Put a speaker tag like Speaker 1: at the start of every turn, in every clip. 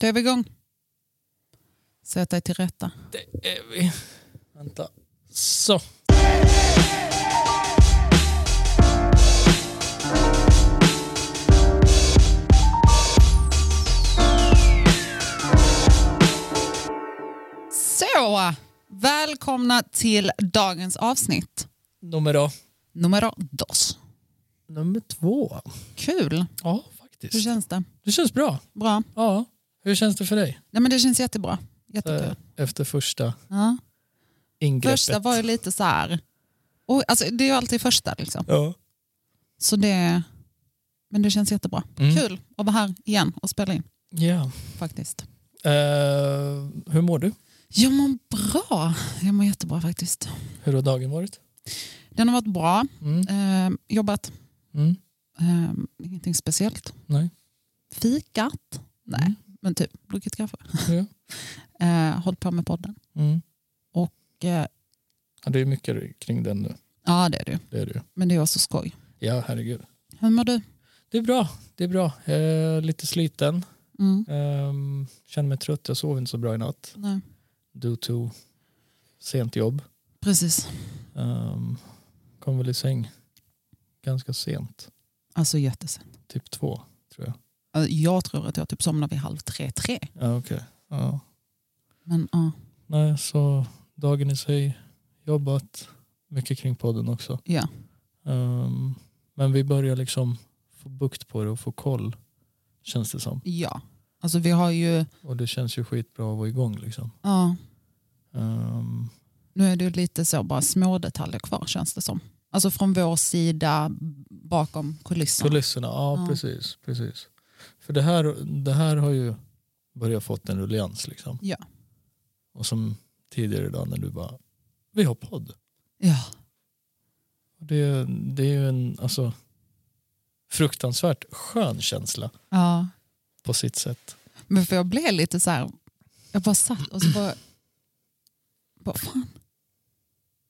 Speaker 1: Då är vi igång. Sätt dig till rätta.
Speaker 2: Det är vi. Vänta. Så.
Speaker 1: Så! Välkomna till dagens avsnitt.
Speaker 2: Nummer då?
Speaker 1: Nummer dos.
Speaker 2: Nummer två.
Speaker 1: Kul.
Speaker 2: Ja,
Speaker 1: Hur
Speaker 2: faktiskt.
Speaker 1: känns det?
Speaker 2: Det känns bra.
Speaker 1: Bra?
Speaker 2: Ja. Hur känns det för dig?
Speaker 1: Nej, men det känns jättebra.
Speaker 2: Eh,
Speaker 1: Jättekul.
Speaker 2: Efter första
Speaker 1: Ja.
Speaker 2: ingreppet.
Speaker 1: Första var ju lite så här... Och, alltså, det är ju alltid första liksom.
Speaker 2: Ja.
Speaker 1: Så det... Men det känns jättebra.
Speaker 2: Mm.
Speaker 1: Kul att vara här igen och spela in
Speaker 2: Ja.
Speaker 1: faktiskt.
Speaker 2: Eh, hur mår du?
Speaker 1: Jag mår bra. Jag mår jättebra faktiskt.
Speaker 2: Hur har dagen varit?
Speaker 1: Den har varit bra.
Speaker 2: Mm.
Speaker 1: Eh, jobbat
Speaker 2: Mm.
Speaker 1: Ehm, ingenting speciellt.
Speaker 2: Nej.
Speaker 1: Fikat? Nej,
Speaker 2: Mm.
Speaker 1: men typ druckit kaffe.
Speaker 2: Ja.
Speaker 1: Eh, hållit på med podden.
Speaker 2: Mm.
Speaker 1: Eh,
Speaker 2: Ja, det är mycket kring den nu.
Speaker 1: ja, det är du.
Speaker 2: Det är det ju.
Speaker 1: Men det är också skoj.
Speaker 2: Ja, herregud.
Speaker 1: Hur mår du?
Speaker 2: Det är bra. Det är bra. Eh, lite sliten.
Speaker 1: Mm.
Speaker 2: Ehm, känner mig trött. Jag sov inte så bra i natt.
Speaker 1: Nej.
Speaker 2: Due to sent jobb.
Speaker 1: Precis.
Speaker 2: Um, kom väl i säng ganska sent,
Speaker 1: Alltså jättesent.
Speaker 2: typ två tror jag.
Speaker 1: Alltså, Jag tror att jag typ somnar vid halv tre, tre.
Speaker 2: Ja, okej. Ja.
Speaker 1: Men ja,
Speaker 2: Nej, så dagen i sig, jobbat mycket kring podden också.
Speaker 1: ja.
Speaker 2: Ehm, men vi börjar liksom få bukt på det och få koll känns det som.
Speaker 1: ja. Alltså vi har ju,
Speaker 2: Och det känns ju skitbra att vara igång liksom.
Speaker 1: ja,
Speaker 2: Ehm,
Speaker 1: nu är det ju lite så bara små detaljer kvar känns det som. Alltså från vår sida bakom kulisserna.
Speaker 2: kulisserna, ja,
Speaker 1: Ja.
Speaker 2: precis. precis. För det här, det här har ju börjat fått en ruljans liksom.
Speaker 1: Ja.
Speaker 2: Och som tidigare idag när du bara, vi har podd.
Speaker 1: Ja,
Speaker 2: Och Det, det är ju en alltså, fruktansvärt skön känsla
Speaker 1: ja.
Speaker 2: på sitt sätt.
Speaker 1: Men för jag blev lite så här, jag bara satt och så bara, bara fan,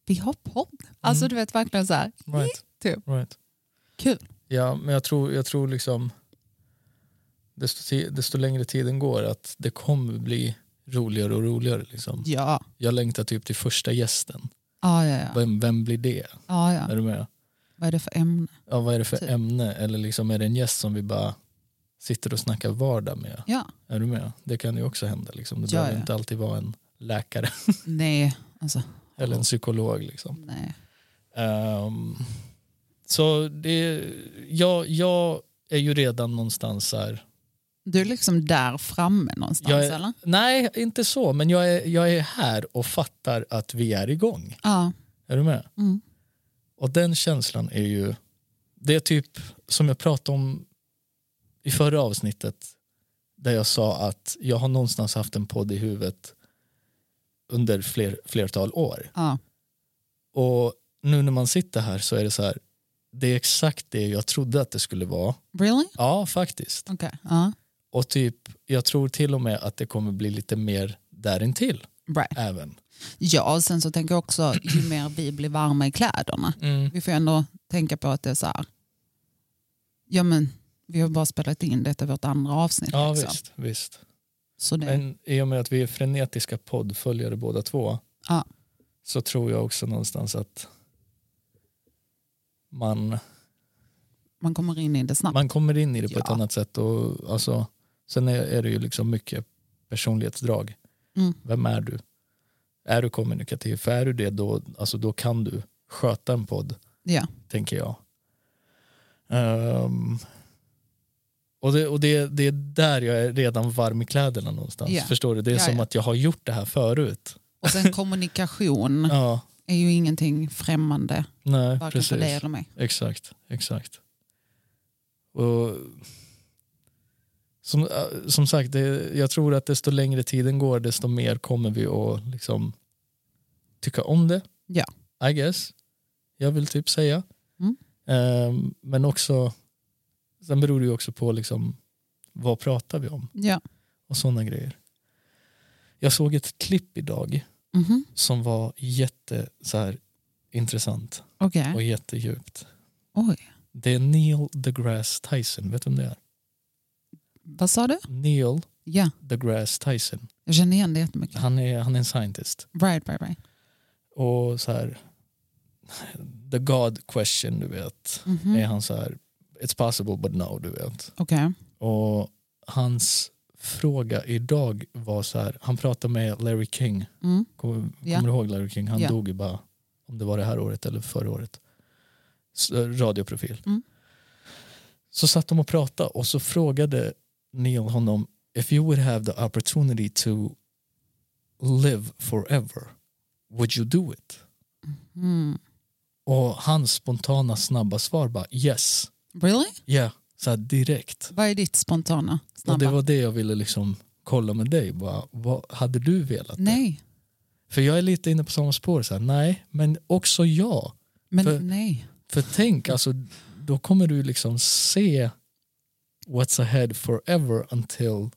Speaker 1: vi har podd. Alltså
Speaker 2: Mm.
Speaker 1: du vet verkligen så här,
Speaker 2: Right.
Speaker 1: Typ.
Speaker 2: Right.
Speaker 1: Kul.
Speaker 2: Ja, men jag tror, jag tror liksom desto, ti- desto längre tiden går att det kommer bli roligare och roligare. Liksom.
Speaker 1: ja,
Speaker 2: Jag längtar typ till första gästen.
Speaker 1: ja, ja, ja.
Speaker 2: Vem, vem blir det?
Speaker 1: ja, ja.
Speaker 2: Är du med?
Speaker 1: Vad är det för ämne?
Speaker 2: Ja, vad är det för
Speaker 1: Typ.
Speaker 2: ämne? Eller liksom, är det en gäst som vi bara sitter och snackar vardag med?
Speaker 1: Ja,
Speaker 2: Är du med? Det kan ju också hända. Liksom. Det
Speaker 1: Ja,
Speaker 2: behöver
Speaker 1: ja.
Speaker 2: inte alltid vara en läkare
Speaker 1: nej, alltså
Speaker 2: eller en psykolog. Liksom.
Speaker 1: nej.
Speaker 2: Ehm, så det, jag, jag är ju redan någonstans här.
Speaker 1: Du är liksom där framme någonstans
Speaker 2: Jag är-
Speaker 1: eller?
Speaker 2: Nej, inte så, men jag är, jag är här och fattar att vi är igång.
Speaker 1: Ja,
Speaker 2: Är du med?
Speaker 1: mm.
Speaker 2: Och den känslan är ju... Det är typ som jag pratade om i förra avsnittet där jag sa att jag har någonstans haft en podd i huvudet under fler, flertal år.
Speaker 1: ja,
Speaker 2: Och nu när man sitter här så är det så här, det är exakt det jag trodde att det skulle vara.
Speaker 1: really?
Speaker 2: Ja, faktiskt.
Speaker 1: Okej, ja,
Speaker 2: Och typ, jag tror till och med att det kommer bli lite mer därintill
Speaker 1: right.
Speaker 2: även.
Speaker 1: Ja, och sen så tänker jag också ju mer vi blir varma i kläderna. Vi får ändå tänka på att det är så här, ja men vi har bara spelat in detta är vårt andra avsnitt.
Speaker 2: Ja,
Speaker 1: liksom.
Speaker 2: visst. visst.
Speaker 1: Så det,
Speaker 2: Men i och med att vi är frenetiska poddföljare båda två
Speaker 1: Ja.
Speaker 2: så tror jag också någonstans att man,
Speaker 1: man kommer in i det snabbt.
Speaker 2: man kommer in i det på ett
Speaker 1: Ja.
Speaker 2: annat sätt. Och, alltså, sen är, är det ju liksom mycket personlighetsdrag.
Speaker 1: Mm.
Speaker 2: Vem är du? Är du kommunikativ? För är du det då, alltså, då kan du sköta en podd.
Speaker 1: Ja.
Speaker 2: tänker jag. Ehm, och det, och det, det är där jag är redan varm i kläderna någonstans.
Speaker 1: Ja.
Speaker 2: Förstår du? Det är
Speaker 1: Ja,
Speaker 2: som
Speaker 1: ja.
Speaker 2: att jag har gjort det här förut.
Speaker 1: Och sen kommunikation
Speaker 2: Ja,
Speaker 1: är ju ingenting främmande,
Speaker 2: nej,
Speaker 1: varken för dig
Speaker 2: precis.
Speaker 1: eller mig.
Speaker 2: Exakt, exakt. Och, som, äh, som sagt, det, jag tror att desto längre tiden går desto mer kommer vi att liksom, tycka om det.
Speaker 1: Ja.
Speaker 2: I guess. Jag vill typ säga.
Speaker 1: Mm.
Speaker 2: Ehm, men också, sen beror det ju också på liksom, vad pratar vi om
Speaker 1: Ja.
Speaker 2: och sådana grejer. Jag såg ett klipp idag
Speaker 1: Mhm.
Speaker 2: som var jätte så här, intressant
Speaker 1: Okej.
Speaker 2: och jättedjupt.
Speaker 1: Oj.
Speaker 2: Det är Neil deGrasse Tyson, vet du vem det är?
Speaker 1: Vad sa du?
Speaker 2: Neil
Speaker 1: Ja,
Speaker 2: DeGrasse Tyson.
Speaker 1: jag känner igen det jättemycket.
Speaker 2: Han är, han är en scientist.
Speaker 1: Right, right, right.
Speaker 2: Och så här, the God question, du vet.
Speaker 1: Mhm.
Speaker 2: Är han så här, it's possible but no, du vet.
Speaker 1: Okej.
Speaker 2: Och hans fråga idag var så här, han pratade med Larry King.
Speaker 1: Mm.
Speaker 2: Kommer,
Speaker 1: Ja.
Speaker 2: kommer du ihåg Larry King? Han
Speaker 1: Ja.
Speaker 2: dog ju bara, om det var det här året eller förra året. S- eh, Radioprofil.
Speaker 1: Mm.
Speaker 2: Så satt de och pratade och så frågade Neil honom If you would have the opportunity to live forever, would you do it?
Speaker 1: Mm.
Speaker 2: Och hans spontana snabba svar bara yes,
Speaker 1: Really?
Speaker 2: yeah, så här direkt.
Speaker 1: Vad är ditt spontana? Snabba?
Speaker 2: Och det var det jag ville liksom kolla med dig. Bara, vad, hade du velat det?
Speaker 1: Nej,
Speaker 2: För jag är lite inne på samma spår. Så här, nej, men också jag.
Speaker 1: men
Speaker 2: För-
Speaker 1: nej.
Speaker 2: För tänk, alltså, då kommer du liksom se what's ahead forever until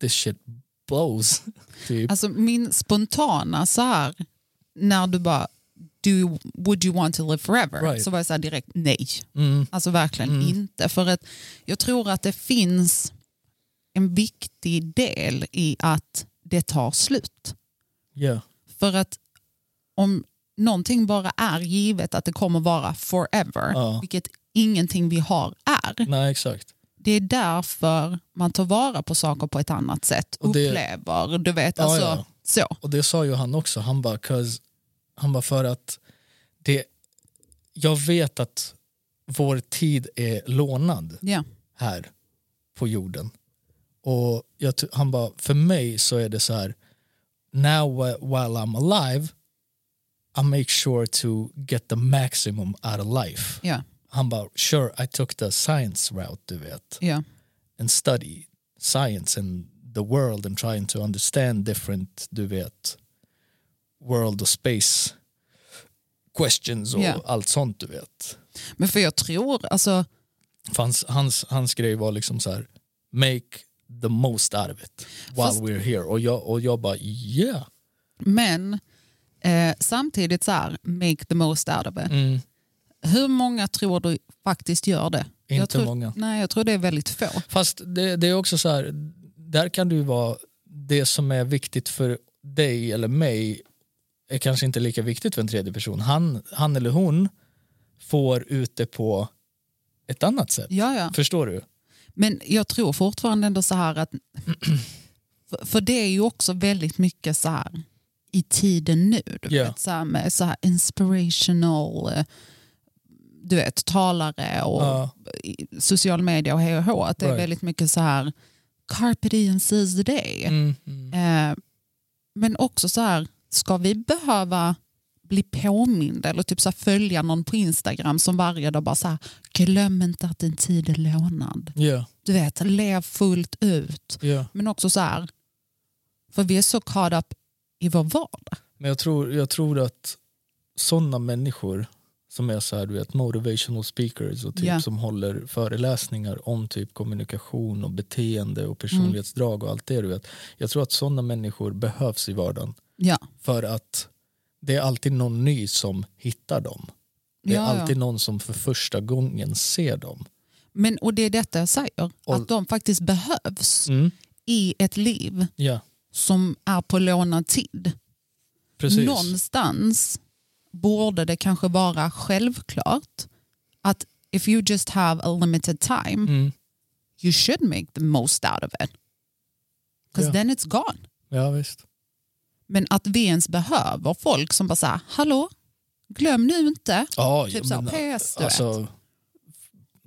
Speaker 2: this shit blows. Typ.
Speaker 1: Alltså min spontana så här, när du bara, do you, would you want to live forever?
Speaker 2: Right.
Speaker 1: Så var jag så här direkt, nej.
Speaker 2: Mm,
Speaker 1: Alltså verkligen
Speaker 2: Mm.
Speaker 1: inte. För att jag tror att det finns en viktig del i att det tar slut.
Speaker 2: yeah.
Speaker 1: För att om någonting bara är givet att det kommer vara forever,
Speaker 2: Ja.
Speaker 1: vilket ingenting vi har är.
Speaker 2: Nej, exakt.
Speaker 1: Det är därför man tar vara på saker på ett annat sätt.
Speaker 2: Och det-
Speaker 1: Upplever, du vet.
Speaker 2: Ja,
Speaker 1: Alltså,
Speaker 2: ja.
Speaker 1: Så.
Speaker 2: Och det sa ju han också. Han bara, 'cause- han bara för att det, jag vet att vår tid är lånad.
Speaker 1: Ja.
Speaker 2: här på jorden. Och jag, ty- han bara, för mig så är det så här, now wh- while I'm alive, I make sure to get the maximum out of life.
Speaker 1: Ja.
Speaker 2: Han bara, sure I took the science route, du vet,
Speaker 1: Ja.
Speaker 2: and study science and the world and trying to understand different, du vet, world och space questions och
Speaker 1: Ja.
Speaker 2: allt sånt, du vet.
Speaker 1: Men för jag tror, alltså,
Speaker 2: För hans, hans, hans grej var liksom så här, make the most out of it while
Speaker 1: Fast-
Speaker 2: we're here. Och jag, och jag bara, yeah.
Speaker 1: men eh, samtidigt så här, make the most out of it.
Speaker 2: Mm,
Speaker 1: Hur många tror du faktiskt gör det?
Speaker 2: inte
Speaker 1: jag tror,
Speaker 2: många.
Speaker 1: Nej, jag tror det är väldigt få.
Speaker 2: Fast det, det är också så här, där kan du vara, det som är viktigt för dig eller mig är kanske inte lika viktigt för en tredje person. Han, han eller hon får ut det på ett annat sätt.
Speaker 1: Ja, ja.
Speaker 2: Förstår du?
Speaker 1: Men jag tror fortfarande ändå så här att... För, för det är ju också väldigt mycket så här i tiden nu. Du
Speaker 2: Ja.
Speaker 1: vet, så här med så här inspirational eh, du vet, talare och
Speaker 2: Ja.
Speaker 1: i- social media och hej och hå. Att det är
Speaker 2: Right.
Speaker 1: väldigt mycket så här carpe diem seize the day.
Speaker 2: Mm, mm.
Speaker 1: Eh, men också så här, ska vi behöva bli påminda eller typ så här följa någon på Instagram som varje dag bara så här, glöm inte att din tid är lånad.
Speaker 2: Yeah,
Speaker 1: Du vet, lev fullt ut.
Speaker 2: yeah.
Speaker 1: Men också så här, för vi är så caught up i vår vardag.
Speaker 2: Men jag tror, jag tror att sådana människor som är så här, du vet, motivational speakers och typ
Speaker 1: Ja.
Speaker 2: som håller föreläsningar om typ kommunikation och beteende och personlighetsdrag och allt det. Du vet. Jag tror att sådana människor behövs i vardagen
Speaker 1: Ja,
Speaker 2: för att det är alltid någon ny som hittar dem. Det är
Speaker 1: Ja, ja.
Speaker 2: alltid någon som för första gången ser dem.
Speaker 1: men, och det är detta jag säger, att de faktiskt behövs
Speaker 2: Mm.
Speaker 1: i ett liv
Speaker 2: Ja,
Speaker 1: som är på lånad tid.
Speaker 2: precis.
Speaker 1: Någonstans borde det kanske vara självklart att if you just have a limited time
Speaker 2: Mm.
Speaker 1: you should make the most out of it. Because
Speaker 2: Ja.
Speaker 1: then it's gone.
Speaker 2: Ja, visst.
Speaker 1: Men att vi ens behöver folk som bara säger, hallå, glöm nu inte.
Speaker 2: Ja,
Speaker 1: Typ
Speaker 2: jag
Speaker 1: så här,
Speaker 2: menar,
Speaker 1: PS, du vet.
Speaker 2: alltså,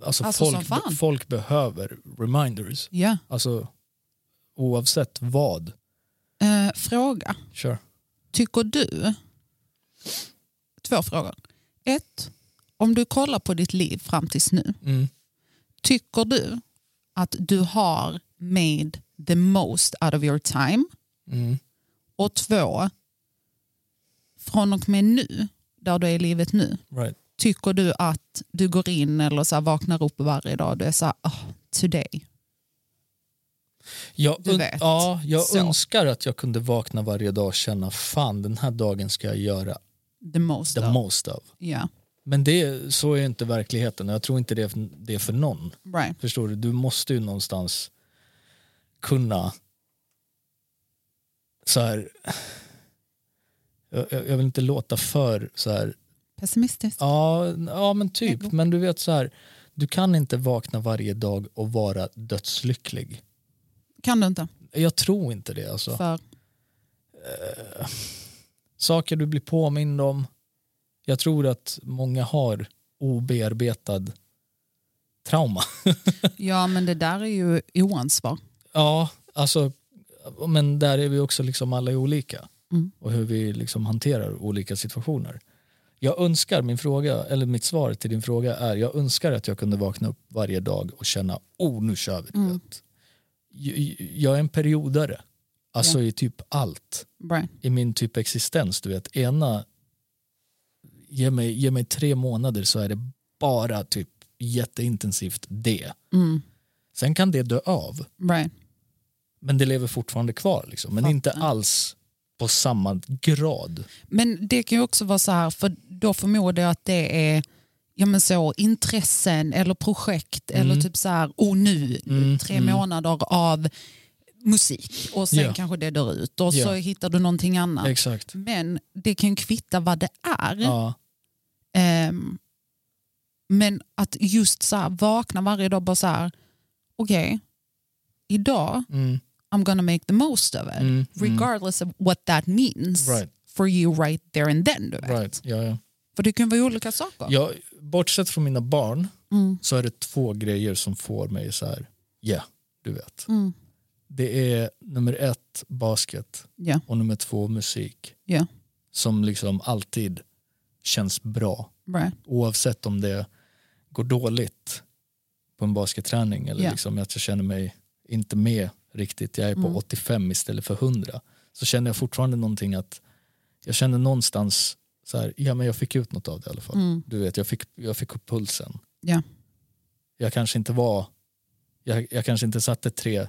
Speaker 2: alltså,
Speaker 1: Alltså, som fan.
Speaker 2: folk, folk behöver reminders.
Speaker 1: Ja.
Speaker 2: Alltså oavsett vad.
Speaker 1: Eh, fråga,
Speaker 2: Kör.
Speaker 1: tycker du... Två frågor. Ett, om du kollar på ditt liv fram tills nu,
Speaker 2: Mm.
Speaker 1: tycker du att du har made the most out of your time?
Speaker 2: Mm.
Speaker 1: Och två, från och med nu, där du är i livet nu,
Speaker 2: Right.
Speaker 1: tycker du att du går in eller så här vaknar upp varje dag och du är så här, oh, today.
Speaker 2: Jag,
Speaker 1: Du
Speaker 2: un-
Speaker 1: vet.
Speaker 2: ja, jag
Speaker 1: Så.
Speaker 2: önskar att jag kunde vakna varje dag och känna fan den här dagen ska jag göra
Speaker 1: The most.
Speaker 2: the
Speaker 1: of."
Speaker 2: most av.
Speaker 1: Ja,
Speaker 2: Men det, så är inte verkligheten och jag tror inte det är, det är för någon.
Speaker 1: right.
Speaker 2: Förstår du? Du måste ju någonstans kunna så här, jag, jag vill inte låta för så här,
Speaker 1: Pessimistiskt.
Speaker 2: ja, ja men typ, men du vet så här, du kan inte vakna varje dag och vara dödslycklig.
Speaker 1: Kan du inte.
Speaker 2: Jag tror inte det alltså.
Speaker 1: För,
Speaker 2: saker du blir påmind om. Jag tror att många har obearbetad trauma.
Speaker 1: ja men det där är ju oansvar.
Speaker 2: Ja, alltså, men där är vi också liksom alla olika
Speaker 1: Mm.
Speaker 2: och hur vi liksom hanterar olika situationer. Jag önskar, min fråga, eller mitt svar till din fråga är, jag önskar att jag kunde vakna upp varje dag och känna, oh nu kör vi. du
Speaker 1: Mm.
Speaker 2: vet. Jag, jag är en periodare, alltså i typ allt.
Speaker 1: Brian.
Speaker 2: i min typ existens. Du vet, ena, ge mig, ge mig tre månader så är det bara typ jätteintensivt det.
Speaker 1: Mm.
Speaker 2: Sen kan det dö av,
Speaker 1: Brian.
Speaker 2: men det lever fortfarande kvar. Liksom. Men
Speaker 1: Fattar.
Speaker 2: inte alls på samma grad.
Speaker 1: Men det kan ju också vara så här, för då förmodar jag att det är ja, men så, intressen eller projekt
Speaker 2: Mm.
Speaker 1: eller typ så här, oh nu, tre månader av musik och sen
Speaker 2: Ja.
Speaker 1: kanske det dör ut och så
Speaker 2: Ja.
Speaker 1: hittar du någonting annat.
Speaker 2: Exakt.
Speaker 1: Men det kan kvitta vad det är.
Speaker 2: Ja,
Speaker 1: Ehm, men att just så här, vakna varje dag bara så här, okej, idag
Speaker 2: mm,
Speaker 1: I'm gonna make the most of it.
Speaker 2: Mm, mm.
Speaker 1: Regardless of what that means
Speaker 2: Right.
Speaker 1: for you right there and then. Du vet.
Speaker 2: right. Ja, ja.
Speaker 1: För det kan vara olika saker.
Speaker 2: Jag, bortsett från mina barn
Speaker 1: Mm.
Speaker 2: så är det två grejer som får mig så här, ja, du vet.
Speaker 1: Mm.
Speaker 2: Det är nummer ett, basket
Speaker 1: Ja.
Speaker 2: och nummer två, musik.
Speaker 1: Ja.
Speaker 2: som liksom alltid känns bra.
Speaker 1: Right.
Speaker 2: Oavsett om det går dåligt på en basketträning eller
Speaker 1: Ja.
Speaker 2: liksom att jag känner mig inte med riktigt. Jag är på
Speaker 1: Mm.
Speaker 2: 85 istället för 100. Så känner jag fortfarande någonting att jag känner någonstans så här, ja men jag fick ut något av det i alla fall.
Speaker 1: Mm.
Speaker 2: Du vet, jag fick, jag fick upp pulsen.
Speaker 1: Ja.
Speaker 2: Jag kanske inte var, jag, jag kanske inte satte tre,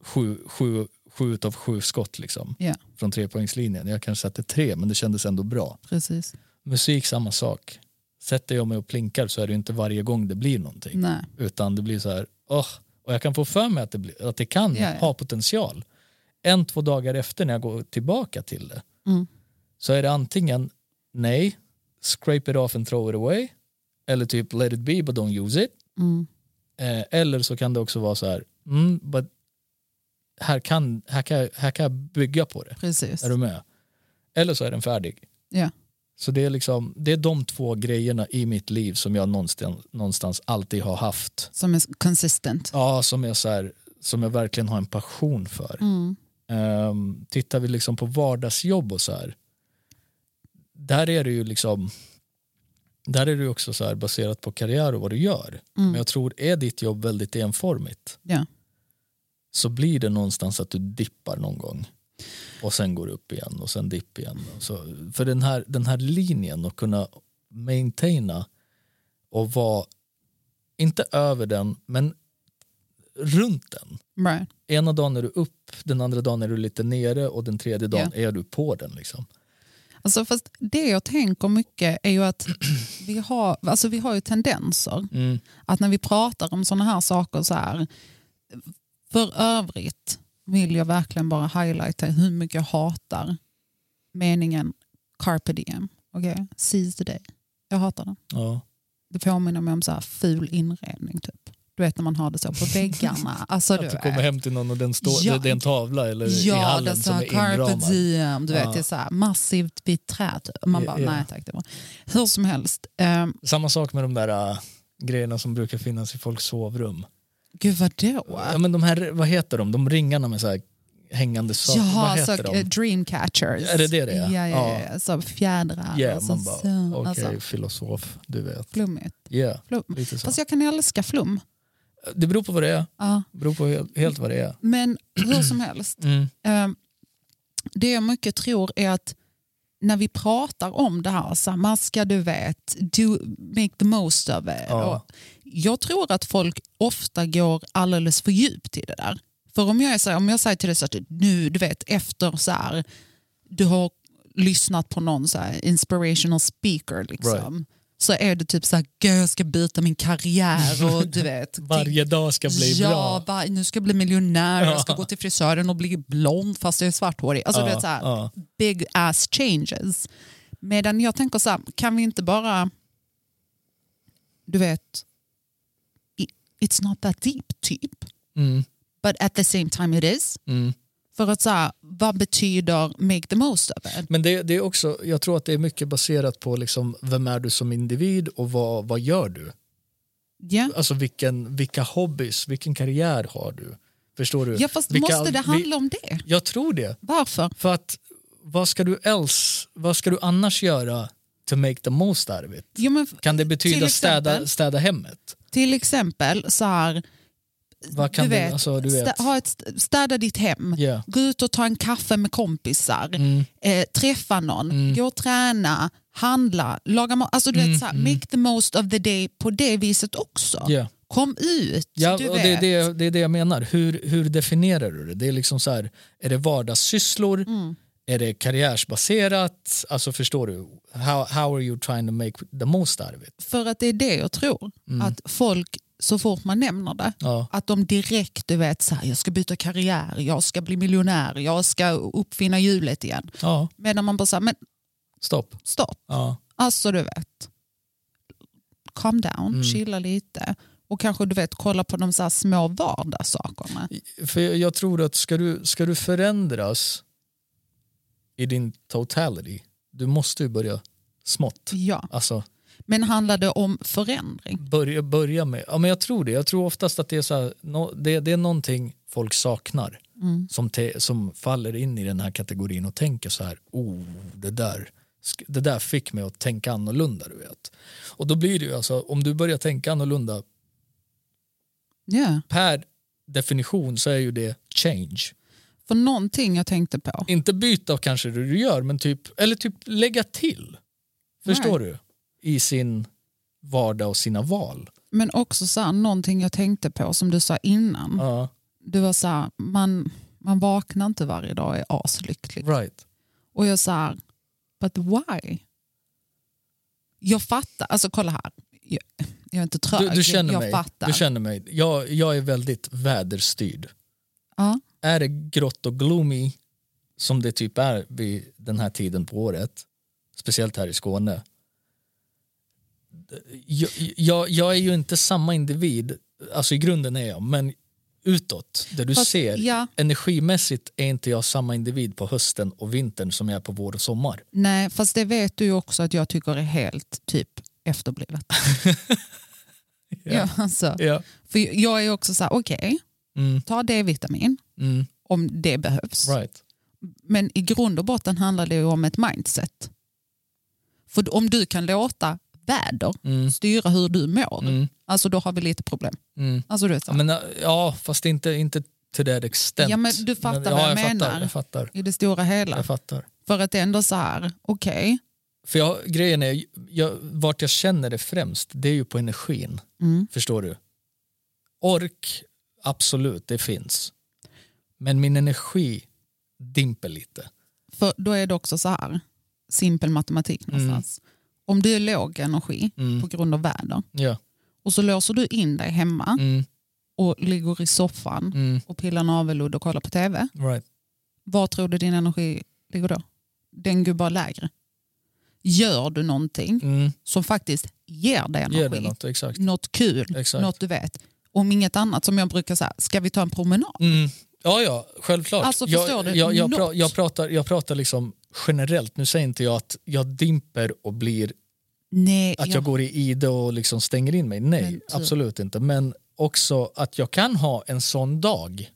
Speaker 2: sju, sju, sju utav sju skott liksom
Speaker 1: Ja.
Speaker 2: från trepoängslinjen. Jag kanske satte tre men det kändes ändå bra.
Speaker 1: Precis.
Speaker 2: Musik samma sak. Sätter jag mig och plinkar så är det ju inte varje gång det blir någonting.
Speaker 1: Nej.
Speaker 2: Utan det blir så här, åh. och jag kan få för mig att det, blir, att det kan
Speaker 1: Ja, ja.
Speaker 2: ha potential. En, två dagar efter när jag går tillbaka till det
Speaker 1: Mm.
Speaker 2: så är det antingen nej, scrape it off and throw it away eller typ let it be but don't use it.
Speaker 1: Mm.
Speaker 2: Eh, eller så kan det också vara så här, mm, but här kan, här, kan, här kan jag bygga på det.
Speaker 1: Precis.
Speaker 2: Är du med? Eller så är den färdig.
Speaker 1: Ja.
Speaker 2: Så det är, liksom, det är de två grejerna i mitt liv som jag någonstans, någonstans alltid har haft.
Speaker 1: Som är consistent.
Speaker 2: Ja, som, är så här, som jag verkligen har en passion för.
Speaker 1: Mm.
Speaker 2: Ehm, tittar vi liksom på vardagsjobb och så här. Där är det ju liksom där är det ju också så här baserat på karriär och vad du gör. Men jag tror är ditt jobb väldigt enformigt
Speaker 1: Ja.
Speaker 2: så blir det någonstans att du dippar någon gång och sen går upp igen och sen dipp igen. Och Så, för den här, den här linjen att kunna maintaina och vara, inte över den, men runt den.
Speaker 1: Right.
Speaker 2: Ena dagen är du upp, den andra dagen är du lite nere och den tredje dagen är du på den. Liksom.
Speaker 1: Alltså, fast det jag tänker mycket är ju att vi har, alltså, vi har ju tendenser.
Speaker 2: Mm.
Speaker 1: Att när vi pratar om sådana här saker så här. För övrigt vill jag verkligen bara highlighta hur mycket jag hatar meningen carpe diem. Okay? Seize the day. Jag hatar den.
Speaker 2: Ja.
Speaker 1: Det påminner mig om så här ful inredning. Typ. Du vet när man har det så på väggarna. Alltså,
Speaker 2: Att du
Speaker 1: vet.
Speaker 2: kommer hem till någon och den står,
Speaker 1: Ja.
Speaker 2: det, det är en tavla eller i
Speaker 1: Ja, det är
Speaker 2: hallen
Speaker 1: så
Speaker 2: som är
Speaker 1: här carpe
Speaker 2: inramad.
Speaker 1: diem. Du vet,
Speaker 2: Ja.
Speaker 1: det är så här massivt vitt trä. Typ. Man
Speaker 2: Ja,
Speaker 1: bara,
Speaker 2: ja.
Speaker 1: nej tack. Det var. Hur som helst. Um,
Speaker 2: Samma sak med de där äh, grejerna som brukar finnas i folks sovrum.
Speaker 1: gud vadå?
Speaker 2: Ja, men de här, vad heter de? De ringarna med så här hängande saker. vad
Speaker 1: Jaha, så
Speaker 2: heter de?
Speaker 1: eh, dreamcatchers.
Speaker 2: Är det det det är?
Speaker 1: Ja, ja, ja.
Speaker 2: Ja.
Speaker 1: Så fjädrar.
Speaker 2: Ja,
Speaker 1: och så,
Speaker 2: man bara,
Speaker 1: så,
Speaker 2: okej,
Speaker 1: alltså,
Speaker 2: filosof, du vet.
Speaker 1: flummigt.
Speaker 2: Ja,
Speaker 1: Flum.
Speaker 2: lite så.
Speaker 1: Fast jag kan älska flum.
Speaker 2: Det beror på vad det är.
Speaker 1: Ja.
Speaker 2: beror på helt, helt vad det är.
Speaker 1: Men hur som helst.
Speaker 2: Mm.
Speaker 1: Eh, det jag mycket tror är att när vi pratar om det här, så här, man ska du vet, do, make the most of it.
Speaker 2: Ja.
Speaker 1: Och jag tror att folk ofta går alldeles för djupt i det där. För om jag, är så här, om jag säger till dig så att nu, du vet, efter så här, du har lyssnat på någon så här, inspirational speaker, liksom, så är det typ så här, "Gud, jag ska byta min karriär och du vet.
Speaker 2: Varje dag ska bli
Speaker 1: ja,
Speaker 2: bra.
Speaker 1: va- nu ska jag bli miljonär och jag ska
Speaker 2: Ja.
Speaker 1: gå till frisören och bli blond fast jag är svarthårig. Alltså, du
Speaker 2: Ja,
Speaker 1: vet, så här,
Speaker 2: ja.
Speaker 1: Big ass changes. Medan jag tänker så här, kan vi inte bara, du vet, i- it's not that deep typ.
Speaker 2: Mm,
Speaker 1: But at the same time it is.
Speaker 2: mm.
Speaker 1: För att så här, vad betyder make the most of it?
Speaker 2: Men det, det är också, jag tror att det är mycket baserat på liksom, vem är du som individ och vad, vad gör du?
Speaker 1: Ja.
Speaker 2: Alltså vilken, vilka hobbys, vilken karriär har du? Förstår du?
Speaker 1: Ja, fast
Speaker 2: Vilka-
Speaker 1: måste det handla om det?
Speaker 2: Vi, jag tror det.
Speaker 1: Varför?
Speaker 2: För att vad ska du else, vad ska du annars göra to make the most out of it?
Speaker 1: Jo, men f-
Speaker 2: Kan det betyda
Speaker 1: Till
Speaker 2: städa,
Speaker 1: exempel?
Speaker 2: städa hemmet?
Speaker 1: till exempel så här,
Speaker 2: Vad kan
Speaker 1: du vet,
Speaker 2: alltså, du vet.
Speaker 1: Stä, ha ett, st- städa ditt hem,
Speaker 2: Ja.
Speaker 1: gå ut och ta en kaffe med kompisar,
Speaker 2: Mm.
Speaker 1: eh, träffa någon, gå och träna, handla, laga mat. Alltså, du vet, så här, Make the most of the day på det viset också.
Speaker 2: Mm, Ja.
Speaker 1: Kom ut,
Speaker 2: Ja,
Speaker 1: du
Speaker 2: och
Speaker 1: vet.
Speaker 2: det, är det, det är det jag menar. Hur, hur definierar du det? Det är liksom så här, är det vardagssysslor?
Speaker 1: Mm.
Speaker 2: Är det karriärsbaserat? Alltså förstår du? How, how are you trying to make the most out of it?
Speaker 1: För att det är det jag tror,
Speaker 2: Mm.
Speaker 1: att folk så fort man nämner det,
Speaker 2: Ja.
Speaker 1: att de direkt du vet, så här, jag ska byta karriär, jag ska bli miljonär, jag ska uppfinna hjulet igen.
Speaker 2: Ja,
Speaker 1: Medan man bara säger, men
Speaker 2: stopp.
Speaker 1: stopp,
Speaker 2: Ja.
Speaker 1: alltså du vet, calm down,
Speaker 2: Mm.
Speaker 1: chilla lite och kanske du vet kolla på de så här små vardagssakerna.
Speaker 2: För jag, jag tror att ska du, ska du förändras i din totality, du måste ju börja smått.
Speaker 1: Ja.
Speaker 2: Alltså
Speaker 1: Men handlar det om förändring?
Speaker 2: börja, börja med, ja men jag tror det. Jag tror oftast att det är, så här, nå- det, det är någonting folk saknar.
Speaker 1: Mm.
Speaker 2: som, te, som faller in i den här kategorin och tänker så här, oh, det där, sk- det där fick mig att tänka annorlunda. Du vet. Och då blir det ju alltså, om du börjar tänka annorlunda,
Speaker 1: Ja.
Speaker 2: per definition så är ju det change.
Speaker 1: För någonting jag tänkte på.
Speaker 2: Inte byta kanske det du gör, men typ, eller typ lägga till. Förstår du? I sin vardag och sina val.
Speaker 1: Men också så här, någonting jag tänkte på som du sa innan.
Speaker 2: Ja,
Speaker 1: Du var så här, man, man vaknar inte varje dag och är aslycklig.
Speaker 2: right.
Speaker 1: Och jag så här, but why? Jag fattar, alltså kolla här. Jag, jag är inte trög,
Speaker 2: Du, du känner
Speaker 1: jag
Speaker 2: mig.
Speaker 1: fattar.
Speaker 2: Du känner mig. Jag, jag är väldigt väderstyrd.
Speaker 1: ja.
Speaker 2: är det grått och gloomy som det typ är vid den här tiden på året, speciellt här i Skåne. Jag, jag, jag är ju inte samma individ, alltså i grunden är jag, men utåt, det du
Speaker 1: Fast-
Speaker 2: ser,
Speaker 1: ja.
Speaker 2: energimässigt är inte jag samma individ på hösten och vintern som jag är på vår och sommar.
Speaker 1: Nej, fast det vet du ju också att jag tycker är helt typ efterblivet. ja, alltså.
Speaker 2: Ja.
Speaker 1: För jag är också så här, okej,
Speaker 2: Mm,
Speaker 1: ta D-vitamin
Speaker 2: mm,
Speaker 1: om det behövs.
Speaker 2: right.
Speaker 1: Men i grund och botten handlar det ju om ett mindset. För om du kan låta väder
Speaker 2: Mm,
Speaker 1: styra hur du mår,
Speaker 2: mm,
Speaker 1: alltså då har vi lite problem.
Speaker 2: mm.
Speaker 1: Alltså, du vet, så
Speaker 2: Ja,
Speaker 1: här,
Speaker 2: men, äh, ja, fast inte, inte till det extent.
Speaker 1: Ja, men du fattar
Speaker 2: ja,
Speaker 1: vad jag
Speaker 2: Fattar,
Speaker 1: menar.
Speaker 2: jag fattar.
Speaker 1: I det stora hela.
Speaker 2: Jag fattar.
Speaker 1: För att det är ändå så här, okej,
Speaker 2: För jag, grejen är, jag, vart jag känner det främst, det är ju på energin.
Speaker 1: Mm.
Speaker 2: Förstår du? Ork, absolut, det finns. Men min energi dimper lite.
Speaker 1: för då är det också så här, simpel matematik någonstans. Om du är låg energi
Speaker 2: Mm.
Speaker 1: på grund av väder
Speaker 2: Ja.
Speaker 1: och så låser du in dig hemma
Speaker 2: Mm,
Speaker 1: och ligger i soffan
Speaker 2: mm,
Speaker 1: och pillar navelludd och kollar på tv,
Speaker 2: right.
Speaker 1: var tror du din energi ligger då? Den går bara lägre. Gör du någonting
Speaker 2: Mm,
Speaker 1: som faktiskt ger dig energi,
Speaker 2: ger det något, exakt.
Speaker 1: något kul,
Speaker 2: Exakt.
Speaker 1: något du vet, om inget annat som jag brukar säga, ska vi ta en promenad?
Speaker 2: Mm. Ja, ja, självklart.
Speaker 1: Alltså, förstår
Speaker 2: jag,
Speaker 1: du?
Speaker 2: jag, jag, pra,
Speaker 1: Något.
Speaker 2: jag, pratar, jag pratar liksom generellt, nu säger inte jag att jag dimper och blir
Speaker 1: Nej,
Speaker 2: att
Speaker 1: jag-
Speaker 2: jag går i ide och liksom stänger in mig. Nej,
Speaker 1: Men typ.
Speaker 2: absolut inte. Men också att jag kan ha en sån dag.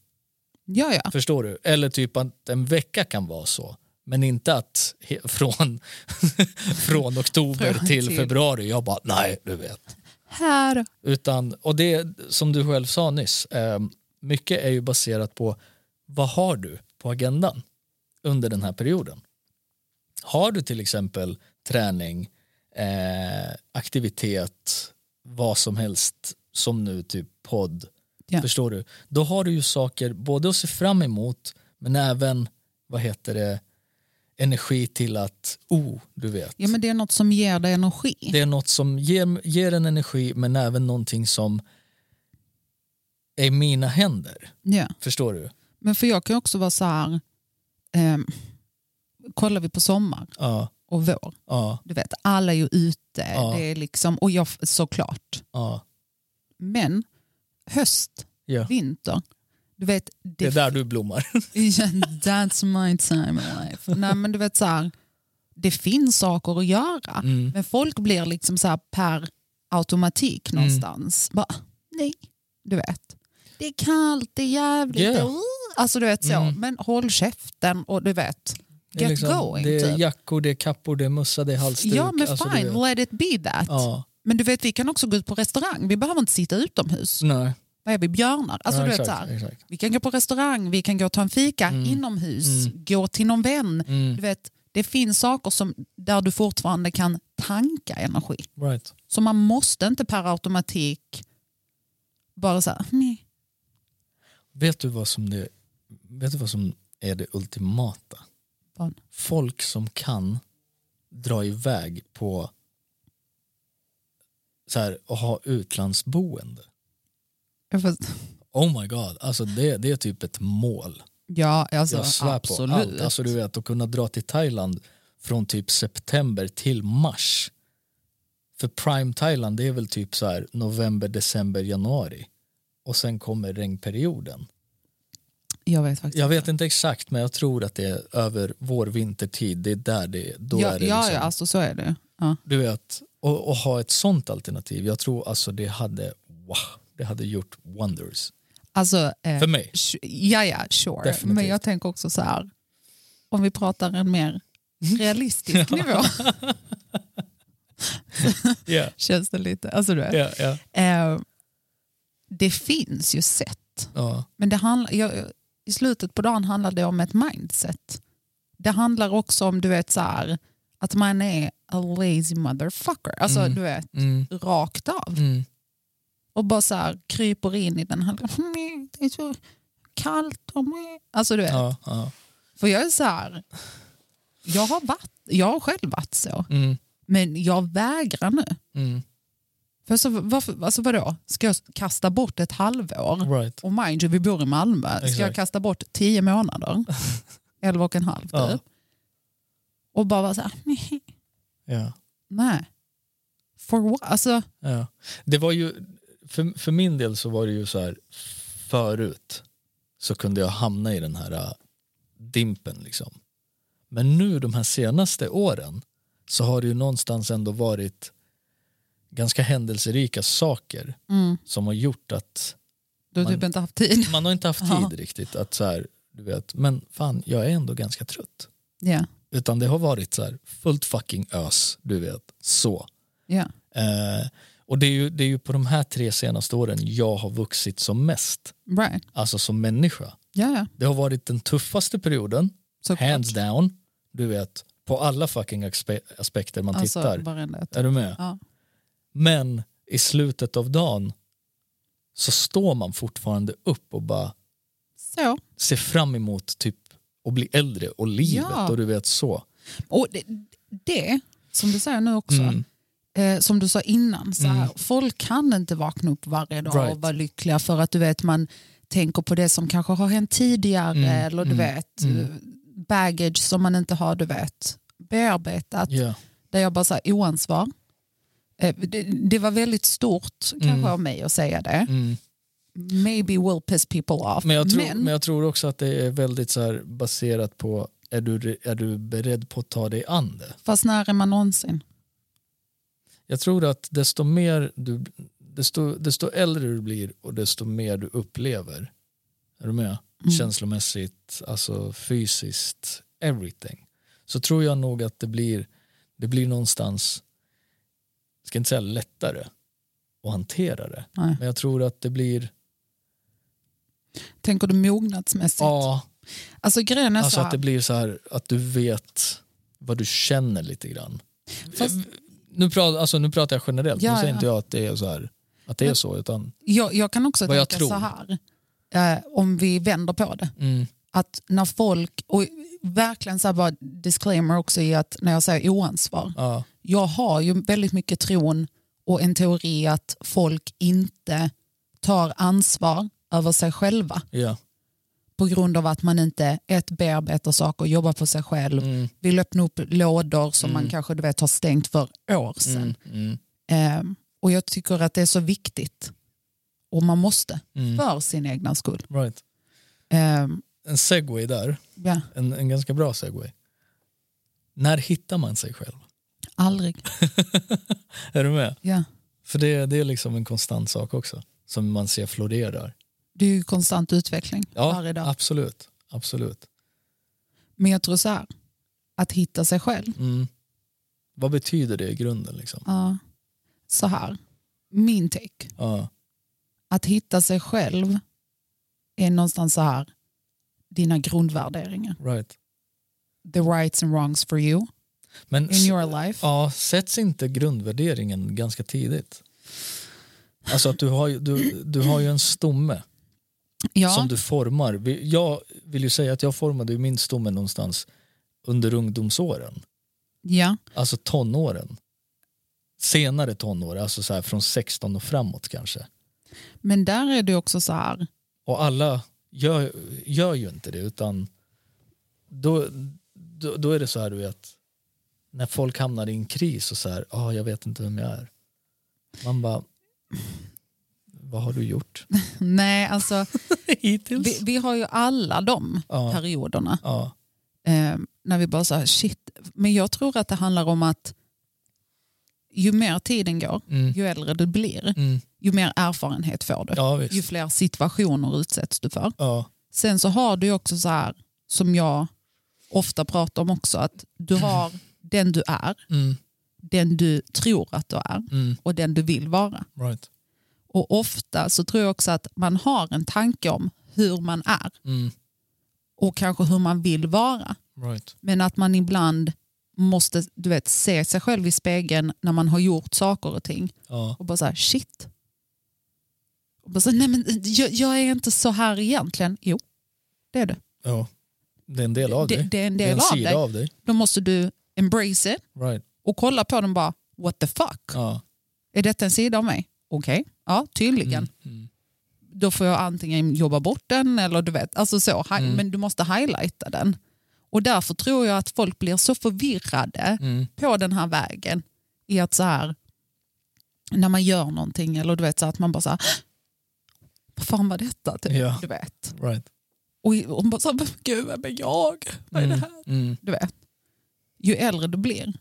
Speaker 1: ja, ja.
Speaker 2: Förstår du? Eller typ att en vecka kan vara så. Men inte att he- från, från oktober
Speaker 1: Från typ.
Speaker 2: till
Speaker 1: till-
Speaker 2: februari, jag bara nej, du vet.
Speaker 1: Här
Speaker 2: Utan, och det som du själv sa nyss, eh, mycket är ju baserat på vad har du på agendan under den här perioden? Har du till exempel träning, eh, aktivitet, vad som helst som nu typ podd,
Speaker 1: Ja.
Speaker 2: förstår du? Då har du ju saker både att se fram emot men även, vad heter det, energi till att, oh, du vet.
Speaker 1: Ja, men det är något som ger dig energi.
Speaker 2: Det är något som ger, ger en energi men även någonting som är i mina händer.
Speaker 1: Ja.
Speaker 2: Förstår du?
Speaker 1: Men för jag kan ju också vara så här, ehm, kollar vi på sommar
Speaker 2: Ja,
Speaker 1: och vår,
Speaker 2: ja,
Speaker 1: du vet, alla är ju ute,
Speaker 2: Ja.
Speaker 1: det är liksom, och jag såklart.
Speaker 2: ja.
Speaker 1: Men höst,
Speaker 2: ja.
Speaker 1: vinter, du vet,
Speaker 2: Det är där du blommar.
Speaker 1: That's my time in life. Nej, men du vet så här, det finns saker att göra.
Speaker 2: Mm.
Speaker 1: Men folk blir liksom så här per automatik
Speaker 2: Mm.
Speaker 1: någonstans. Bara, nej, du vet. Det är kallt, det är jävligt.
Speaker 2: Yeah.
Speaker 1: och- Alltså du vet så.
Speaker 2: Mm.
Speaker 1: Men håll käften och du vet.
Speaker 2: Det är, liksom,
Speaker 1: Get going,
Speaker 2: det är
Speaker 1: typ.
Speaker 2: jackor, det är kappor, det är mössa, det är halsduk.
Speaker 1: Ja men
Speaker 2: Alltså, du
Speaker 1: fine, let
Speaker 2: vet.
Speaker 1: it be that.
Speaker 2: Ja,
Speaker 1: Men du vet vi kan också gå ut på restaurang. Vi behöver inte sitta utomhus.
Speaker 2: nej.
Speaker 1: Vad är vi björnar? Alltså,
Speaker 2: ja,
Speaker 1: du vet,
Speaker 2: exakt,
Speaker 1: så här,
Speaker 2: exakt.
Speaker 1: vi kan gå på restaurang, vi kan gå och ta en fika inomhus, gå till någon vän.
Speaker 2: Mm.
Speaker 1: Du vet, det finns saker som, där du fortfarande kan tanka energi.
Speaker 2: Right.
Speaker 1: Så man måste inte per automatik bara så här, nej.
Speaker 2: Vet, du vad som det, vet du vad som är det ultimata?
Speaker 1: Barn.
Speaker 2: Folk som kan dra iväg på så här, och ha utlandsboende.
Speaker 1: Jag får-
Speaker 2: Oh my god, alltså det, det är typ ett mål.
Speaker 1: Ja, alltså,
Speaker 2: Jag svär
Speaker 1: absolut.
Speaker 2: på allt. Alltså du vet, att kunna dra till Thailand från typ september till mars. För prime Thailand det är väl typ så här november, december, januari. Och sen kommer regnperioden.
Speaker 1: Jag vet faktiskt.
Speaker 2: Jag vet inte exakt men jag tror att det är över vår vintertid. Det är där det då
Speaker 1: ja,
Speaker 2: är. Det
Speaker 1: ja,
Speaker 2: liksom,
Speaker 1: ja, alltså så är det. Ja.
Speaker 2: Du vet, och, och ha ett sånt alternativ. Jag tror alltså det hade, wow, det hade gjort wonders.
Speaker 1: Alltså, eh,
Speaker 2: För mig.
Speaker 1: sh- ja, ja, sure.
Speaker 2: Definitivt.
Speaker 1: Men jag tänker också så här, om vi pratar en mer realistisk nivå
Speaker 2: Ja,
Speaker 1: känns det lite, alltså du vet.
Speaker 2: ja, ja.
Speaker 1: Eh, det finns ju sätt,
Speaker 2: Ja,
Speaker 1: men det handlar, jag, i slutet på dagen handlar det om ett mindset. Det handlar också om, du vet så här, att man är a lazy motherfucker. Alltså
Speaker 2: Mm.
Speaker 1: du vet,
Speaker 2: mm,
Speaker 1: rakt av.
Speaker 2: mm,
Speaker 1: och bara så här kryper in i den här, "Mm, det är så kallt och mm." alltså du vet.
Speaker 2: ja, ja.
Speaker 1: För jag är så här, jag har, varit, jag har själv varit så,
Speaker 2: Mm,
Speaker 1: men jag vägrar nu.
Speaker 2: mm,
Speaker 1: För så, varför, alltså vadå, ska jag kasta bort ett halvår?
Speaker 2: right.
Speaker 1: Och mind you, vi bor i Malmö. Ska jag
Speaker 2: Exakt.
Speaker 1: kasta bort tio månader? Elva och en halv typ.
Speaker 2: Ja.
Speaker 1: Och bara vara så här, "Nej,
Speaker 2: Ja.
Speaker 1: nej. For what? Alltså,
Speaker 2: Ja. Det var ju, för, för min del så var det ju så här, förut så kunde jag hamna i den här äh, dimpen liksom. Men nu de här senaste åren så har det ju någonstans ändå varit ganska händelserika saker
Speaker 1: mm,
Speaker 2: som har gjort att
Speaker 1: du har
Speaker 2: Man-
Speaker 1: typ inte haft tid.
Speaker 2: man har inte haft tid
Speaker 1: Ja.
Speaker 2: riktigt att så här, du vet, men fan jag är ändå ganska trött.
Speaker 1: Ja,
Speaker 2: Utan det har varit så här fullt fucking ös, du vet, så.
Speaker 1: ja,
Speaker 2: Eh, och det är, ju, det är ju på de här tre senaste åren jag har vuxit som mest,
Speaker 1: right.
Speaker 2: alltså som människa.
Speaker 1: Ja, ja.
Speaker 2: Det har varit den tuffaste perioden,
Speaker 1: Såklart.
Speaker 2: hands down, du vet, på alla fucking aspe aspekter man tittar.
Speaker 1: Alltså, varenda ett.
Speaker 2: Är du med?
Speaker 1: Ja.
Speaker 2: Men i slutet av dagen så står man fortfarande upp och bara
Speaker 1: Så.
Speaker 2: ser fram emot typ att bli äldre och livet
Speaker 1: Ja.
Speaker 2: och du vet så.
Speaker 1: Och det, det, som du säger nu också,
Speaker 2: Mm.
Speaker 1: eh, som du sa innan, så här,
Speaker 2: Mm.
Speaker 1: folk kan inte vakna upp varje dag
Speaker 2: Right.
Speaker 1: och vara lyckliga för att du vet man tänker på det som kanske har hänt tidigare
Speaker 2: Mm,
Speaker 1: eller du
Speaker 2: mm,
Speaker 1: vet
Speaker 2: mm.
Speaker 1: eh, baggage som man inte har du vet bearbetat.
Speaker 2: Ja.
Speaker 1: Där jag bara så här, oansvar. Eh, Det, det var väldigt stort kanske
Speaker 2: Mm.
Speaker 1: av mig att säga det.
Speaker 2: Mm.
Speaker 1: Maybe will piss people off.
Speaker 2: Men jag, tror, men... jag tror också att det är väldigt så här baserat på är du, är du beredd på att ta dig an det?
Speaker 1: fast när är man någonsin?
Speaker 2: Jag tror att desto mer du desto, desto äldre du blir och desto mer du upplever är du med?
Speaker 1: Mm.
Speaker 2: känslomässigt, alltså fysiskt, everything så tror jag nog att det blir det blir någonstans ska inte säga lättare att hantera det
Speaker 1: Nej.
Speaker 2: men jag tror att det blir
Speaker 1: Tänker du mognadsmässigt?
Speaker 2: ja,
Speaker 1: Alltså grejen är
Speaker 2: Alltså
Speaker 1: så här,
Speaker 2: att det blir så här att du vet vad du känner lite grann.
Speaker 1: Fast-
Speaker 2: Nu, pratar, alltså, nu pratar jag generellt,
Speaker 1: Ja,
Speaker 2: nu säger
Speaker 1: ja.
Speaker 2: inte jag att det är så här. Att det är så, utan
Speaker 1: jag, jag kan också
Speaker 2: vad jag
Speaker 1: tänka så
Speaker 2: tror.
Speaker 1: här, eh, om vi vänder på det.
Speaker 2: mm,
Speaker 1: att när folk, och verkligen så här bara disclaimer också i att när jag säger oansvar,
Speaker 2: Ja,
Speaker 1: jag har ju väldigt mycket tron och en teori att folk inte tar ansvar över sig själva
Speaker 2: ja.
Speaker 1: på grund av att man inte ett bearbetar saker, jobbar på sig själv,
Speaker 2: Mm,
Speaker 1: vill öppna upp lådor som
Speaker 2: Mm.
Speaker 1: man kanske du vet, har stängt för år sedan.
Speaker 2: mm, mm,
Speaker 1: Ehm, och jag tycker att det är så viktigt och man måste
Speaker 2: mm.
Speaker 1: för sin egna skull.
Speaker 2: Right.
Speaker 1: Ehm,
Speaker 2: En segway där,
Speaker 1: ja,
Speaker 2: en, en ganska bra segway. När hittar man sig själv?
Speaker 1: aldrig.
Speaker 2: Är du med?
Speaker 1: Ja.
Speaker 2: För det, det är liksom en konstant sak också som man ser florerar.
Speaker 1: Det är ju konstant utveckling varje
Speaker 2: Ja,
Speaker 1: dag.
Speaker 2: absolut. absolut.
Speaker 1: Men jag tror så här, att hitta sig själv
Speaker 2: Mm. Vad betyder det i grunden? Liksom?
Speaker 1: Ja. Så här, min take.
Speaker 2: Ja,
Speaker 1: Att hitta sig själv är någonstans så här, dina grundvärderingar.
Speaker 2: right.
Speaker 1: The rights and wrongs for you
Speaker 2: Men
Speaker 1: in your life.
Speaker 2: Ja, sätts inte grundvärderingen ganska tidigt? Alltså att du har, ju- du, du har ju en stomme
Speaker 1: Ja,
Speaker 2: som du formar. Vi- Jag vill ju säga att jag formade ju min stomme någonstans under ungdomsåren,
Speaker 1: ja,
Speaker 2: alltså tonåren. Senare tonår, alltså så här från 16 och framåt kanske.
Speaker 1: men där är det också så här,
Speaker 2: Och alla gör, gör ju inte det utan då, då, då är det så här du vet när folk hamnar i en kris och så här, ah, jag vet inte vem jag är. Man bara, vad har du gjort
Speaker 1: nej alltså,
Speaker 2: hittills?
Speaker 1: vi, vi har ju alla de
Speaker 2: ja,
Speaker 1: perioderna
Speaker 2: ja,
Speaker 1: eh, när vi bara så här, shit. Men jag tror att det handlar om att ju mer tiden går,
Speaker 2: mm,
Speaker 1: ju äldre du blir,
Speaker 2: mm,
Speaker 1: ju mer erfarenhet får du.
Speaker 2: ja
Speaker 1: Ju
Speaker 2: visst.
Speaker 1: fler situationer utsätts du för.
Speaker 2: Ja,
Speaker 1: Sen så har du ju också så här, som jag ofta pratar om också, att du har den du är,
Speaker 2: mm,
Speaker 1: den du tror att du är
Speaker 2: mm,
Speaker 1: och den du vill vara.
Speaker 2: right.
Speaker 1: Och ofta så tror jag också att man har en tanke om hur man är
Speaker 2: Mm,
Speaker 1: och kanske hur man vill vara.
Speaker 2: right.
Speaker 1: Men att man ibland måste du vet, se sig själv i spegeln när man har gjort saker och ting
Speaker 2: Ja,
Speaker 1: och bara så här, shit. Och bara så, här, Nej, men jag, jag är inte så här egentligen. Jo, det är du.
Speaker 2: ja, det är en del av
Speaker 1: Det,
Speaker 2: dig.
Speaker 1: det är en
Speaker 2: Det är
Speaker 1: del
Speaker 2: en
Speaker 1: av
Speaker 2: sida
Speaker 1: dig.
Speaker 2: av dig.
Speaker 1: Då måste du embrace it
Speaker 2: Right.
Speaker 1: och kolla på den bara, what the fuck?
Speaker 2: Ja,
Speaker 1: Är detta en sida av mig? Okej, ja tydligen.
Speaker 2: mm, mm,
Speaker 1: Då får jag antingen jobba bort den eller du vet, alltså så, hi-
Speaker 2: Mm.
Speaker 1: men du måste highlighta den. Och därför tror jag att folk blir så förvirrade
Speaker 2: mm,
Speaker 1: på den här vägen i att så här, när man gör någonting eller du vet så här, att man bara så här, vad fan var detta? Typ,
Speaker 2: Ja.
Speaker 1: Du vet.
Speaker 2: right.
Speaker 1: Och, och bara så här, gud vem är jag? Vad är det
Speaker 2: Mm,
Speaker 1: här?
Speaker 2: mm,
Speaker 1: du vet, ju äldre du blir,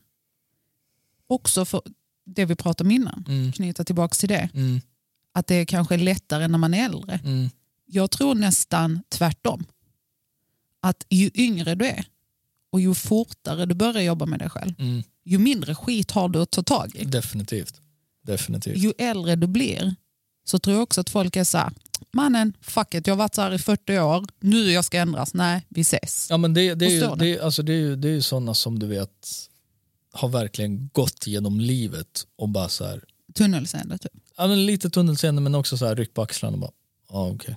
Speaker 1: också för det vi pratade om innan,
Speaker 2: mm,
Speaker 1: knyta tillbaka till det,
Speaker 2: mm,
Speaker 1: att det är kanske är lättare när man är äldre.
Speaker 2: mm,
Speaker 1: Jag tror nästan tvärtom. Att ju yngre du är och ju fortare du börjar jobba med dig själv,
Speaker 2: mm.
Speaker 1: ju mindre skit har du att ta tag i.
Speaker 2: Definitivt. Definitivt.
Speaker 1: Ju äldre du blir så tror jag också att folk är så här, mannen, fuck it, jag har varit så här i 40 år, nu jag ska ändras, nej, vi ses.
Speaker 2: Ja, men det, det, är ju,
Speaker 1: Förstår du?
Speaker 2: det, är- alltså det är ju, det är ju sådana som du vet har verkligen gått genom livet och bara så här,
Speaker 1: Tunnelseende, typ.
Speaker 2: ja, men lite tunnelseende men också så här ryck på axlarna och bara, ja okej.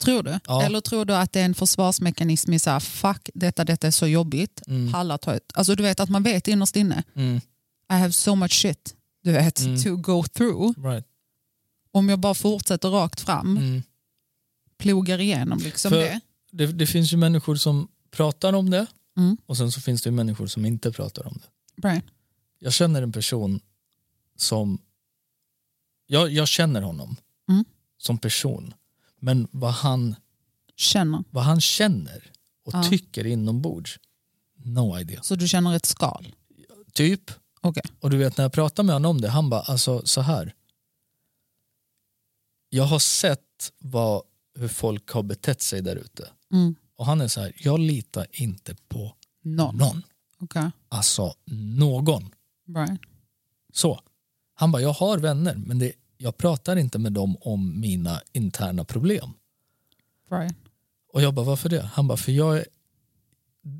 Speaker 1: Tror du?
Speaker 2: Ja.
Speaker 1: Eller tror du att det är en försvarsmekanism i så här, fuck detta, detta är så jobbigt,
Speaker 2: Mm,
Speaker 1: pallar ta ut. Alltså du vet att man vet innerst inne,
Speaker 2: mm,
Speaker 1: I have so much shit, du vet,
Speaker 2: Mm.
Speaker 1: to go through.
Speaker 2: right.
Speaker 1: Om jag bara fortsätter rakt fram,
Speaker 2: mm.
Speaker 1: plogar igenom liksom
Speaker 2: För-
Speaker 1: det.
Speaker 2: Det, det finns ju människor som pratar om det
Speaker 1: Mm.
Speaker 2: och sen så finns det ju människor som inte pratar om det.
Speaker 1: Right.
Speaker 2: Jag känner en person som, jag, jag känner honom
Speaker 1: Mm.
Speaker 2: som person men vad han,
Speaker 1: Känner.
Speaker 2: vad han känner och
Speaker 1: Ja.
Speaker 2: tycker inombords, no idea.
Speaker 1: Så du känner ett skal.
Speaker 2: Typ.
Speaker 1: Okej.
Speaker 2: Och du vet när jag pratade med honom om det, han bara alltså så här. Jag har sett vad, hur folk har betett sig där ute.
Speaker 1: Mm.
Speaker 2: Och han är så här, jag litar inte på
Speaker 1: Noll.
Speaker 2: någon.
Speaker 1: Okej.
Speaker 2: Alltså någon.
Speaker 1: Right.
Speaker 2: Så. Han bara, jag har vänner men det, jag pratar inte med dem om mina interna problem.
Speaker 1: Right.
Speaker 2: Och jag bara, varför det? Han bara, för jag är,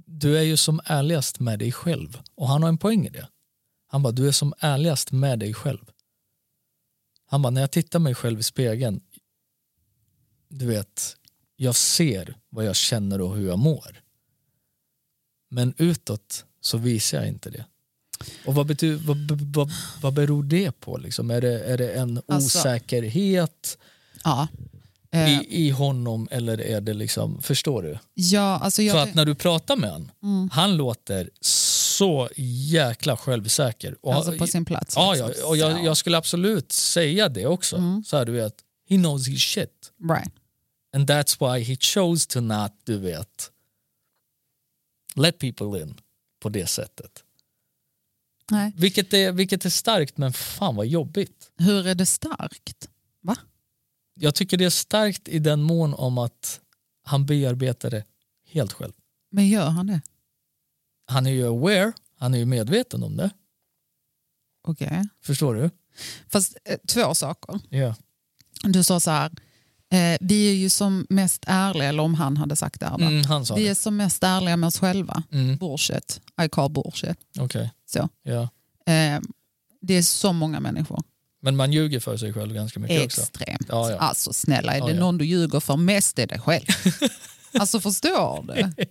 Speaker 2: du är ju som ärligast med dig själv. Och han har en poäng i det. Han bara, du är som ärligast med dig själv. Han bara, när jag tittar mig själv i spegeln, du vet, jag ser vad jag känner och hur jag mår. Men utåt så visar jag inte det. Och vad, bety- vad, vad- vad, vad beror det på? Liksom? Är, det, är det en
Speaker 1: Alltså-
Speaker 2: osäkerhet
Speaker 1: Ja. Eh,
Speaker 2: i, i honom eller är det liksom, förstår du?
Speaker 1: ja, Mm. alltså jag,
Speaker 2: För att när du pratar med honom, han låter så jäkla självsäker. Och,
Speaker 1: alltså på sin plats.
Speaker 2: ja, ja,
Speaker 1: liksom.
Speaker 2: och
Speaker 1: Så,
Speaker 2: jag, jag skulle absolut säga det också.
Speaker 1: Mm.
Speaker 2: Så här, du vet, he knows his shit.
Speaker 1: Right.
Speaker 2: And that's why he chose to not, du vet, let people in på det sättet.
Speaker 1: Nej.
Speaker 2: Vilket är, vilket är starkt, men fan vad jobbigt.
Speaker 1: Hur är det starkt? Va?
Speaker 2: Jag tycker det är starkt i den mån om att han bearbetar det helt själv.
Speaker 1: Men gör han det?
Speaker 2: Han är ju aware, han är ju medveten om det.
Speaker 1: Okej.
Speaker 2: Förstår du?
Speaker 1: Fast eh, två saker.
Speaker 2: Ja.
Speaker 1: Du sa så här, eh, vi är ju som mest ärliga, eller om han hade sagt det här, va?
Speaker 2: Mm, han sa
Speaker 1: vi
Speaker 2: det.
Speaker 1: är som mest ärliga med oss själva.
Speaker 2: Mm,
Speaker 1: Bullshit. I call bullshit.
Speaker 2: Okej.
Speaker 1: Så.
Speaker 2: Ja.
Speaker 1: Eh, det är så många människor.
Speaker 2: Men man ljuger för sig själv ganska mycket också.
Speaker 1: Extremt.
Speaker 2: Ja, ja.
Speaker 1: Alltså snälla, är det
Speaker 2: Ja, ja.
Speaker 1: någon du ljuger för mest är det själv. alltså förstår du?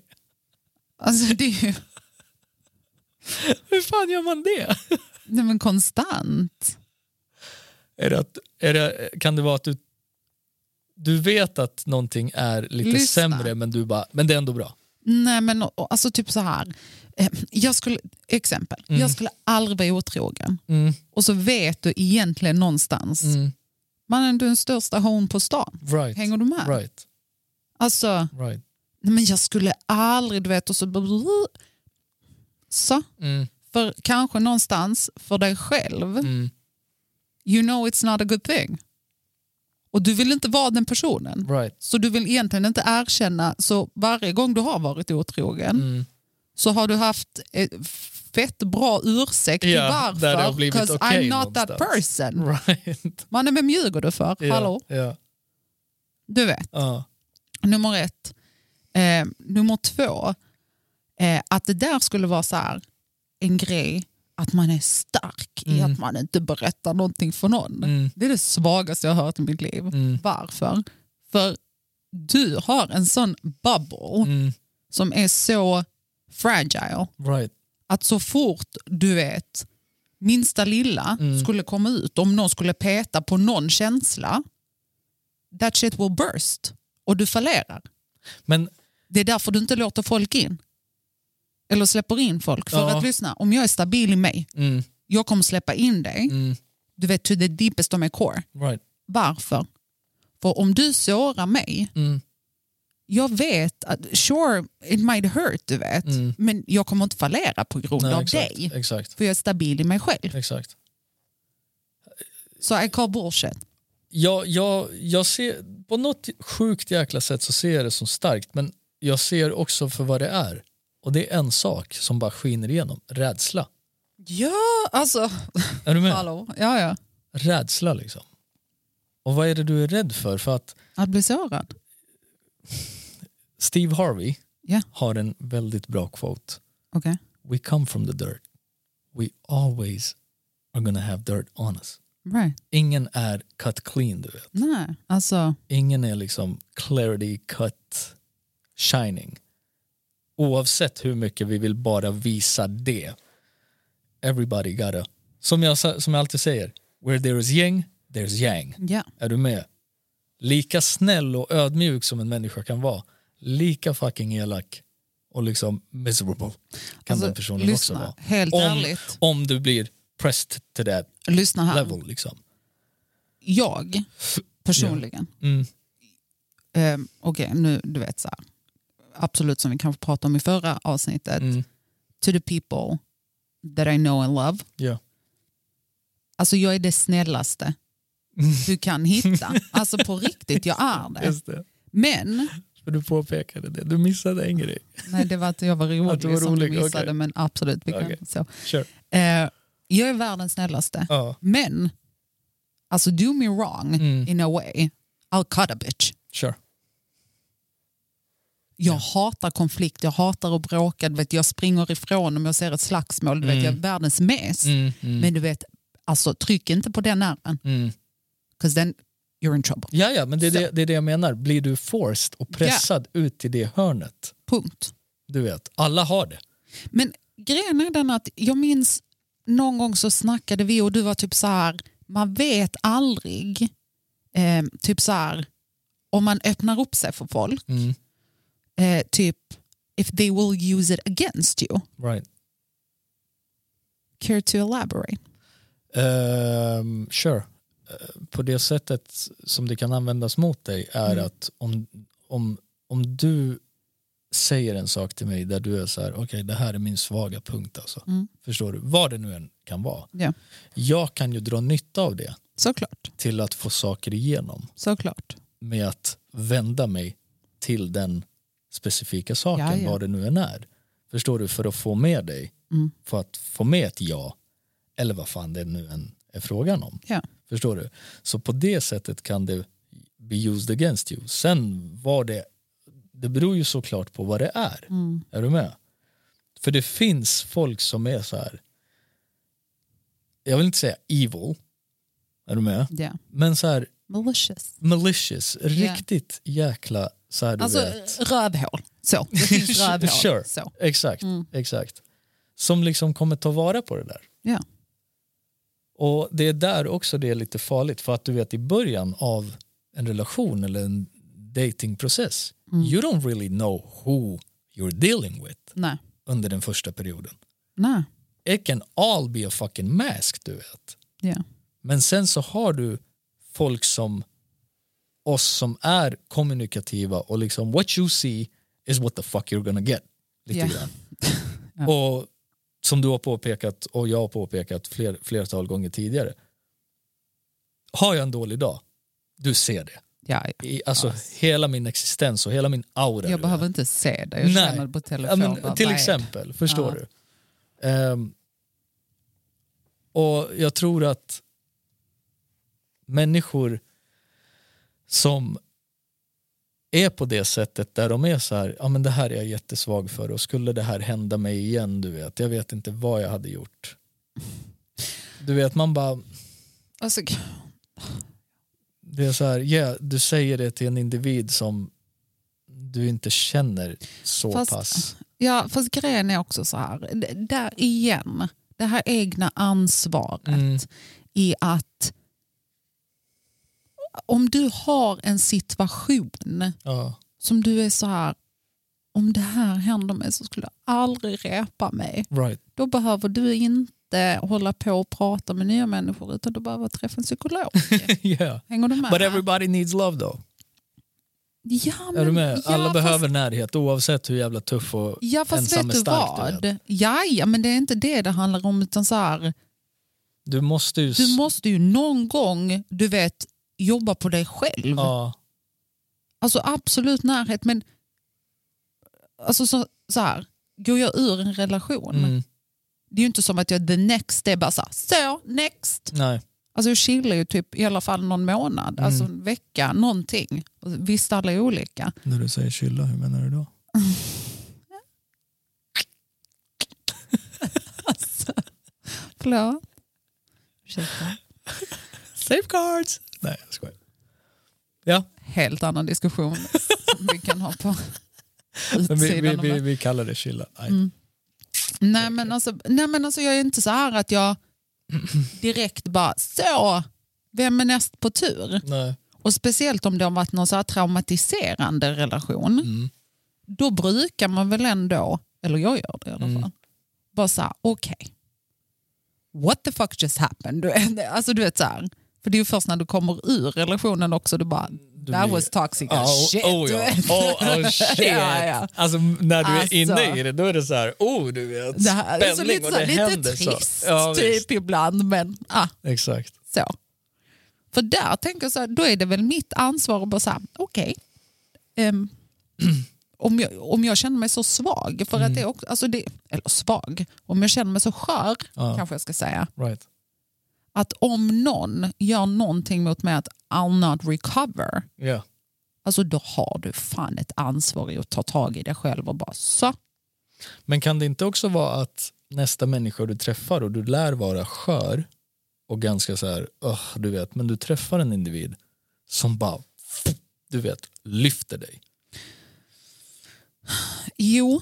Speaker 1: Alltså det är ju
Speaker 2: Hur fan gör man det?
Speaker 1: nej, men konstant.
Speaker 2: Är det att, är det, kan det vara att du, du vet att någonting är lite
Speaker 1: Lyssna.
Speaker 2: sämre men du bara, men det är ändå bra.
Speaker 1: Nej men och- alltså typ så här. Eh, Jag skulle, exempel,
Speaker 2: Mm.
Speaker 1: jag skulle aldrig vara otrogen.
Speaker 2: Mm,
Speaker 1: Och så vet du egentligen någonstans,
Speaker 2: mm,
Speaker 1: mannen du är den största hon på stan.
Speaker 2: right,
Speaker 1: Hänger du med?
Speaker 2: right,
Speaker 1: Alltså,
Speaker 2: right.
Speaker 1: nej, men jag skulle aldrig, du vet, och så... Så,
Speaker 2: Mm,
Speaker 1: för kanske någonstans för dig själv
Speaker 2: mm,
Speaker 1: you know it's not a good thing. Och du vill inte vara den personen.
Speaker 2: right.
Speaker 1: Så du vill egentligen inte erkänna, så varje gång du har varit otrogen
Speaker 2: Mm.
Speaker 1: så har du haft eh, fett bra ursäkt till
Speaker 2: Ja, där det har
Speaker 1: varför.
Speaker 2: blivit
Speaker 1: 'cause
Speaker 2: okej
Speaker 1: I'm not that
Speaker 2: någonstans.
Speaker 1: person.
Speaker 2: Mm. Right.
Speaker 1: Mannen, vem ljuger du för?
Speaker 2: Ja,
Speaker 1: Hallå?
Speaker 2: ja,
Speaker 1: Du vet,
Speaker 2: ja.
Speaker 1: nummer ett. Eh, nummer två, eh, att det där skulle vara så här, en grej att man är stark i
Speaker 2: Mm.
Speaker 1: att man inte berättar någonting för någon.
Speaker 2: Mm,
Speaker 1: Det är det svagaste jag har hört i mitt liv.
Speaker 2: mm,
Speaker 1: Varför? För du har en sån bubble
Speaker 2: mm,
Speaker 1: som är så fragile
Speaker 2: right.
Speaker 1: att så fort du vet minsta lilla
Speaker 2: Mm.
Speaker 1: skulle komma ut, om någon skulle peta på någon känsla, that shit will burst och du fallerar.
Speaker 2: Men
Speaker 1: Det är därför du inte låter folk in. Eller släpper in folk. För
Speaker 2: Ja.
Speaker 1: att lyssna, om jag är stabil i mig,
Speaker 2: mm,
Speaker 1: jag kommer släppa in dig,
Speaker 2: mm,
Speaker 1: du vet to the deepest of my core.
Speaker 2: right.
Speaker 1: Varför? För om du sårar mig,
Speaker 2: Mm,
Speaker 1: jag vet att sure it might hurt du vet,
Speaker 2: Mm.
Speaker 1: men jag kommer inte fallera på grund
Speaker 2: nej,
Speaker 1: av
Speaker 2: exakt,
Speaker 1: dig.
Speaker 2: Exakt,
Speaker 1: För jag är stabil i mig själv.
Speaker 2: exakt.
Speaker 1: Så I call bullshit.
Speaker 2: jag, jag, jag ser, på något sjukt jäkla sätt så ser jag det som starkt men jag ser också för vad det är. Och det är en sak som bara skiner igenom, rädsla.
Speaker 1: Ja, alltså.
Speaker 2: Är du med?
Speaker 1: Hallå. Ja, ja.
Speaker 2: Rädsla liksom. Och vad är det du är rädd för? För att
Speaker 1: Att bli sårad.
Speaker 2: Steve Harvey
Speaker 1: Ja.
Speaker 2: har en väldigt bra quote.
Speaker 1: Okej.
Speaker 2: We come from the dirt. We always are gonna have dirt on us.
Speaker 1: Right.
Speaker 2: Ingen är cut clean du vet.
Speaker 1: Nej, alltså.
Speaker 2: Ingen är liksom clarity cut shining. Oavsett hur mycket vi vill bara visa det. Everybody gotta, som jag, sa- som jag alltid säger, where there is yin, there's yang.
Speaker 1: Ja.
Speaker 2: Är du med? Lika snäll och ödmjuk som en människa kan vara, lika fucking elak och liksom miserable kan
Speaker 1: Alltså,
Speaker 2: den personen
Speaker 1: lyssna,
Speaker 2: också vara.
Speaker 1: Helt
Speaker 2: Om-
Speaker 1: ärligt.
Speaker 2: Om du blir pressed to that
Speaker 1: Lyssna här.
Speaker 2: level liksom.
Speaker 1: Jag personligen.
Speaker 2: Mm,
Speaker 1: Um, Okej, nu du vet så här. Absolut som vi kanske pratade om i förra avsnittet.
Speaker 2: mm,
Speaker 1: To the people that I know and love.
Speaker 2: ja.
Speaker 1: Alltså jag är det snällaste
Speaker 2: Mm.
Speaker 1: du kan hitta. Alltså på riktigt, jag är det.
Speaker 2: Just det.
Speaker 1: Men,
Speaker 2: För du påpekade det, du missade en grej.
Speaker 1: nej det var att jag var rolig,
Speaker 2: Att du var
Speaker 1: som
Speaker 2: rolig,
Speaker 1: du missade,
Speaker 2: okej.
Speaker 1: men absolut. Vi kan,
Speaker 2: Okej.
Speaker 1: så.
Speaker 2: Kör.
Speaker 1: Eh, jag är världens snällaste.
Speaker 2: Ja.
Speaker 1: Men, alltså do me wrong
Speaker 2: Mm.
Speaker 1: in a way. I'll cut a bitch.
Speaker 2: Kör.
Speaker 1: Jag
Speaker 2: Ja.
Speaker 1: hatar konflikt, jag hatar att bråka, du vet, jag springer ifrån om jag ser ett slagsmål. Du vet,
Speaker 2: Mm.
Speaker 1: Jag är världens mes.
Speaker 2: Mm, mm,
Speaker 1: Men du vet, alltså, tryck inte på den nerven.
Speaker 2: mm,
Speaker 1: Because then you're in trouble.
Speaker 2: Ja, ja, men det är
Speaker 1: Så.
Speaker 2: det, det är det jag menar. Blir du forced och pressad ut i det hörnet?
Speaker 1: Punkt.
Speaker 2: Du vet, alla har det.
Speaker 1: Men grejen är den att jag minns någon gång så snackade vi och du var typ så här, man vet aldrig, eh, typ så här, om man öppnar upp sig för folk,
Speaker 2: Mm.
Speaker 1: eh, typ if they will use it against you.
Speaker 2: Right.
Speaker 1: Care to elaborate?
Speaker 2: Ehm, sure. Eh, på det sättet som det kan användas mot dig är
Speaker 1: Mm.
Speaker 2: att om, om, om du säger en sak till mig där du är så här, okej det här är min svaga punkt alltså.
Speaker 1: Mm.
Speaker 2: Förstår du? Vad det nu än kan vara.
Speaker 1: Ja.
Speaker 2: Jag kan ju dra nytta av det
Speaker 1: Såklart,
Speaker 2: till att få saker igenom
Speaker 1: såklart.
Speaker 2: med att vända mig till den specifika saken,
Speaker 1: Ja, ja.
Speaker 2: vad det nu än är. Förstår du? För att få med dig,
Speaker 1: Mm.
Speaker 2: för att få med ett ja, eller vad fan det nu än är frågan om.
Speaker 1: Ja.
Speaker 2: Förstår du? Så på det sättet kan det be used against you. Sen var det, det beror ju såklart på vad det är.
Speaker 1: Mm.
Speaker 2: Är du med? För det finns folk som är så här, jag vill inte säga evil, är du med?
Speaker 1: Yeah.
Speaker 2: Men så här,
Speaker 1: Malicious.
Speaker 2: malicious, riktigt jäkla så här du
Speaker 1: Alltså
Speaker 2: vet.
Speaker 1: rövhål. Så, det finns rövhål.
Speaker 2: Sure.
Speaker 1: Så.
Speaker 2: Exakt,
Speaker 1: Mm.
Speaker 2: exakt. Som liksom kommer ta vara på det där.
Speaker 1: Ja.
Speaker 2: Och det är där också det är lite farligt för att du vet i början av en relation eller en datingprocess
Speaker 1: Mm.
Speaker 2: you don't really know who you're dealing with
Speaker 1: Nej.
Speaker 2: under den första perioden.
Speaker 1: Nej.
Speaker 2: It can all be a fucking mask du vet.
Speaker 1: Ja.
Speaker 2: Men sen så har du folk som oss som är kommunikativa och liksom what you see is what the fuck you're gonna get. Lite
Speaker 1: Ja.
Speaker 2: grann.
Speaker 1: Ja.
Speaker 2: Och som du har påpekat och jag har påpekat fler, flertal gånger tidigare. Har jag en dålig dag, du ser det.
Speaker 1: Ja, ja.
Speaker 2: I, alltså hela min existens och hela min aura. du
Speaker 1: Jag
Speaker 2: vet.
Speaker 1: behöver inte se det. Jag
Speaker 2: Nej.
Speaker 1: känner det på
Speaker 2: Ja,
Speaker 1: telefon.
Speaker 2: men,
Speaker 1: bara,
Speaker 2: till
Speaker 1: vad är det?
Speaker 2: exempel, förstår
Speaker 1: Ja.
Speaker 2: du. Ehm, och jag tror att människor som är på det sättet där de är så här, ja men det här är jag jättesvag för och skulle det här hända mig igen, du vet, jag vet inte vad jag hade gjort. Du vet, man bara,
Speaker 1: Alltså,
Speaker 2: det är så här, yeah, du säger det till en individ som du inte känner så
Speaker 1: Fast-
Speaker 2: pass.
Speaker 1: ja, fast grejen är också så här. D- Där igen, det här egna ansvaret
Speaker 2: Mm.
Speaker 1: i att om du har en situation
Speaker 2: Ja,
Speaker 1: som du är så här, om det här händer mig så skulle jag aldrig repa mig.
Speaker 2: right.
Speaker 1: Då behöver du inte hålla på och prata med nya människor utan du behöver träffa en psykolog.
Speaker 2: yeah.
Speaker 1: Hänger du med?
Speaker 2: But everybody needs love though.
Speaker 1: ja, men,
Speaker 2: Är du med?
Speaker 1: ja,
Speaker 2: Alla
Speaker 1: fast-
Speaker 2: behöver närhet oavsett hur jävla tuff och...
Speaker 1: Ja fast
Speaker 2: ensam
Speaker 1: vet
Speaker 2: är
Speaker 1: du
Speaker 2: stark, du
Speaker 1: vad? ja, ja men det är inte det det handlar om utan så här,
Speaker 2: Du måste ju... s-
Speaker 1: du måste ju någon gång, du vet, jobba på dig själv.
Speaker 2: Mm. ja,
Speaker 1: Alltså absolut närhet men alltså så, så här, går jag ur en relation,
Speaker 2: mm,
Speaker 1: det är ju inte som att jag the next, det är bara så, här, så next.
Speaker 2: nej.
Speaker 1: Alltså jag chillar ju typ i alla fall någon månad,
Speaker 2: Mm.
Speaker 1: alltså en vecka, någonting. Och Visst alla är olika.
Speaker 2: När du säger chilla, hur menar du då?
Speaker 1: Förlåt? Ursäkta.
Speaker 2: Safeguards! Nej, jag skojar. Ja,
Speaker 1: Helt annan diskussion som vi kan ha på
Speaker 2: men vi, vi,
Speaker 1: utsidan.
Speaker 2: vi, vi kallar det chilla. Nej.
Speaker 1: Mm. Nej men, alltså, nej men alltså jag är inte så här att jag direkt bara så, vem är näst på tur?
Speaker 2: Nej.
Speaker 1: Och speciellt om det har varit någon så här traumatiserande relation.
Speaker 2: Mm.
Speaker 1: Då brukar man väl ändå, eller jag gör det i alla fall,
Speaker 2: Mm.
Speaker 1: bara så här, okej. What the fuck just happened? Du vet, Alltså du vet så här, för det är ju först när du kommer ur relationen också du bara, that
Speaker 2: blir-
Speaker 1: was toxic
Speaker 2: Ja,
Speaker 1: as
Speaker 2: och-
Speaker 1: shit.
Speaker 2: Oh, ja. oh, oh shit.
Speaker 1: Ja, ja.
Speaker 2: Alltså när du
Speaker 1: Alltså.
Speaker 2: är inne i det då är det så här, oh du vet,
Speaker 1: Det här är så
Speaker 2: spänning
Speaker 1: lite,
Speaker 2: och
Speaker 1: så,
Speaker 2: det
Speaker 1: lite
Speaker 2: händer
Speaker 1: trist
Speaker 2: så. Ja, visst.
Speaker 1: typ ibland men ah,
Speaker 2: Exakt.
Speaker 1: så. För där tänker jag så här, då är det väl mitt ansvar att bara säga okej. ehm, om, jag, om jag känner mig så svag, för
Speaker 2: Mm.
Speaker 1: att det är också, alltså det, eller svag, om jag känner mig så skör
Speaker 2: Ja.
Speaker 1: kanske jag ska säga,
Speaker 2: Right.
Speaker 1: att om någon gör någonting mot mig att I'll not recover,
Speaker 2: Ja.
Speaker 1: alltså då har du fan ett ansvar i att ta tag i dig själv och bara så.
Speaker 2: Men kan det inte också vara att nästa människa du träffar och du lär vara skör och ganska så här, "Ugh", du vet, men du träffar en individ som bara, du vet, lyfter dig.
Speaker 1: Jo,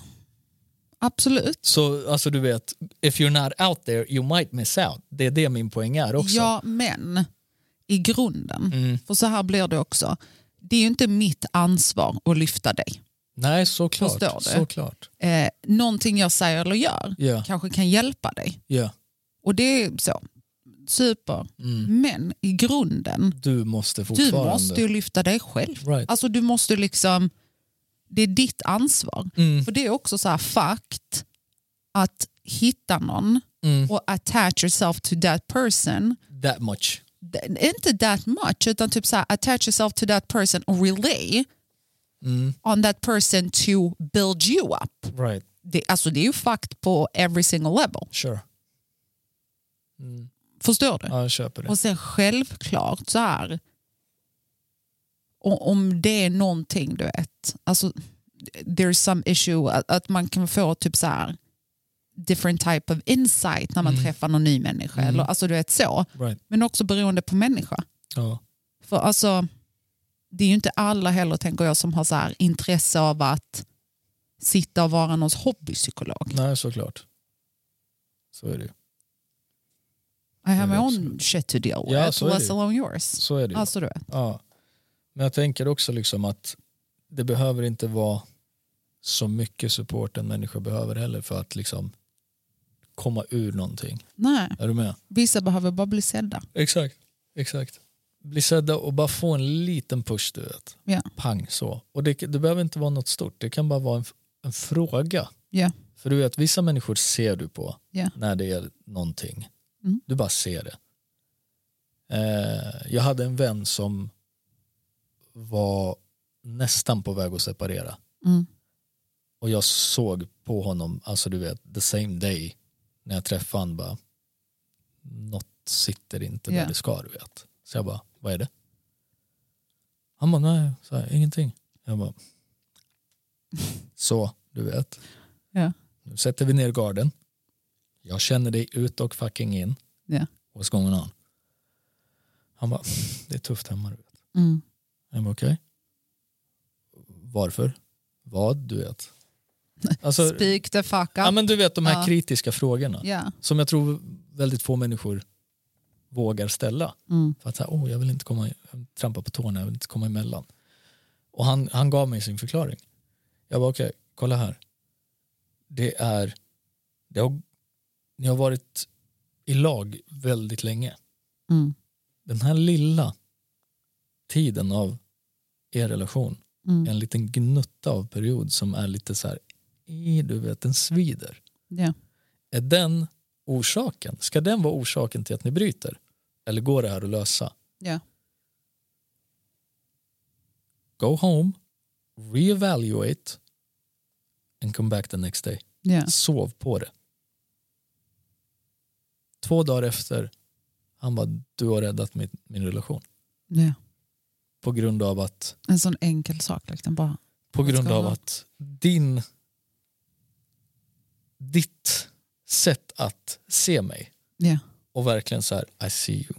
Speaker 1: absolut.
Speaker 2: Så alltså du vet, if you're not out there you might miss out. Det är det min poäng är också.
Speaker 1: Ja, men i grunden.
Speaker 2: Mm.
Speaker 1: För så här blir det också. Det är ju inte mitt ansvar att lyfta dig.
Speaker 2: Nej,
Speaker 1: Förstår
Speaker 2: såklart.
Speaker 1: du?
Speaker 2: såklart.
Speaker 1: Eh, någonting jag säger eller gör
Speaker 2: Ja,
Speaker 1: kanske kan hjälpa dig.
Speaker 2: ja.
Speaker 1: Och det är så. Super.
Speaker 2: Mm.
Speaker 1: Men i grunden,
Speaker 2: Du måste
Speaker 1: du
Speaker 2: fortfarande...
Speaker 1: måste ju lyfta dig själv.
Speaker 2: Right.
Speaker 1: Alltså du måste liksom, det är ditt ansvar.
Speaker 2: Mm.
Speaker 1: För det är också så här fakt att hitta någon
Speaker 2: Mm.
Speaker 1: och attach yourself to that person.
Speaker 2: That much.
Speaker 1: Det- Inte that much, utan typ så här attach yourself to that person och relay
Speaker 2: Mm.
Speaker 1: on that person to build you up.
Speaker 2: Right,
Speaker 1: Det, alltså det är ju fakt på every single level.
Speaker 2: sure.
Speaker 1: Förstår du?
Speaker 2: Ja, jag köper det.
Speaker 1: Och sen självklart så här. o- Om det är någonting du vet. Alltså, there's some issue att, att man kan få typ så här different type of insight när
Speaker 2: Mm.
Speaker 1: man träffar någon ny människa. Eller, alltså du vet så.
Speaker 2: Right.
Speaker 1: Men också beroende på människa.
Speaker 2: Ja.
Speaker 1: För alltså, det är ju inte alla heller tänker jag som har så här intresse av att sitta och vara någons hobbypsykolog.
Speaker 2: Nej, såklart. Så är det ju.
Speaker 1: I have my
Speaker 2: det är
Speaker 1: own shit to deal with,
Speaker 2: Ja, så är det
Speaker 1: let
Speaker 2: ju.
Speaker 1: alone yours.
Speaker 2: Så är det ju.
Speaker 1: Alltså du vet.
Speaker 2: Ja. Men jag tänker också liksom att det behöver inte vara så mycket support en människa behöver heller för att liksom komma ur någonting.
Speaker 1: Nej,
Speaker 2: Är du med?
Speaker 1: vissa behöver bara bli sedda.
Speaker 2: Exakt. Exakt. Bli sedda och bara få en liten push du vet.
Speaker 1: Ja.
Speaker 2: Pang så. Och det, det behöver inte vara något stort. Det kan bara vara en, f- en fråga.
Speaker 1: Ja.
Speaker 2: För du vet vissa människor ser du på
Speaker 1: Ja.
Speaker 2: när det är någonting.
Speaker 1: Mm.
Speaker 2: Du bara ser det. Eh, jag hade en vän som var nästan på väg att separera.
Speaker 1: Mm.
Speaker 2: Och jag såg på honom, alltså du vet, the same day när jag träffade honom bara, något sitter inte där
Speaker 1: Ja.
Speaker 2: det ska du vet. Så jag bara, vad är det? Han bara, nej, så här, ingenting. Jag bara, så du vet.
Speaker 1: Ja.
Speaker 2: Nu sätter vi ner garden. Jag känner dig ut och fucking in.
Speaker 1: Ja.
Speaker 2: What's going on? Han bara, det är tufft hemma du vet.
Speaker 1: Mm.
Speaker 2: Jag bara, okej. Varför? Vad? Du vet. Alltså,
Speaker 1: Speak the fuck up.
Speaker 2: ja, men du vet de här
Speaker 1: Ja.
Speaker 2: kritiska frågorna
Speaker 1: Ja.
Speaker 2: som jag tror väldigt få människor vågar ställa.
Speaker 1: Mm.
Speaker 2: För att så här, oh, jag vill inte komma, trampa på tårna, jag vill inte komma emellan. Och han, han gav mig sin förklaring. Jag bara, okej, kolla här. Det är, det har, ni har varit i lag väldigt länge.
Speaker 1: Mm.
Speaker 2: Den här lilla tiden av er relation,
Speaker 1: Mm.
Speaker 2: en liten gnutta av period som är lite så här, i, du vet, den svider.
Speaker 1: Ja.
Speaker 2: Är den orsaken? Ska den vara orsaken till att ni bryter? Eller går det här att lösa?
Speaker 1: Ja.
Speaker 2: Go home, reevaluate and come back the next day.
Speaker 1: Ja.
Speaker 2: Sov på det. Två dagar efter, han bara, du har räddat min, min relation.
Speaker 1: Ja.
Speaker 2: På grund av att,
Speaker 1: En sån enkel sak. Liksom bara.
Speaker 2: på
Speaker 1: Vad ska
Speaker 2: grund av
Speaker 1: man-
Speaker 2: att din, ditt sätt att se mig
Speaker 1: Ja.
Speaker 2: och verkligen så här, I see you,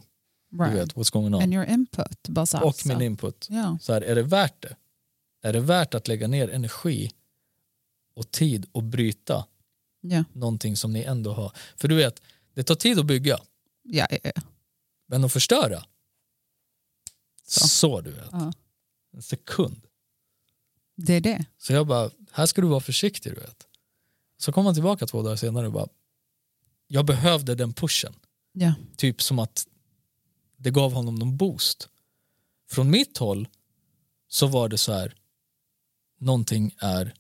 Speaker 1: Right.
Speaker 2: du vet what's going on.
Speaker 1: And your input. Bara så här,
Speaker 2: och
Speaker 1: så.
Speaker 2: min input.
Speaker 1: Ja.
Speaker 2: Så här, är det värt det? Är det värt att lägga ner energi och tid och bryta
Speaker 1: Ja.
Speaker 2: någonting som ni ändå har? För du vet, det tar tid att bygga,
Speaker 1: Ja, ja, ja.
Speaker 2: men att förstöra. Så,
Speaker 1: Så.
Speaker 2: du vet.
Speaker 1: Ja.
Speaker 2: En sekund.
Speaker 1: Det är det.
Speaker 2: Så jag bara, här ska du vara försiktig du vet. Så kom han tillbaka två dagar senare och bara, jag behövde den pushen.
Speaker 1: Ja.
Speaker 2: Typ som att det gav honom någon boost. Från mitt håll så var det så här, någonting är,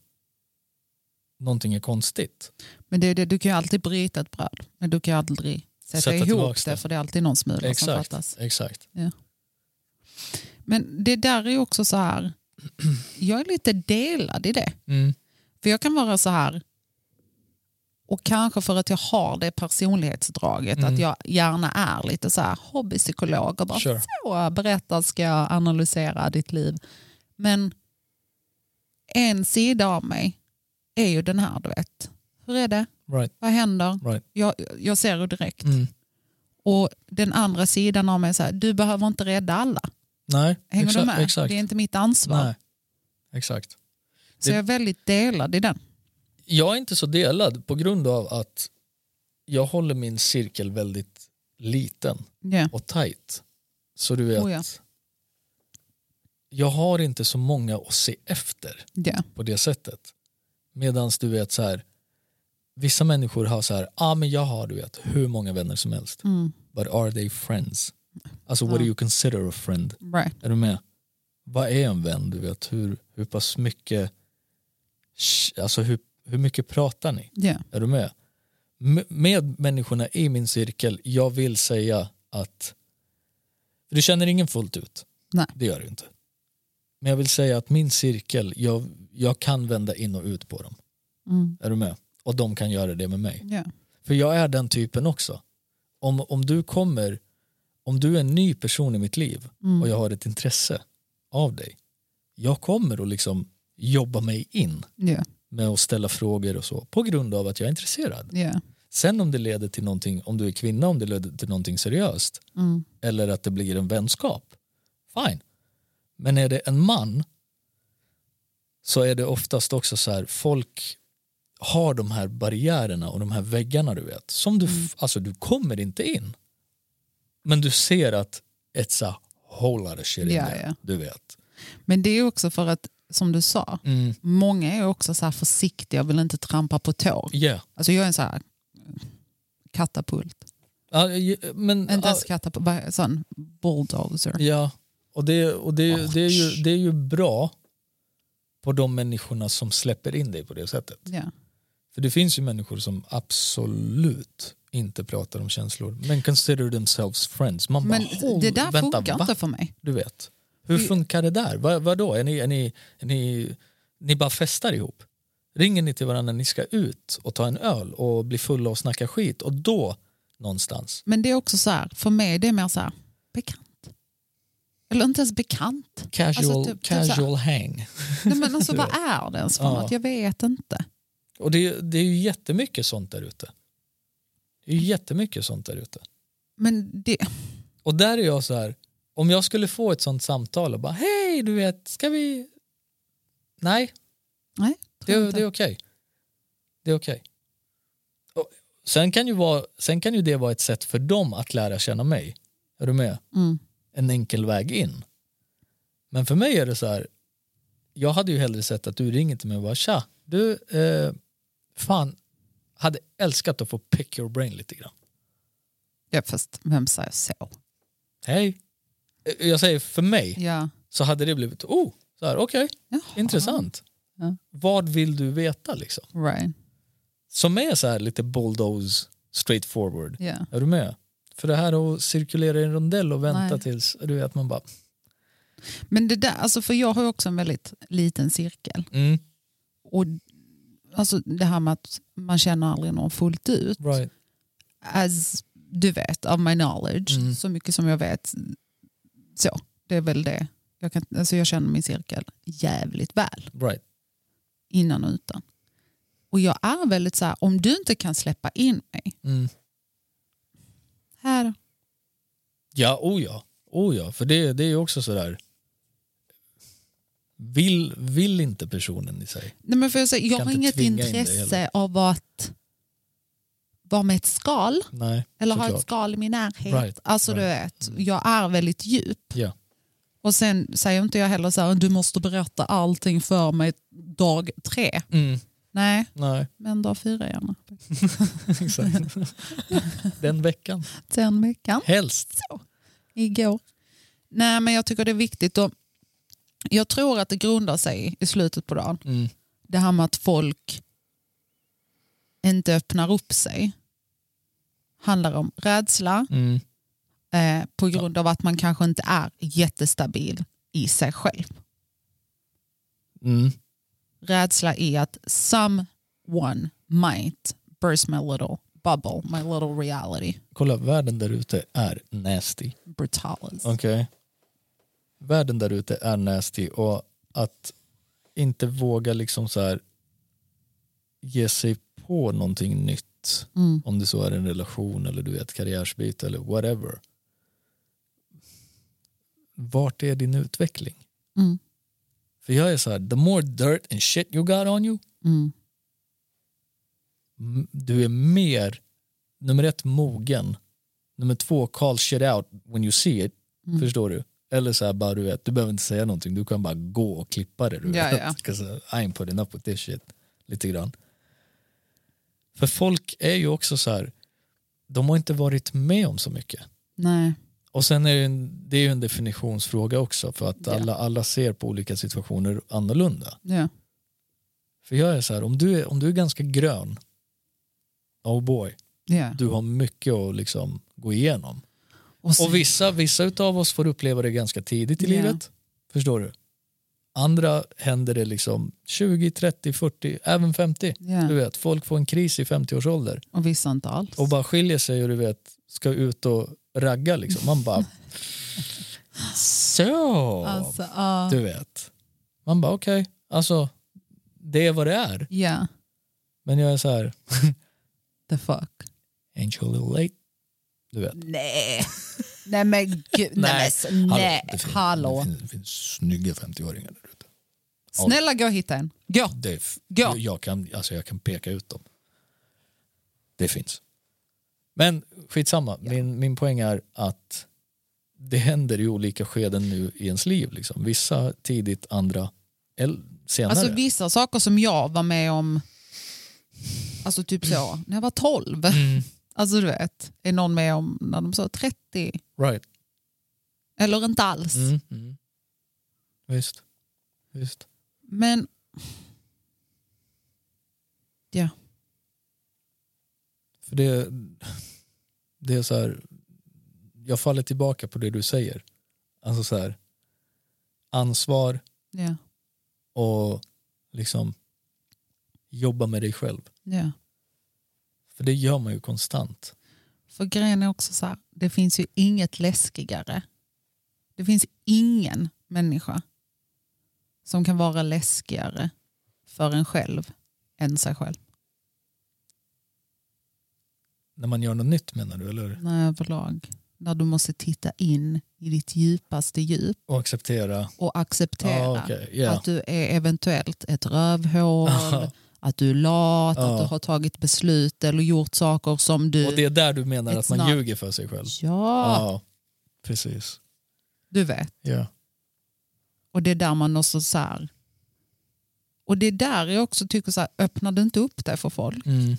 Speaker 2: någonting är konstigt.
Speaker 1: Men det är det. Du kan ju alltid bryta ett bröd. Men du kan ju aldrig sätta,
Speaker 2: Sätta
Speaker 1: ihop
Speaker 2: tillbaks
Speaker 1: det.
Speaker 2: det.
Speaker 1: För det är alltid någon smula som fattas.
Speaker 2: Exakt, exakt.
Speaker 1: Men det där är ju också så här. Jag är lite delad i det.
Speaker 2: Mm.
Speaker 1: För jag kan vara så här. Och kanske för att jag har det personlighetsdraget.
Speaker 2: Mm.
Speaker 1: Att jag gärna är lite så här hobbypsykolog. Och bara
Speaker 2: Sure.
Speaker 1: så berättar ska jag analysera ditt liv. Men en sida av mig är ju den här du vet. Hur är det?
Speaker 2: Right,
Speaker 1: Vad händer?
Speaker 2: right.
Speaker 1: Jag, jag ser ju direkt.
Speaker 2: Mm.
Speaker 1: Och den andra sidan av mig är så här. Du behöver inte rädda alla.
Speaker 2: Nej,
Speaker 1: Hänger
Speaker 2: exakt,
Speaker 1: du med?
Speaker 2: exakt.
Speaker 1: Det är inte mitt ansvar.
Speaker 2: Nej, exakt.
Speaker 1: så
Speaker 2: det-
Speaker 1: jag är väldigt delad i den.
Speaker 2: Jag är inte så delad på grund av att jag håller min cirkel väldigt liten
Speaker 1: Ja.
Speaker 2: och tajt. Så du vet,
Speaker 1: Oh ja.
Speaker 2: jag har inte så många att se efter
Speaker 1: Ja.
Speaker 2: på det sättet. Medan du vet så här, vissa människor har så här, ah, men jag har du vet hur många vänner som helst.
Speaker 1: Mm.
Speaker 2: But are they friends? Alltså what
Speaker 1: Ja.
Speaker 2: do you consider a friend?
Speaker 1: Right.
Speaker 2: Är du med? Vad är en vän? Du vet, hur, hur pass mycket, sh- alltså hur, hur mycket pratar ni?
Speaker 1: Ja.
Speaker 2: Är du med? M- med människorna i min cirkel, jag vill säga att... För du känner ingen fullt ut.
Speaker 1: Nej.
Speaker 2: Det gör du inte. Men jag vill säga att min cirkel, jag, jag kan vända in och ut på dem.
Speaker 1: Mm.
Speaker 2: Är du med? Och de kan göra det med mig.
Speaker 1: Ja.
Speaker 2: För jag är den typen också. Om, om du kommer, om du är en ny person i mitt liv
Speaker 1: Mm.
Speaker 2: och jag har ett intresse av dig, jag kommer att liksom jobba mig in
Speaker 1: Ja.
Speaker 2: med att ställa frågor och så på grund av att jag är intresserad.
Speaker 1: Ja.
Speaker 2: Sen om det leder till någonting, om du är kvinna, om det leder till någonting seriöst
Speaker 1: Mm.
Speaker 2: eller att det blir en vänskap, fine. Men är det en man så är det oftast också så här, folk har de här barriärerna och de här väggarna du vet, som du,
Speaker 1: Mm.
Speaker 2: f- alltså du kommer inte in. Men du ser att it's a whole lot of shit in
Speaker 1: Ja,
Speaker 2: there,
Speaker 1: ja.
Speaker 2: du vet.
Speaker 1: Men det är också för att, som du sa,
Speaker 2: Mm.
Speaker 1: många är också så här försiktiga och vill inte trampa på tår.
Speaker 2: Yeah.
Speaker 1: Alltså jag är en så här eh, katapult.
Speaker 2: Ja, ju- men,
Speaker 1: Inte ens
Speaker 2: ja,
Speaker 1: katapult, vad är- sån bulldozer.
Speaker 2: Ja, och det, och det, det, är ju, det är ju bra på de människorna som släpper in dig på det sättet.
Speaker 1: Ja.
Speaker 2: För det finns ju människor som absolut inte pratar om känslor men consider themselves friends. Man
Speaker 1: Men
Speaker 2: bara, "Håll-
Speaker 1: det där
Speaker 2: vänta,
Speaker 1: funkar
Speaker 2: va?"
Speaker 1: inte för mig.
Speaker 2: Du vet. Hur
Speaker 1: Det-
Speaker 2: funkar det där? Vad, vadå? Är ni, är ni, är ni, ni bara festar ihop? Ringer ni till varandra när ni ska ut och ta en öl och bli fulla och snacka skit och då någonstans?
Speaker 1: Men det är också så här, för mig är det är mer så här, bekant. Eller inte ens bekant.
Speaker 2: Casual,
Speaker 1: typ- typ så här.
Speaker 2: casual hang.
Speaker 1: Nej, men alltså, vad är det ens för
Speaker 2: Ja.
Speaker 1: något? Jag vet inte.
Speaker 2: Och det, det är ju jättemycket sånt där ute. Det är ju jättemycket sånt där ute.
Speaker 1: Men det,
Speaker 2: Och där är jag så här, om jag skulle få ett sånt samtal och bara hej du vet, ska vi... Nej,
Speaker 1: nej.
Speaker 2: det,
Speaker 1: tror jag
Speaker 2: det är
Speaker 1: inte.
Speaker 2: okej. Det är okej. Och Sen, kan ju vara, sen kan ju det vara ett sätt för dem att lära känna mig. Är du med?
Speaker 1: Mm.
Speaker 2: En enkel väg in. Men för mig är det så här, jag hade ju hellre sett att du ringer till mig och bara tja, du, eh, fan, hade älskat att få pick your brain lite grann.
Speaker 1: Ja, fast vem säger så?
Speaker 2: Hej. Eh, Jag säger för mig
Speaker 1: Ja.
Speaker 2: så hade det blivit, oh, så här, okej,
Speaker 1: Jaha.
Speaker 2: intressant.
Speaker 1: Ja.
Speaker 2: Vad vill du veta liksom?
Speaker 1: Right.
Speaker 2: Som är så här lite bulldoze, straightforward.
Speaker 1: Ja.
Speaker 2: Är du med? För det här att cirkulera i en rondell och vänta
Speaker 1: Nej.
Speaker 2: tills, du vet man bara,
Speaker 1: Men det där, alltså för jag har ju också en väldigt liten cirkel.
Speaker 2: mm,
Speaker 1: Och alltså det här med att man känner aldrig någon fullt ut.
Speaker 2: right.
Speaker 1: As du vet, of my knowledge,
Speaker 2: Mm.
Speaker 1: så mycket som jag vet. Så, det är väl det. Jag, kan, alltså jag känner min cirkel jävligt väl,
Speaker 2: right.
Speaker 1: innan och utan. Och jag är väldigt så här, om du inte kan släppa in mig,
Speaker 2: Mm.
Speaker 1: här då.
Speaker 2: Ja, oh ja. Oh ja. För det, det är ju också sådär, vill, vill inte personen i sig.
Speaker 1: Nej, men för jag, säga, jag
Speaker 2: Kan
Speaker 1: har
Speaker 2: inte
Speaker 1: inget
Speaker 2: tvinga in dig
Speaker 1: intresse
Speaker 2: heller.
Speaker 1: av att vara med ett skal
Speaker 2: Nej,
Speaker 1: eller ha ett
Speaker 2: såklart.
Speaker 1: skal i min närhet.
Speaker 2: Right, Mm.
Speaker 1: Alltså du vet, jag är väldigt djup.
Speaker 2: Ja.
Speaker 1: Och sen säger inte jag heller så här, du måste berätta allting för mig dag tre.
Speaker 2: Mm.
Speaker 1: Nej,
Speaker 2: Nej,
Speaker 1: men dag fyra gärna.
Speaker 2: exakt. Den veckan.
Speaker 1: Den veckan,
Speaker 2: Helst.
Speaker 1: igår. Nej, men jag tycker det är viktigt. Och jag tror att det grundar sig i slutet på dagen.
Speaker 2: Mm.
Speaker 1: det här med att folk inte öppnar upp sig handlar om rädsla
Speaker 2: Mm.
Speaker 1: eh, på grund av att man kanske inte är jättestabil i sig själv.
Speaker 2: Mm.
Speaker 1: Rädsla är att someone might burst my little bubble, my little reality,
Speaker 2: Kolla, världen där ute är nasty.
Speaker 1: brutalis.
Speaker 2: Okej. Världen där ute är nasty och att inte våga liksom så här ge sig på någonting nytt.
Speaker 1: Mm.
Speaker 2: Om det så är en relation eller du vet karriärsbyte eller whatever. vart är din utveckling?
Speaker 1: Mm.
Speaker 2: För jag är så här, the more dirt and shit you got on you,
Speaker 1: Mm.
Speaker 2: m- du är mer, nummer ett, mogen. Nummer två, call shit out when you see it.
Speaker 1: Mm.
Speaker 2: Förstår du? Eller så här, bara, du, vet, du behöver inte säga någonting, du kan bara gå och klippa det. Du
Speaker 1: Ja,
Speaker 2: vet.
Speaker 1: ja.
Speaker 2: 'Cause, uh, I ain't putting up with this shit. Lite grann. För folk är ju också så här, de har inte varit med om så mycket.
Speaker 1: Nej.
Speaker 2: Och sen är det, en, det är ju en definitionsfråga också för att
Speaker 1: Ja.
Speaker 2: alla, alla ser på olika situationer annorlunda.
Speaker 1: Ja.
Speaker 2: För jag är så här, om du är, om du är ganska grön, oh boy,
Speaker 1: Ja.
Speaker 2: du har mycket att liksom gå igenom.
Speaker 1: sen-
Speaker 2: Och vissa, vissa av oss får uppleva det ganska tidigt i
Speaker 1: Ja.
Speaker 2: livet, förstår du? Andra händer det liksom 20, 30, 40, även 50.
Speaker 1: ja.
Speaker 2: Du vet, folk får en kris i 50-årsålder
Speaker 1: och vissa inte alls.
Speaker 2: och bara skiljer sig och du vet, ska ut och ragga liksom. Man bara, så.
Speaker 1: Alltså, ja.
Speaker 2: Du vet. Man bara okej, alltså det är vad det är.
Speaker 1: Ja.
Speaker 2: Men jag är så här,
Speaker 1: The fuck.
Speaker 2: ain't you a little late? Du vet.
Speaker 1: Nej. Nej men gud. Nej. men s- nej.
Speaker 2: det finns,
Speaker 1: Hallå.
Speaker 2: Det finns, det finns snygga 50-åringar där ute.
Speaker 1: Snälla gå och hitta en. Gå.
Speaker 2: Det är f-
Speaker 1: Ja.
Speaker 2: jag, kan, alltså jag kan peka ut dem. Det finns. Men skitsamma,
Speaker 1: Ja.
Speaker 2: min, min poäng är att det händer i olika skeden nu i ens liv. Liksom. Vissa tidigt, andra el- senare.
Speaker 1: Alltså vissa saker som jag var med om, alltså typ så, när jag var 12.
Speaker 2: Mm.
Speaker 1: Alltså du vet, är någon med om när de sa 30
Speaker 2: right.
Speaker 1: eller inte alls.
Speaker 2: Mm. Mm. Visst. Visst.
Speaker 1: Men ja,
Speaker 2: För det, det är så här, jag faller tillbaka på det du säger. Alltså så här, ansvar
Speaker 1: ja,
Speaker 2: och liksom jobba med dig själv.
Speaker 1: ja.
Speaker 2: För det gör man ju konstant.
Speaker 1: För grejen är också så här, det finns ju inget läskigare. Det finns ingen människa som kan vara läskigare för en själv än sig själv.
Speaker 2: När man gör något nytt menar du, eller?
Speaker 1: När överlag, när du måste titta in i ditt djupaste djup
Speaker 2: Och acceptera.
Speaker 1: och acceptera
Speaker 2: Ja, Ah, okej. Ja.
Speaker 1: att du är eventuellt ett rövhål,
Speaker 2: Aha.
Speaker 1: att du är lat,
Speaker 2: Ja.
Speaker 1: att du har tagit beslut eller gjort saker som du...
Speaker 2: Och det Ah. är där du menar
Speaker 1: It's
Speaker 2: att man
Speaker 1: not-
Speaker 2: ljuger för sig själv?
Speaker 1: Ja,
Speaker 2: Ja, precis.
Speaker 1: du vet.
Speaker 2: Ja.
Speaker 1: Och det är där man också så här... Och det är där jag också tycker så här, öppnar du inte upp dig för folk
Speaker 2: Mm.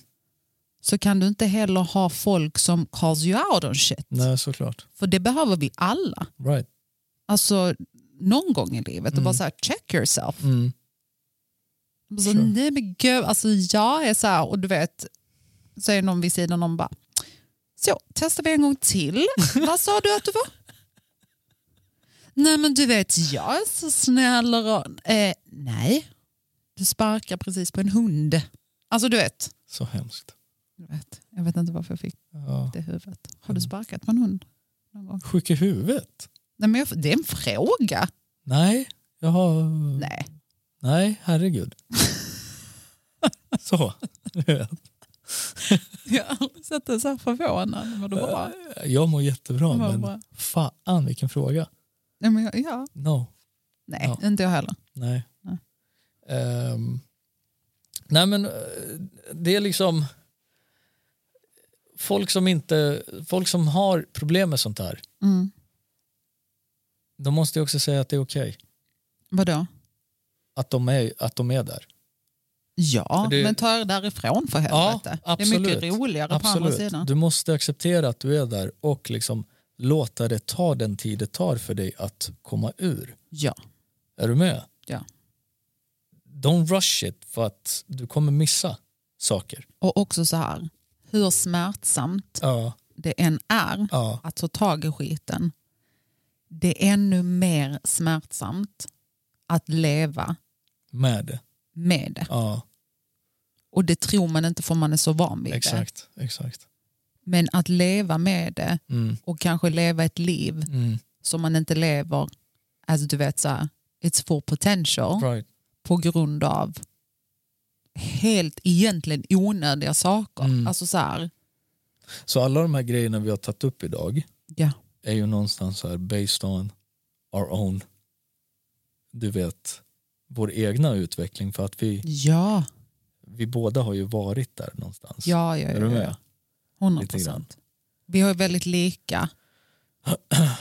Speaker 1: så kan du inte heller ha folk som calls you out on shit.
Speaker 2: Nej, såklart.
Speaker 1: För det behöver vi alla.
Speaker 2: Right.
Speaker 1: Alltså någon gång i livet och bara så här check yourself.
Speaker 2: Mm.
Speaker 1: Och Så,
Speaker 2: Sure.
Speaker 1: Nej men gud, alltså jag är så här och du vet, så är någon vid sidan om bara, så testar vi en gång till. Vad sa du att du var? Nej men du vet, jag är så snäll och... Eh, nej, du sparkar precis på en hund. Alltså du vet,
Speaker 2: Så hemskt.
Speaker 1: du vet, jag vet inte varför jag fick
Speaker 2: Ja.
Speaker 1: det i huvudet. Har du sparkat på en hund? Någon gång?
Speaker 2: Sjuk i huvudet?
Speaker 1: Nej, men jag, det är en fråga.
Speaker 2: Nej, jag har...
Speaker 1: Nej.
Speaker 2: Nej, herregud. Så.
Speaker 1: Jag har aldrig sett dig så här förvånad. Men du
Speaker 2: Äh.
Speaker 1: bara,
Speaker 2: Jag mår jättebra,
Speaker 1: Vad
Speaker 2: men
Speaker 1: bra.
Speaker 2: fan vilken fråga.
Speaker 1: nej, men jag, ja.
Speaker 2: No,
Speaker 1: nej inte jag heller.
Speaker 2: nej.
Speaker 1: Nej.
Speaker 2: Ehm, nej men eh, det är liksom folk som inte, folk som har problem med sånt här,
Speaker 1: Mm.
Speaker 2: de måste ju också säga att det är okej.
Speaker 1: Vadå?
Speaker 2: Att, de är, att de är där.
Speaker 1: Ja,
Speaker 2: För det-
Speaker 1: men ta er därifrån för helvete.
Speaker 2: Ja,
Speaker 1: det är mycket
Speaker 2: absolut.
Speaker 1: roligare på andra
Speaker 2: Absolut.
Speaker 1: sidan.
Speaker 2: Du måste acceptera att du är där och liksom låta det ta den tid det tar för dig att komma ur.
Speaker 1: Ja,
Speaker 2: Är du med?
Speaker 1: Ja.
Speaker 2: Don't rush it för att du kommer missa saker.
Speaker 1: och också så här, hur smärtsamt
Speaker 2: Ja.
Speaker 1: det än är
Speaker 2: ja.
Speaker 1: att ta tag i skiten, det är ännu mer smärtsamt att leva
Speaker 2: Med det.
Speaker 1: med det.
Speaker 2: Ja,
Speaker 1: Och det tror man inte för man är så van vid det.
Speaker 2: exakt. exakt.
Speaker 1: Men att leva med det
Speaker 2: Mm,
Speaker 1: och kanske leva ett liv
Speaker 2: mm,
Speaker 1: som man inte lever, alltså du vet så här, it's full potential.
Speaker 2: right.
Speaker 1: på grund av helt egentligen onödiga saker.
Speaker 2: Mm.
Speaker 1: Alltså så här,
Speaker 2: Så alla de här grejerna vi har tagit upp idag
Speaker 1: ja,
Speaker 2: är ju någonstans så här based on our own, du vet, vår egna utveckling för att vi,
Speaker 1: Ja,
Speaker 2: vi båda har ju varit där någonstans.
Speaker 1: ja, ja.
Speaker 2: Är du
Speaker 1: ja,
Speaker 2: med?
Speaker 1: ja. 100
Speaker 2: Lite grann.
Speaker 1: procent. Vi har ju väldigt lika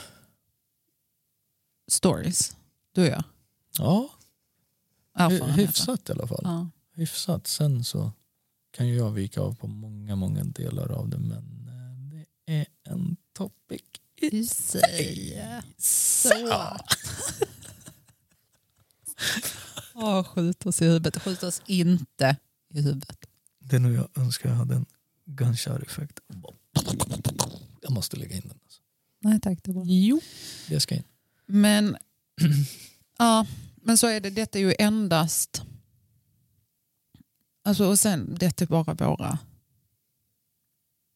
Speaker 1: stories, du och jag.
Speaker 2: Ja, hy-
Speaker 1: Erfarenheter.
Speaker 2: hyfsat i alla fall.
Speaker 1: Ja.
Speaker 2: Hyfsat. Sen så kan ju jag vika av på många, många delar av det men eh, det är en topic.
Speaker 1: Du säger så. Åh, skjut oss i huvudet. Skjut oss inte i huvudet.
Speaker 2: Det är nog jag önskar jag hade en gunshot-effekt. Jag måste lägga in den. Alltså.
Speaker 1: Nej tack, det är bra.
Speaker 2: Jo. Det ska in.
Speaker 1: Men, ja, men så är det. Detta är ju endast... Alltså, och sen, detta är bara våra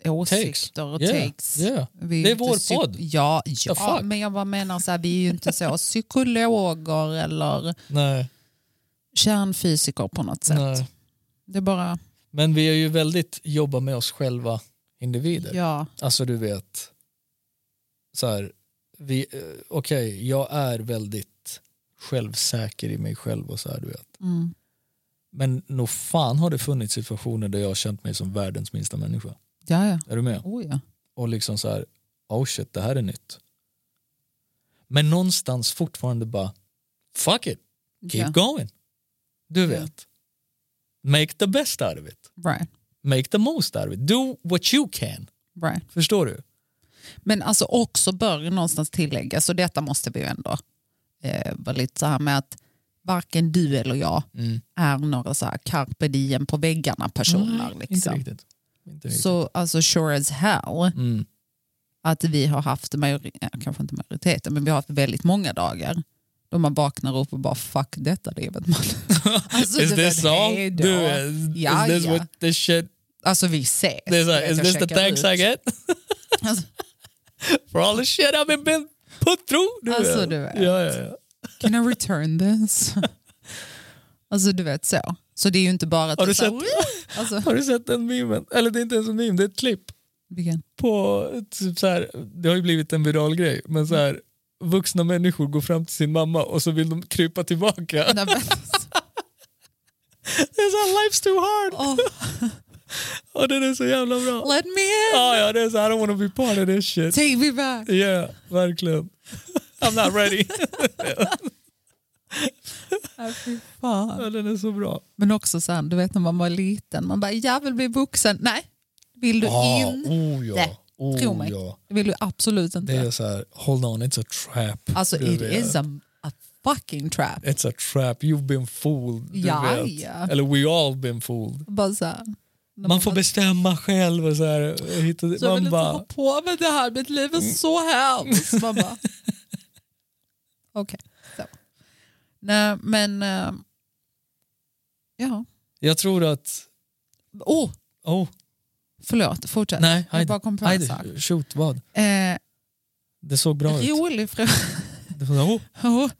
Speaker 1: åsikter och
Speaker 2: Yeah,
Speaker 1: takes.
Speaker 2: yeah.
Speaker 1: Vi ju
Speaker 2: Det är
Speaker 1: inte
Speaker 2: vår
Speaker 1: psy-
Speaker 2: podd.
Speaker 1: Ja,
Speaker 2: The
Speaker 1: ja
Speaker 2: fuck?
Speaker 1: men jag bara menar så här, vi är ju inte så psykologer eller
Speaker 2: Nej,
Speaker 1: kärnfysiker på något sätt.
Speaker 2: nej.
Speaker 1: Det är bara,
Speaker 2: Men vi är ju väldigt jobba med oss själva individer.
Speaker 1: ja,
Speaker 2: Alltså du vet, så här, vi, eh, okej jag är väldigt självsäker i mig själv och så här du vet.
Speaker 1: mm,
Speaker 2: Men nog fan har det funnits situationer där jag har känt mig som världens minsta människa.
Speaker 1: ja, ja.
Speaker 2: Är du med?
Speaker 1: Oh, ja.
Speaker 2: Och liksom så här, oh shit det här är nytt. Men någonstans fortfarande bara, fuck it, keep
Speaker 1: ja.
Speaker 2: going. Du
Speaker 1: Ja.
Speaker 2: vet. Make the best out of it.
Speaker 1: Right,
Speaker 2: Make the most out of it. Do what you can.
Speaker 1: right.
Speaker 2: Förstår du?
Speaker 1: Men alltså också bör ju någonstans tilläggas, och detta måste vi ju ändå eh, vara lite så här med att varken du eller jag är några så här carpe diem på väggarna personer.
Speaker 2: Inte
Speaker 1: liksom.
Speaker 2: riktigt. Inte riktigt.
Speaker 1: Så alltså sure as hell
Speaker 2: Mm.
Speaker 1: att vi har haft, majori- ja, kanske inte majoriteten, men vi har haft väldigt många dagar då man vaknar upp och bara fuck detta livet man. alltså,
Speaker 2: Is
Speaker 1: du
Speaker 2: this
Speaker 1: vet,
Speaker 2: all?
Speaker 1: hej då.
Speaker 2: Du, is,
Speaker 1: Ja,
Speaker 2: is this
Speaker 1: ja.
Speaker 2: what this shit?
Speaker 1: Alltså vi ses.
Speaker 2: This,
Speaker 1: Du vet,
Speaker 2: is
Speaker 1: jag
Speaker 2: this the
Speaker 1: checkar
Speaker 2: thanks
Speaker 1: ut.
Speaker 2: I get?
Speaker 1: Alltså,
Speaker 2: For all the shit I've been- been put through? Du
Speaker 1: Alltså,
Speaker 2: vet.
Speaker 1: du vet.
Speaker 2: Ja, ja, ja.
Speaker 1: Can I return this? alltså du vet så. Så det är ju inte bara att...
Speaker 2: Har du
Speaker 1: så här,
Speaker 2: sett-
Speaker 1: "Woo!" Alltså,
Speaker 2: Har du sett den memen? Eller det är inte ens en meme, det är ett klipp.
Speaker 1: vilken?
Speaker 2: På, typ så här, det har ju blivit en viral grej, men så här, vuxna människor går fram till sin mamma och så vill de krypa tillbaka.
Speaker 1: Nej, men,
Speaker 2: Det är så här, life's too hard!
Speaker 1: oh,
Speaker 2: Och den är så jävla bra.
Speaker 1: let me in!
Speaker 2: Ja, ja, det är så här, I don't wanna be part of this shit.
Speaker 1: Take me back!
Speaker 2: Ja, verkligen. I'm not ready.
Speaker 1: Ja, Äh, fy fan.
Speaker 2: ja, den är så bra.
Speaker 1: Men också sen, du vet när man var liten, man bara jag vill bli vuxen. Nej, vill du inte?
Speaker 2: oh, ja.
Speaker 1: Tro mig. Det vill du absolut
Speaker 2: Det
Speaker 1: inte.
Speaker 2: är så här, hold on, it's a trap.
Speaker 1: Alltså
Speaker 2: Du
Speaker 1: it
Speaker 2: vet.
Speaker 1: is a, a fucking trap.
Speaker 2: It's a trap, you've been fooled. Du
Speaker 1: Ja,
Speaker 2: vet.
Speaker 1: ja.
Speaker 2: Eller we all been fooled.
Speaker 1: Bara så här, när
Speaker 2: Man får
Speaker 1: bara-
Speaker 2: bestämma själv. Och så här, och hitta,
Speaker 1: Så jag vill
Speaker 2: man
Speaker 1: inte
Speaker 2: bara, Mm.
Speaker 1: ha på med det här, mitt liv är så hemskt. Man bara, okej. så. Nej, men, eh, ja.
Speaker 2: jag tror att...
Speaker 1: Oh,
Speaker 2: Oh,
Speaker 1: förlåt, fortsätt.
Speaker 2: nej,
Speaker 1: jag bara kom på en sak.
Speaker 2: Heidi, shoot, vad?
Speaker 1: Eh,
Speaker 2: Det såg bra ut.
Speaker 1: rolig, frå
Speaker 2: Det var, oh.
Speaker 1: oh,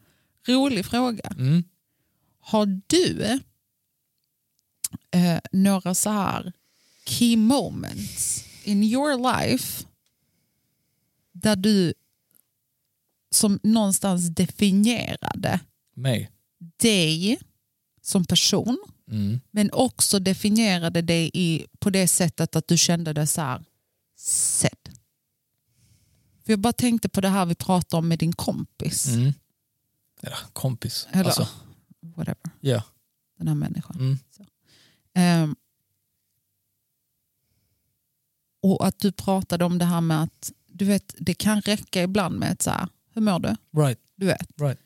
Speaker 1: rolig fråga.
Speaker 2: mm.
Speaker 1: Har du eh, några så här key moments in your life där du som någonstans definierade
Speaker 2: Mig.
Speaker 1: dig som person
Speaker 2: Mm.
Speaker 1: men också definierade dig i, på det sättet att du kände dig så här sedd. För jag bara tänkte på det här vi pratade om med din kompis.
Speaker 2: Mm. Ja, kompis.
Speaker 1: Eller
Speaker 2: Alltså,
Speaker 1: whatever,
Speaker 2: ja.
Speaker 1: den här människan.
Speaker 2: Mm.
Speaker 1: Ehm, och att du pratade om det här med att du vet, det kan räcka ibland med ett så här, hur mår du?
Speaker 2: Right.
Speaker 1: Du vet.
Speaker 2: Right.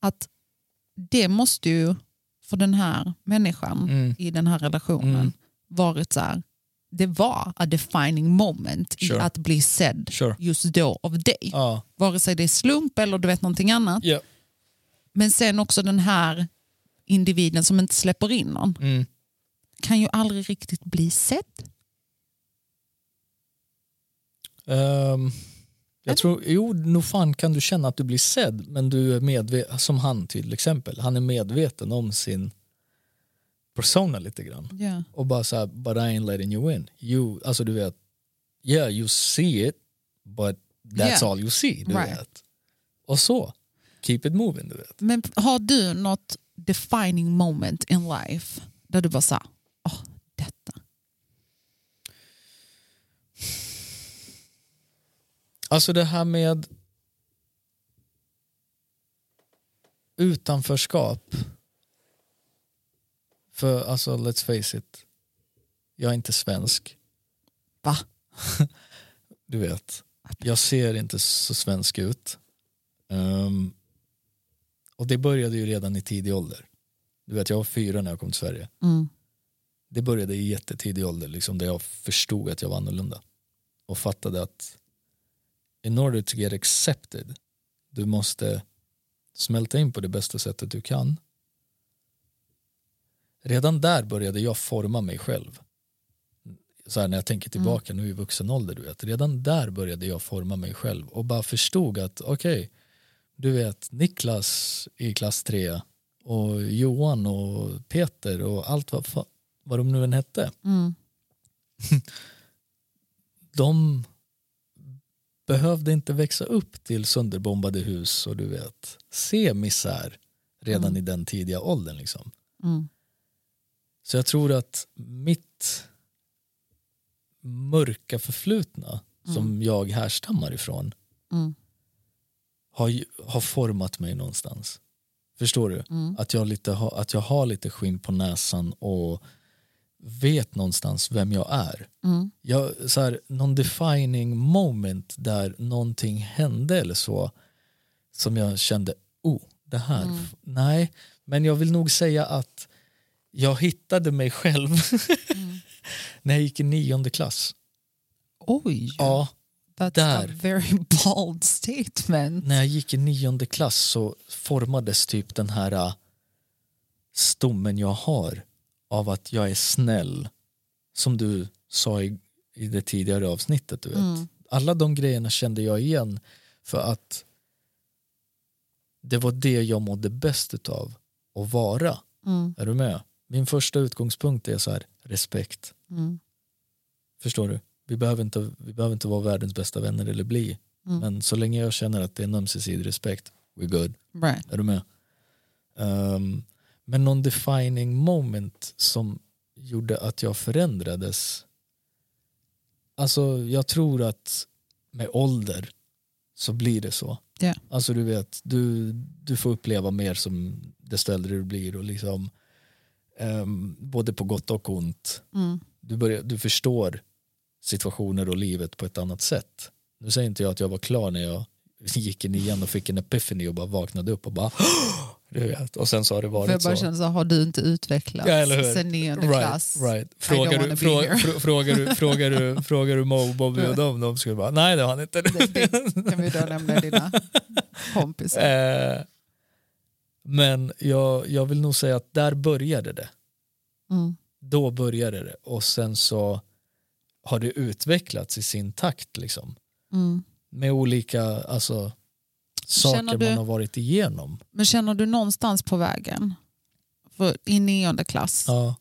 Speaker 1: Att det måste ju för den här människan
Speaker 2: Mm.
Speaker 1: i den här relationen
Speaker 2: Mm.
Speaker 1: varit så här, det var a defining moment
Speaker 2: Sure.
Speaker 1: i att bli sedd
Speaker 2: Sure. Ah,
Speaker 1: just då av dig.
Speaker 2: Ja.
Speaker 1: Vare sig det är slump eller du vet någonting annat.
Speaker 2: Ja.
Speaker 1: Men sen också den här individen som inte släpper in någon
Speaker 2: Mm.
Speaker 1: kan ju aldrig riktigt bli sedd.
Speaker 2: Ehm, jag tror, jo, nog fan kan du känna att du blir sedd, men du är medveten, som han till exempel, han är medveten om sin persona lite grann.
Speaker 1: Ja.
Speaker 2: Och bara så här, but I ain't letting you in. You, alltså du vet, yeah you see it, but that's
Speaker 1: Yeah.
Speaker 2: all you see. Du
Speaker 1: Right.
Speaker 2: vet. Och så. keep it moving. Du vet.
Speaker 1: Men har du något defining moment in life där du bara sa, åh, detta.
Speaker 2: Alltså det här med utanförskap. För alltså let's face it, jag är inte svensk.
Speaker 1: Va?
Speaker 2: Du vet, jag ser inte så svensk ut. Ehm, och det började ju redan i tidig ålder. Du vet, jag var fyra när jag kom till Sverige.
Speaker 1: Mm.
Speaker 2: Det började i jättetidig ålder, liksom, där jag förstod att jag var annorlunda. Och fattade att in order to get accepted, du måste smälta in på det bästa sättet du kan. Redan där började jag forma mig själv. Så här, när jag tänker tillbaka nu i vuxen ålder, du vet, redan där började jag forma mig själv och bara förstod att okej, du vet Niklas i klass 3 och Johan och Peter och allt vad, fa- vad de nu än hette.
Speaker 1: Mm.
Speaker 2: De behövde inte växa upp till sönderbombade hus och du vet se misär redan
Speaker 1: Mm.
Speaker 2: i den tidiga åldern. Liksom.
Speaker 1: Mm.
Speaker 2: Så jag tror att mitt mörka förflutna som jag härstammar ifrån
Speaker 1: Mm.
Speaker 2: har, ju- har format mig någonstans. Förstår du?
Speaker 1: Mm.
Speaker 2: Att, jag lite har, att jag har lite skinn på näsan och vet någonstans vem jag är.
Speaker 1: Mm.
Speaker 2: Jag, så här, någon defining moment där någonting hände eller så som jag kände, oh, det här,
Speaker 1: Mm.
Speaker 2: f- nej. Men jag vill nog säga att jag hittade mig själv när jag gick i nionde klass.
Speaker 1: Oj,
Speaker 2: Ja,
Speaker 1: that's
Speaker 2: där.
Speaker 1: a very bold statement.
Speaker 2: när jag gick i nionde klass så formades typ den här äh, stommen jag har av att jag är snäll. Som du sa i, i det tidigare avsnittet. Du vet. Alla de grejerna kände jag igen för att det var det jag mådde bäst utav att vara.
Speaker 1: Mm.
Speaker 2: Är du med? Min första utgångspunkt är så här, respekt.
Speaker 1: Mm.
Speaker 2: Förstår du? Vi behöver inte, vi behöver inte vara världens bästa vänner eller bli.
Speaker 1: Mm.
Speaker 2: Men så länge jag känner att det är en ömsesidig respekt, we're good.
Speaker 1: Right.
Speaker 2: Är du med? Ehm, men någon defining moment som gjorde att jag förändrades. Alltså jag tror att med ålder så blir det så.
Speaker 1: Ja.
Speaker 2: Alltså du vet, du, du får uppleva mer som desto äldre du blir och liksom ehm, både på gott och ont
Speaker 1: Mm.
Speaker 2: du, börjar, du förstår situationer och livet på ett annat sätt. Nu säger inte jag att jag var klar när jag gick in igen och fick en epiphany och bara vaknade upp och bara du vet. Och sen så har det
Speaker 1: För jag
Speaker 2: varit
Speaker 1: bara
Speaker 2: så.
Speaker 1: känner så här, har du inte utvecklats
Speaker 2: Ja, eller hur?
Speaker 1: sen nionde klass?
Speaker 2: Right, right. Frågar,
Speaker 1: wanna
Speaker 2: du,
Speaker 1: be
Speaker 2: frågar,
Speaker 1: here.
Speaker 2: frå- frågar, du, frågar, du, frågar du Mo, Bobby och dem, de skulle bara nej det har han inte.
Speaker 1: Det, det kan vi då nämna dina kompisar.
Speaker 2: Eh, Men jag, jag vill nog säga att där började det.
Speaker 1: Mm.
Speaker 2: då började det och sen så har det utvecklats i sin takt liksom.
Speaker 1: Mm.
Speaker 2: Med olika alltså, saker
Speaker 1: Känner du-
Speaker 2: man har varit igenom.
Speaker 1: Men känner du någonstans på vägen? För I nionde klass,
Speaker 2: Ja.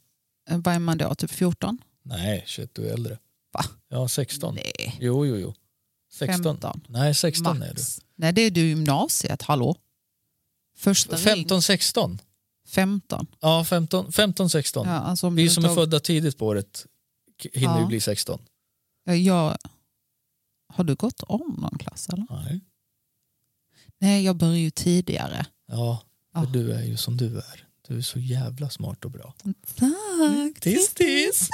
Speaker 1: eh, vad är man då? Typ 14?
Speaker 2: Nej, shit du är äldre.
Speaker 1: Va?
Speaker 2: Ja, 16.
Speaker 1: Nej,
Speaker 2: Jo, jo, jo. 16.
Speaker 1: 15.
Speaker 2: Nej, 16 är du.
Speaker 1: Max. Nej, det är du i gymnasiet, hallå? Första ring.
Speaker 2: 15, 16.
Speaker 1: 15.
Speaker 2: Ja, 15, 15 16.
Speaker 1: Ja, alltså om
Speaker 2: Vi
Speaker 1: du
Speaker 2: som
Speaker 1: inte
Speaker 2: är
Speaker 1: har-
Speaker 2: födda tidigt på året k- hinner ju
Speaker 1: Ja.
Speaker 2: bli 16.
Speaker 1: Eh, Jag... Har du gått om någon klass? Eller?
Speaker 2: Nej.
Speaker 1: Nej, jag började ju tidigare.
Speaker 2: Ja, för
Speaker 1: Ja.
Speaker 2: du är ju som du är. Du är så jävla smart och bra.
Speaker 1: Tack!
Speaker 2: Tis, tis.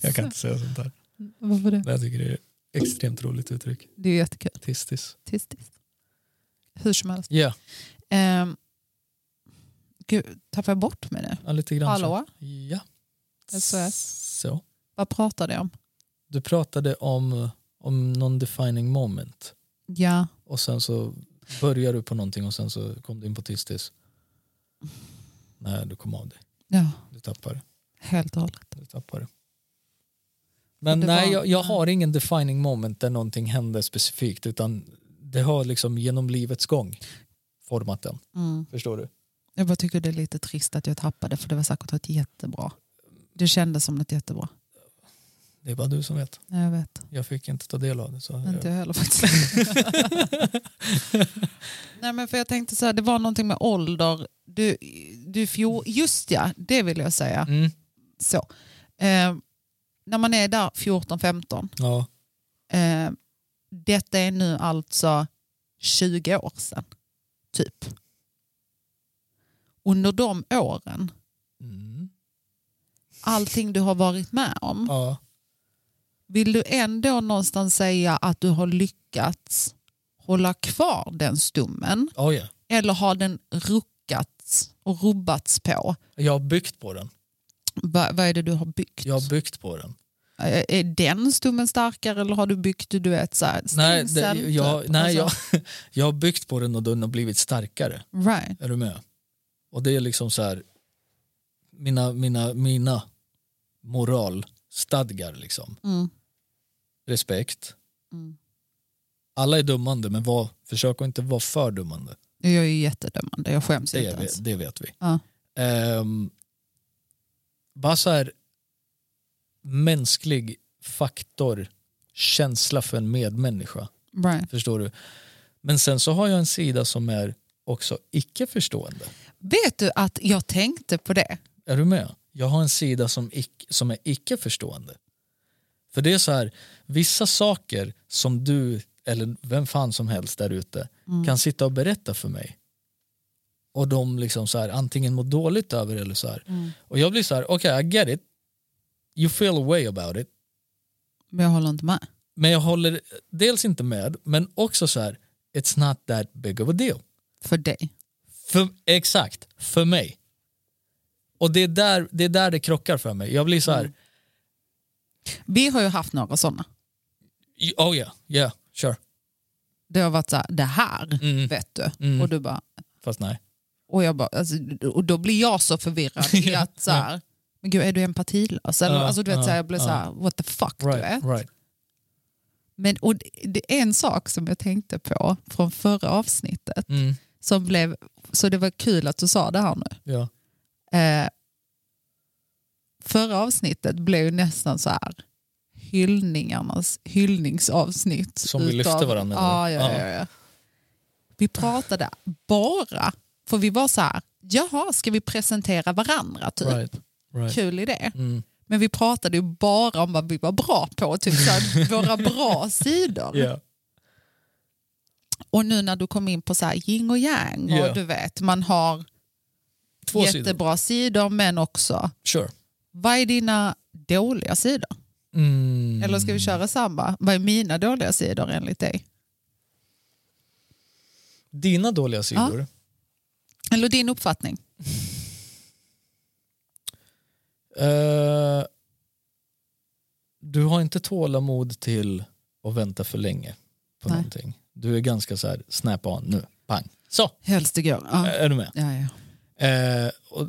Speaker 2: Jag kan inte säga sånt där.
Speaker 1: Varför det?
Speaker 2: Men jag tycker det är ett extremt roligt uttryck.
Speaker 1: Det är ju jättekul.
Speaker 2: Tistis.
Speaker 1: Tis, tis. Hur som helst.
Speaker 2: Ja,
Speaker 1: Ehm, gud, tappade jag bort mig nu?
Speaker 2: ja, lite grann
Speaker 1: Hallå?
Speaker 2: så. Ja.
Speaker 1: SOS.
Speaker 2: Så.
Speaker 1: Vad pratade jag om?
Speaker 2: Du pratade om, om någon defining moment
Speaker 1: Ja,
Speaker 2: och sen så börjar du på någonting och sen så kom du in på tistis. Nej, du kom av dig.
Speaker 1: ja
Speaker 2: Du tappar det.
Speaker 1: helt och hållet.
Speaker 2: Du tappar det. Men
Speaker 1: Det
Speaker 2: nej,
Speaker 1: var-
Speaker 2: jag, jag har ingen defining moment där någonting hände specifikt utan det har liksom genom livets gång format den.
Speaker 1: Mm.
Speaker 2: Förstår du?
Speaker 1: Jag bara tycker det är lite trist att jag tappade för det var säkert ett jättebra. Det kändes som något jättebra.
Speaker 2: Det är bara du som vet.
Speaker 1: Nej, jag vet.
Speaker 2: Jag fick inte ta del av det. Så
Speaker 1: Inte
Speaker 2: jag,
Speaker 1: jag heller faktiskt. Nej, men för jag tänkte så här, det var någonting med ålder. Du, du fjol, just ja, det vill jag säga.
Speaker 2: mm,
Speaker 1: Så. Eh, när man är där 14-15,
Speaker 2: ja,
Speaker 1: eh, detta är nu alltså 20 år sedan, typ. Under de åren,
Speaker 2: mm,
Speaker 1: allting du har varit med om,
Speaker 2: ja,
Speaker 1: vill du ändå någonstans säga att du har lyckats hålla kvar den stummen
Speaker 2: ja, ja.
Speaker 1: eller har den ruckats och rubbats på?
Speaker 2: Jag har byggt på den.
Speaker 1: Va, vad är det du har byggt?
Speaker 2: Jag har byggt på den.
Speaker 1: Eh, Är den stummen starkare eller har du byggt du vet så här,
Speaker 2: Nej, det,
Speaker 1: stängsel,
Speaker 2: jag,
Speaker 1: typ?
Speaker 2: nej jag,
Speaker 1: Alltså,
Speaker 2: jag har byggt på den och den har blivit starkare.
Speaker 1: Right.
Speaker 2: Är du med? Och det är liksom så här, mina, mina, mina moralstadgar liksom.
Speaker 1: Mm.
Speaker 2: Respekt.
Speaker 1: Mm.
Speaker 2: Alla är dummande men var, försök att inte vara för dummande.
Speaker 1: Jag är ju jättedömande, jag skäms
Speaker 2: Det,
Speaker 1: inte ens.
Speaker 2: vet- det vet vi.
Speaker 1: Typ alltså. Ja.
Speaker 2: Ehm, bara så här, mänsklig faktor, känsla för en medmänniska.
Speaker 1: Right.
Speaker 2: Förstår du? Men sen så har jag en sida som är också icke-förstående.
Speaker 1: Vet du att jag tänkte på det?
Speaker 2: Är du med? Jag har en sida som, ic- som är icke-förstående. För det är så här, vissa saker som du eller vem fan som helst där ute kan sitta och berätta för mig. Och de liksom så här, antingen mår dåligt över eller så här. Och jag blir så här, okej I get it. You feel a way about it.
Speaker 1: Men jag håller inte med.
Speaker 2: Men jag håller dels inte med, men också så här, it's not that big of a deal.
Speaker 1: För dig.
Speaker 2: För, exakt, för mig. Och det är, där, det är där det krockar för mig. Jag blir så här,
Speaker 1: Vi har ju haft några sådana. Mm.
Speaker 2: Y- Oh yeah, yeah, sure.
Speaker 1: Det har varit så här, det här
Speaker 2: Mm.
Speaker 1: vet du.
Speaker 2: Mm.
Speaker 1: Och du bara,
Speaker 2: Fast nej.
Speaker 1: Och, jag bara, alltså, och då blir jag så förvirrad i
Speaker 2: Ja,
Speaker 1: att så här, men gud är du empatilös? Eller,
Speaker 2: Ja,
Speaker 1: alltså, du vet,
Speaker 2: ja,
Speaker 1: så här, jag blir så här, what the fuck du är. Men, och det, det är en sak som jag tänkte på från förra avsnittet
Speaker 2: Mm.
Speaker 1: som blev, så det var kul att du sa det här nu.
Speaker 2: Ja.
Speaker 1: Eh, förra avsnittet blev ju nästan så här hyllningarnas hyllningsavsnitt.
Speaker 2: Som vi lyfte varandra,
Speaker 1: Ja,
Speaker 2: eller?
Speaker 1: ja, ja, ja. Vi pratade bara, för vi var så här, jaha, ska vi presentera varandra? Typ.
Speaker 2: Right. Right.
Speaker 1: Kul idé.
Speaker 2: Mm.
Speaker 1: Men vi pratade ju bara om vad vi var bra på, typ så här, våra bra sidor.
Speaker 2: Yeah.
Speaker 1: Och nu när du kom in på så här yin och yang, och
Speaker 2: Ja.
Speaker 1: du vet, man har
Speaker 2: Två sidor.
Speaker 1: jättebra sidor men också
Speaker 2: Sure.
Speaker 1: vad är dina dåliga sidor?
Speaker 2: Mm.
Speaker 1: Eller ska vi köra samma? Vad är mina dåliga sidor enligt dig?
Speaker 2: Dina dåliga sidor?
Speaker 1: Eller din uppfattning?
Speaker 2: Eh, du har inte tålamod till att vänta för länge på
Speaker 1: Nej.
Speaker 2: någonting. Du är ganska så här, snap on nu, pang. Så,
Speaker 1: Helst igår. Ja.
Speaker 2: är du med?
Speaker 1: Ja, ja.
Speaker 2: Eh, och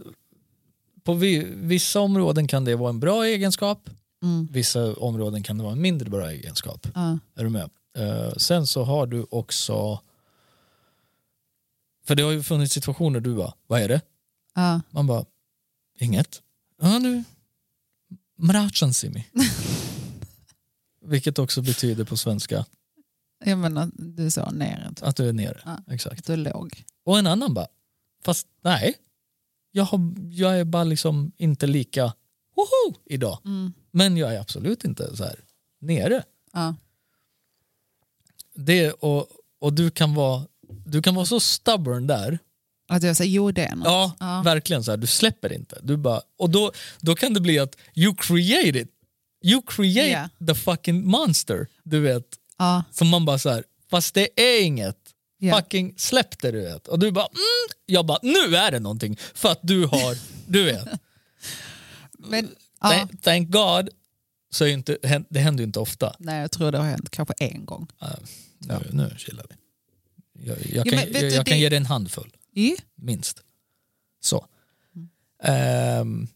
Speaker 2: på vi, vissa områden kan det vara en bra egenskap,
Speaker 1: Mm.
Speaker 2: vissa områden kan det vara en mindre bra egenskap.
Speaker 1: Ja.
Speaker 2: Är du med? Eh, sen så har du också... För det har ju funnits situationer du bara, vad är det?
Speaker 1: Ja.
Speaker 2: Man bara, inget. Ja du, mrachan simi. Vilket också betyder på svenska
Speaker 1: Jag menar, du sa ner inte.
Speaker 2: att du är nere.
Speaker 1: Ja.
Speaker 2: Exakt.
Speaker 1: Du låg.
Speaker 2: Och en annan bara, fast nej. Jag, har, jag är bara liksom inte lika woho idag.
Speaker 1: Mm.
Speaker 2: Men jag är absolut inte så här nere.
Speaker 1: Ja.
Speaker 2: Det, och och du, kan vara, du kan vara så stubborn där
Speaker 1: Att jag säger jo det är något.
Speaker 2: Ja,
Speaker 1: Ja.
Speaker 2: verkligen. så här, Du släpper inte. Du bara, och då, då kan det bli att you create it. You create
Speaker 1: Ja.
Speaker 2: the fucking monster. Du vet,
Speaker 1: Ja.
Speaker 2: som man bara så här, fast det är inget.
Speaker 1: Ja.
Speaker 2: Fucking släpp det du vet. Och du bara, mm. jag bara, nu är det någonting. För att du har, du vet.
Speaker 1: Men, ja.
Speaker 2: Thank, thank God. Så är ju inte, hän- det händer ju inte ofta.
Speaker 1: Nej, jag tror det har hänt kanske en gång.
Speaker 2: Nu, nu chillar vi. Jag, jag
Speaker 1: Ja,
Speaker 2: kan,
Speaker 1: men vet
Speaker 2: jag,
Speaker 1: du,
Speaker 2: jag kan
Speaker 1: det-
Speaker 2: ge dig en handfull.
Speaker 1: Ja.
Speaker 2: minst. Så. Ehm.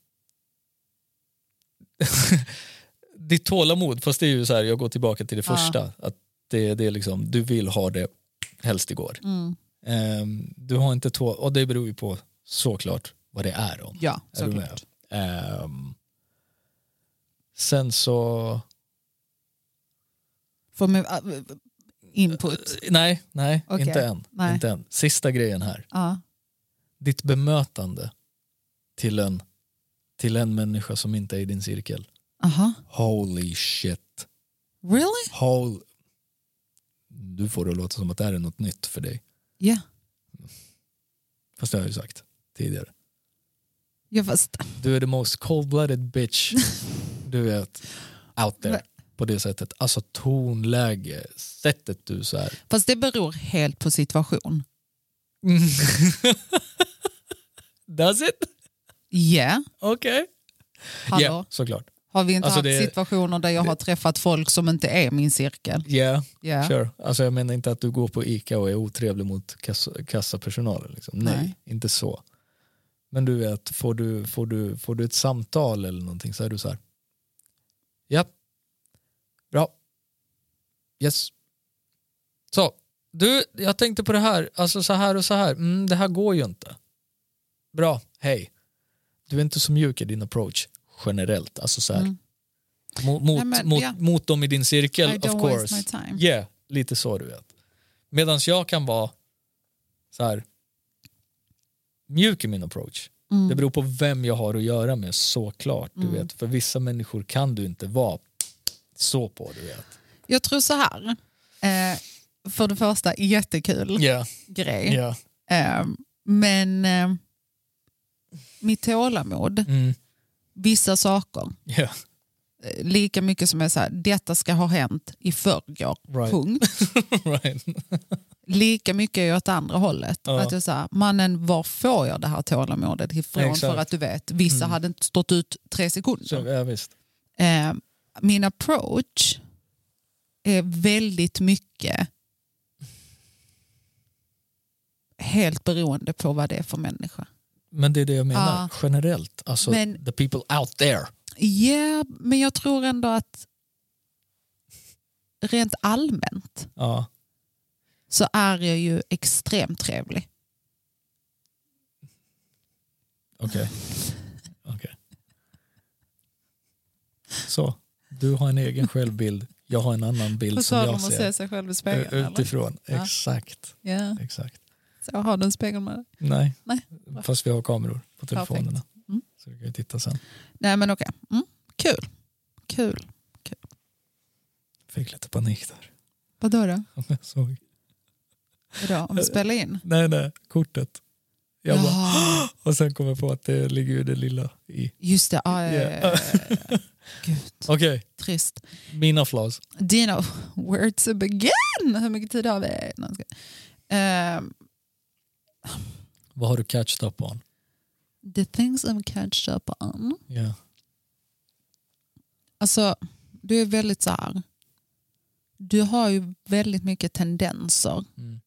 Speaker 2: ditt tålamod, fast det är ju så här, jag går tillbaka till det
Speaker 1: Ja.
Speaker 2: första. Att det, det är liksom, du vill ha det helst igår.
Speaker 1: Mm.
Speaker 2: Ehm, du har inte tål, och det beror ju på såklart vad det är om.
Speaker 1: Ja,
Speaker 2: Är du med?
Speaker 1: såklart.
Speaker 2: Ehm, sen så
Speaker 1: får min, äh, input.
Speaker 2: Nej, nej,
Speaker 1: Okej.
Speaker 2: inte, än.
Speaker 1: Nej.
Speaker 2: inte än. Sista grejen här.
Speaker 1: Ja.
Speaker 2: Ditt bemötande till en, till en människa som inte är i din cirkel.
Speaker 1: Aha.
Speaker 2: Holy shit.
Speaker 1: Really?
Speaker 2: Hol- du får det att låta som att det här är något nytt för dig.
Speaker 1: Ja.
Speaker 2: Fast det har jag ju sagt tidigare.
Speaker 1: Ja, fast,
Speaker 2: Du är the most cold-blooded bitch du vet out there
Speaker 1: Men-
Speaker 2: på det sättet. Alltså tonläge, sättet du så här.
Speaker 1: fast det beror helt på situation.
Speaker 2: Does it?
Speaker 1: Ja, yeah.
Speaker 2: Okej.
Speaker 1: hallå.
Speaker 2: Ja, såklart.
Speaker 1: Har vi inte
Speaker 2: Alltså,
Speaker 1: haft
Speaker 2: det-
Speaker 1: situationer där jag har träffat folk som inte är min cirkel?
Speaker 2: Ja, yeah,
Speaker 1: Ja.
Speaker 2: sure. Alltså jag menar inte att du går på ICA och är otrevlig mot kassa, kassapersonalen. Liksom. Nej,
Speaker 1: Nej.
Speaker 2: inte så. Men du vet, får du, får du, får du ett samtal eller någonting så är du så här. Ja. Bra. Yes. Så, du, jag tänkte på det här, alltså så här och så här. Mm, det här går ju inte. Bra, hej. Du är inte så mjuk i din approach generellt, alltså så här.
Speaker 1: Mm.
Speaker 2: Mot, mot,
Speaker 1: Nej, men,
Speaker 2: mot,
Speaker 1: ja.
Speaker 2: mot dem i din cirkel,
Speaker 1: I don't
Speaker 2: of
Speaker 1: waste
Speaker 2: course.
Speaker 1: my time.
Speaker 2: Yeah, lite så du vet. Medan jag kan vara så här mjuk i min approach.
Speaker 1: Mm.
Speaker 2: Det beror på vem jag har att göra med såklart. Du vet. För vissa människor kan du inte vara så på. Du vet.
Speaker 1: Jag tror så här. Eh, för det första, jättekul
Speaker 2: Yeah,
Speaker 1: grej.
Speaker 2: yeah.
Speaker 1: Eh, men eh, mitt tålamod,
Speaker 2: Mm,
Speaker 1: vissa saker,
Speaker 2: yeah.
Speaker 1: eh, lika mycket som är så här, detta ska ha hänt i förrgår,
Speaker 2: Right.
Speaker 1: punkt.
Speaker 2: right.
Speaker 1: Lika mycket är jag åt andra hållet.
Speaker 2: Ja.
Speaker 1: Att jag så här, mannen, var får jag det här tålamodet ifrån?
Speaker 2: Exakt. Mm.
Speaker 1: För att du vet, vissa hade inte stått ut tre sekunder.
Speaker 2: Så, ja, visst.
Speaker 1: eh, min approach är väldigt mycket helt beroende på vad det är för människa.
Speaker 2: Men det är det jag menar
Speaker 1: Ja.
Speaker 2: generellt. Alltså,
Speaker 1: Ah. Men-
Speaker 2: the people out there.
Speaker 1: Ja, men jag tror ändå att rent allmänt
Speaker 2: Ja.
Speaker 1: så är jag ju extremt trevlig.
Speaker 2: Okej. Okej. Så, du har en egen självbild, jag har en annan bild som jag ser. Eh, typ.
Speaker 1: sig själv i
Speaker 2: Ut- Utifrån,
Speaker 1: Ja.
Speaker 2: exakt.
Speaker 1: Ja,
Speaker 2: exakt.
Speaker 1: så har du en spegel med dig.
Speaker 2: Nej.
Speaker 1: Nej.
Speaker 2: fast vi har kameror på telefonerna.
Speaker 1: Mm.
Speaker 2: Så vi kan ju titta sen.
Speaker 1: Nej men okej, mm, kul. Kul.
Speaker 2: Fick lite panik där.
Speaker 1: Vadå då?
Speaker 2: om Jag såg.
Speaker 1: Vadå? Om vi spelar in?
Speaker 2: Nej, nej, kortet. Eh, Jag bara,
Speaker 1: Jaha,
Speaker 2: och sen kom jag på att det ligger ju det lilla i.
Speaker 1: just det. Ah, ja, ja, ja, ja, ja. Gud,
Speaker 2: Okej,
Speaker 1: trist.
Speaker 2: mina flaws.
Speaker 1: Dino, where to begin? Hur mycket tid har vi? Nej, jag skojar. Ehm,
Speaker 2: Vad har du catched up on?
Speaker 1: the things I'm catched up on.
Speaker 2: Ja.
Speaker 1: Alltså, du är väldigt så här. Du har ju väldigt mycket tendenser
Speaker 2: Mm.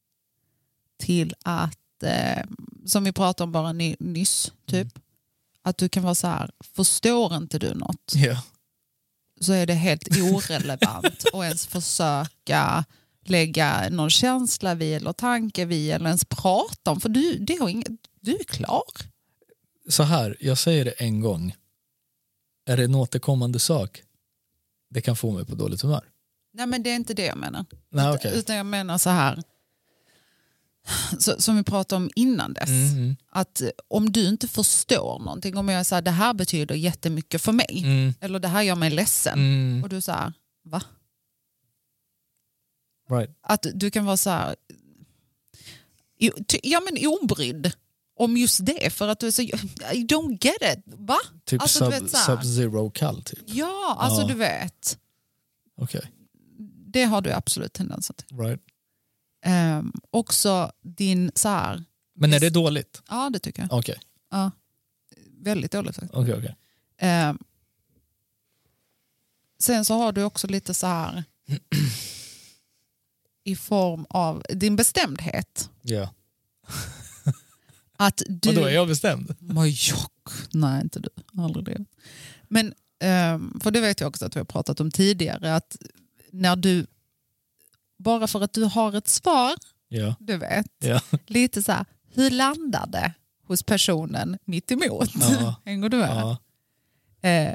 Speaker 1: till att, eh, som vi pratade om bara ny, nyss, typ. Att du kan vara så här, förstår inte du något
Speaker 2: Ja.
Speaker 1: så är det helt orelevant att ens försöka lägga någon känsla vid eller tanke vid eller ens prata om. För du, det har inget, du är klar.
Speaker 2: så här, jag säger det en gång. Är det en återkommande sak? Det kan få mig på dåligt humör.
Speaker 1: Nej men det är inte det jag menar.
Speaker 2: Nej, okej.
Speaker 1: Utan jag menar så här, så, som vi pratade om innan dess.
Speaker 2: Mm,
Speaker 1: Att eh, om du inte förstår någonting, om jag säger det här betyder jättemycket för mig.
Speaker 2: mm,
Speaker 1: Eller det här gör mig ledsen.
Speaker 2: mm,
Speaker 1: Och du säger, va?
Speaker 2: right.
Speaker 1: Att du kan vara så här, o- ty- ja men obrydd om just det för att du är så, I don't get it, va?
Speaker 2: Typ
Speaker 1: Alltså, du
Speaker 2: sub,
Speaker 1: vet så här.
Speaker 2: sub-zero kall typ.
Speaker 1: Ja, alltså
Speaker 2: Ja.
Speaker 1: du vet,
Speaker 2: Okej,
Speaker 1: det har du absolut tendenser till.
Speaker 2: right.
Speaker 1: Ehm, också din så här,
Speaker 2: Men är det dåligt?
Speaker 1: ja det tycker jag,
Speaker 2: Okej,
Speaker 1: ja. väldigt dåligt faktiskt.
Speaker 2: okej, okej.
Speaker 1: Ehm, sen så har du också lite så här i form av din bestämdhet.
Speaker 2: Ja.
Speaker 1: Att du...
Speaker 2: Och då är jag bestämd?
Speaker 1: Majok. Nej, inte du. Aldrig det. Men, ehm, för det vet jag också att vi har pratat om tidigare, att när du, bara för att du har ett svar,
Speaker 2: Ja.
Speaker 1: du vet,
Speaker 2: Ja.
Speaker 1: lite så här, hur landar det hos personen mitt emot?
Speaker 2: Ja.
Speaker 1: Hänger du med?
Speaker 2: ja.
Speaker 1: Eh,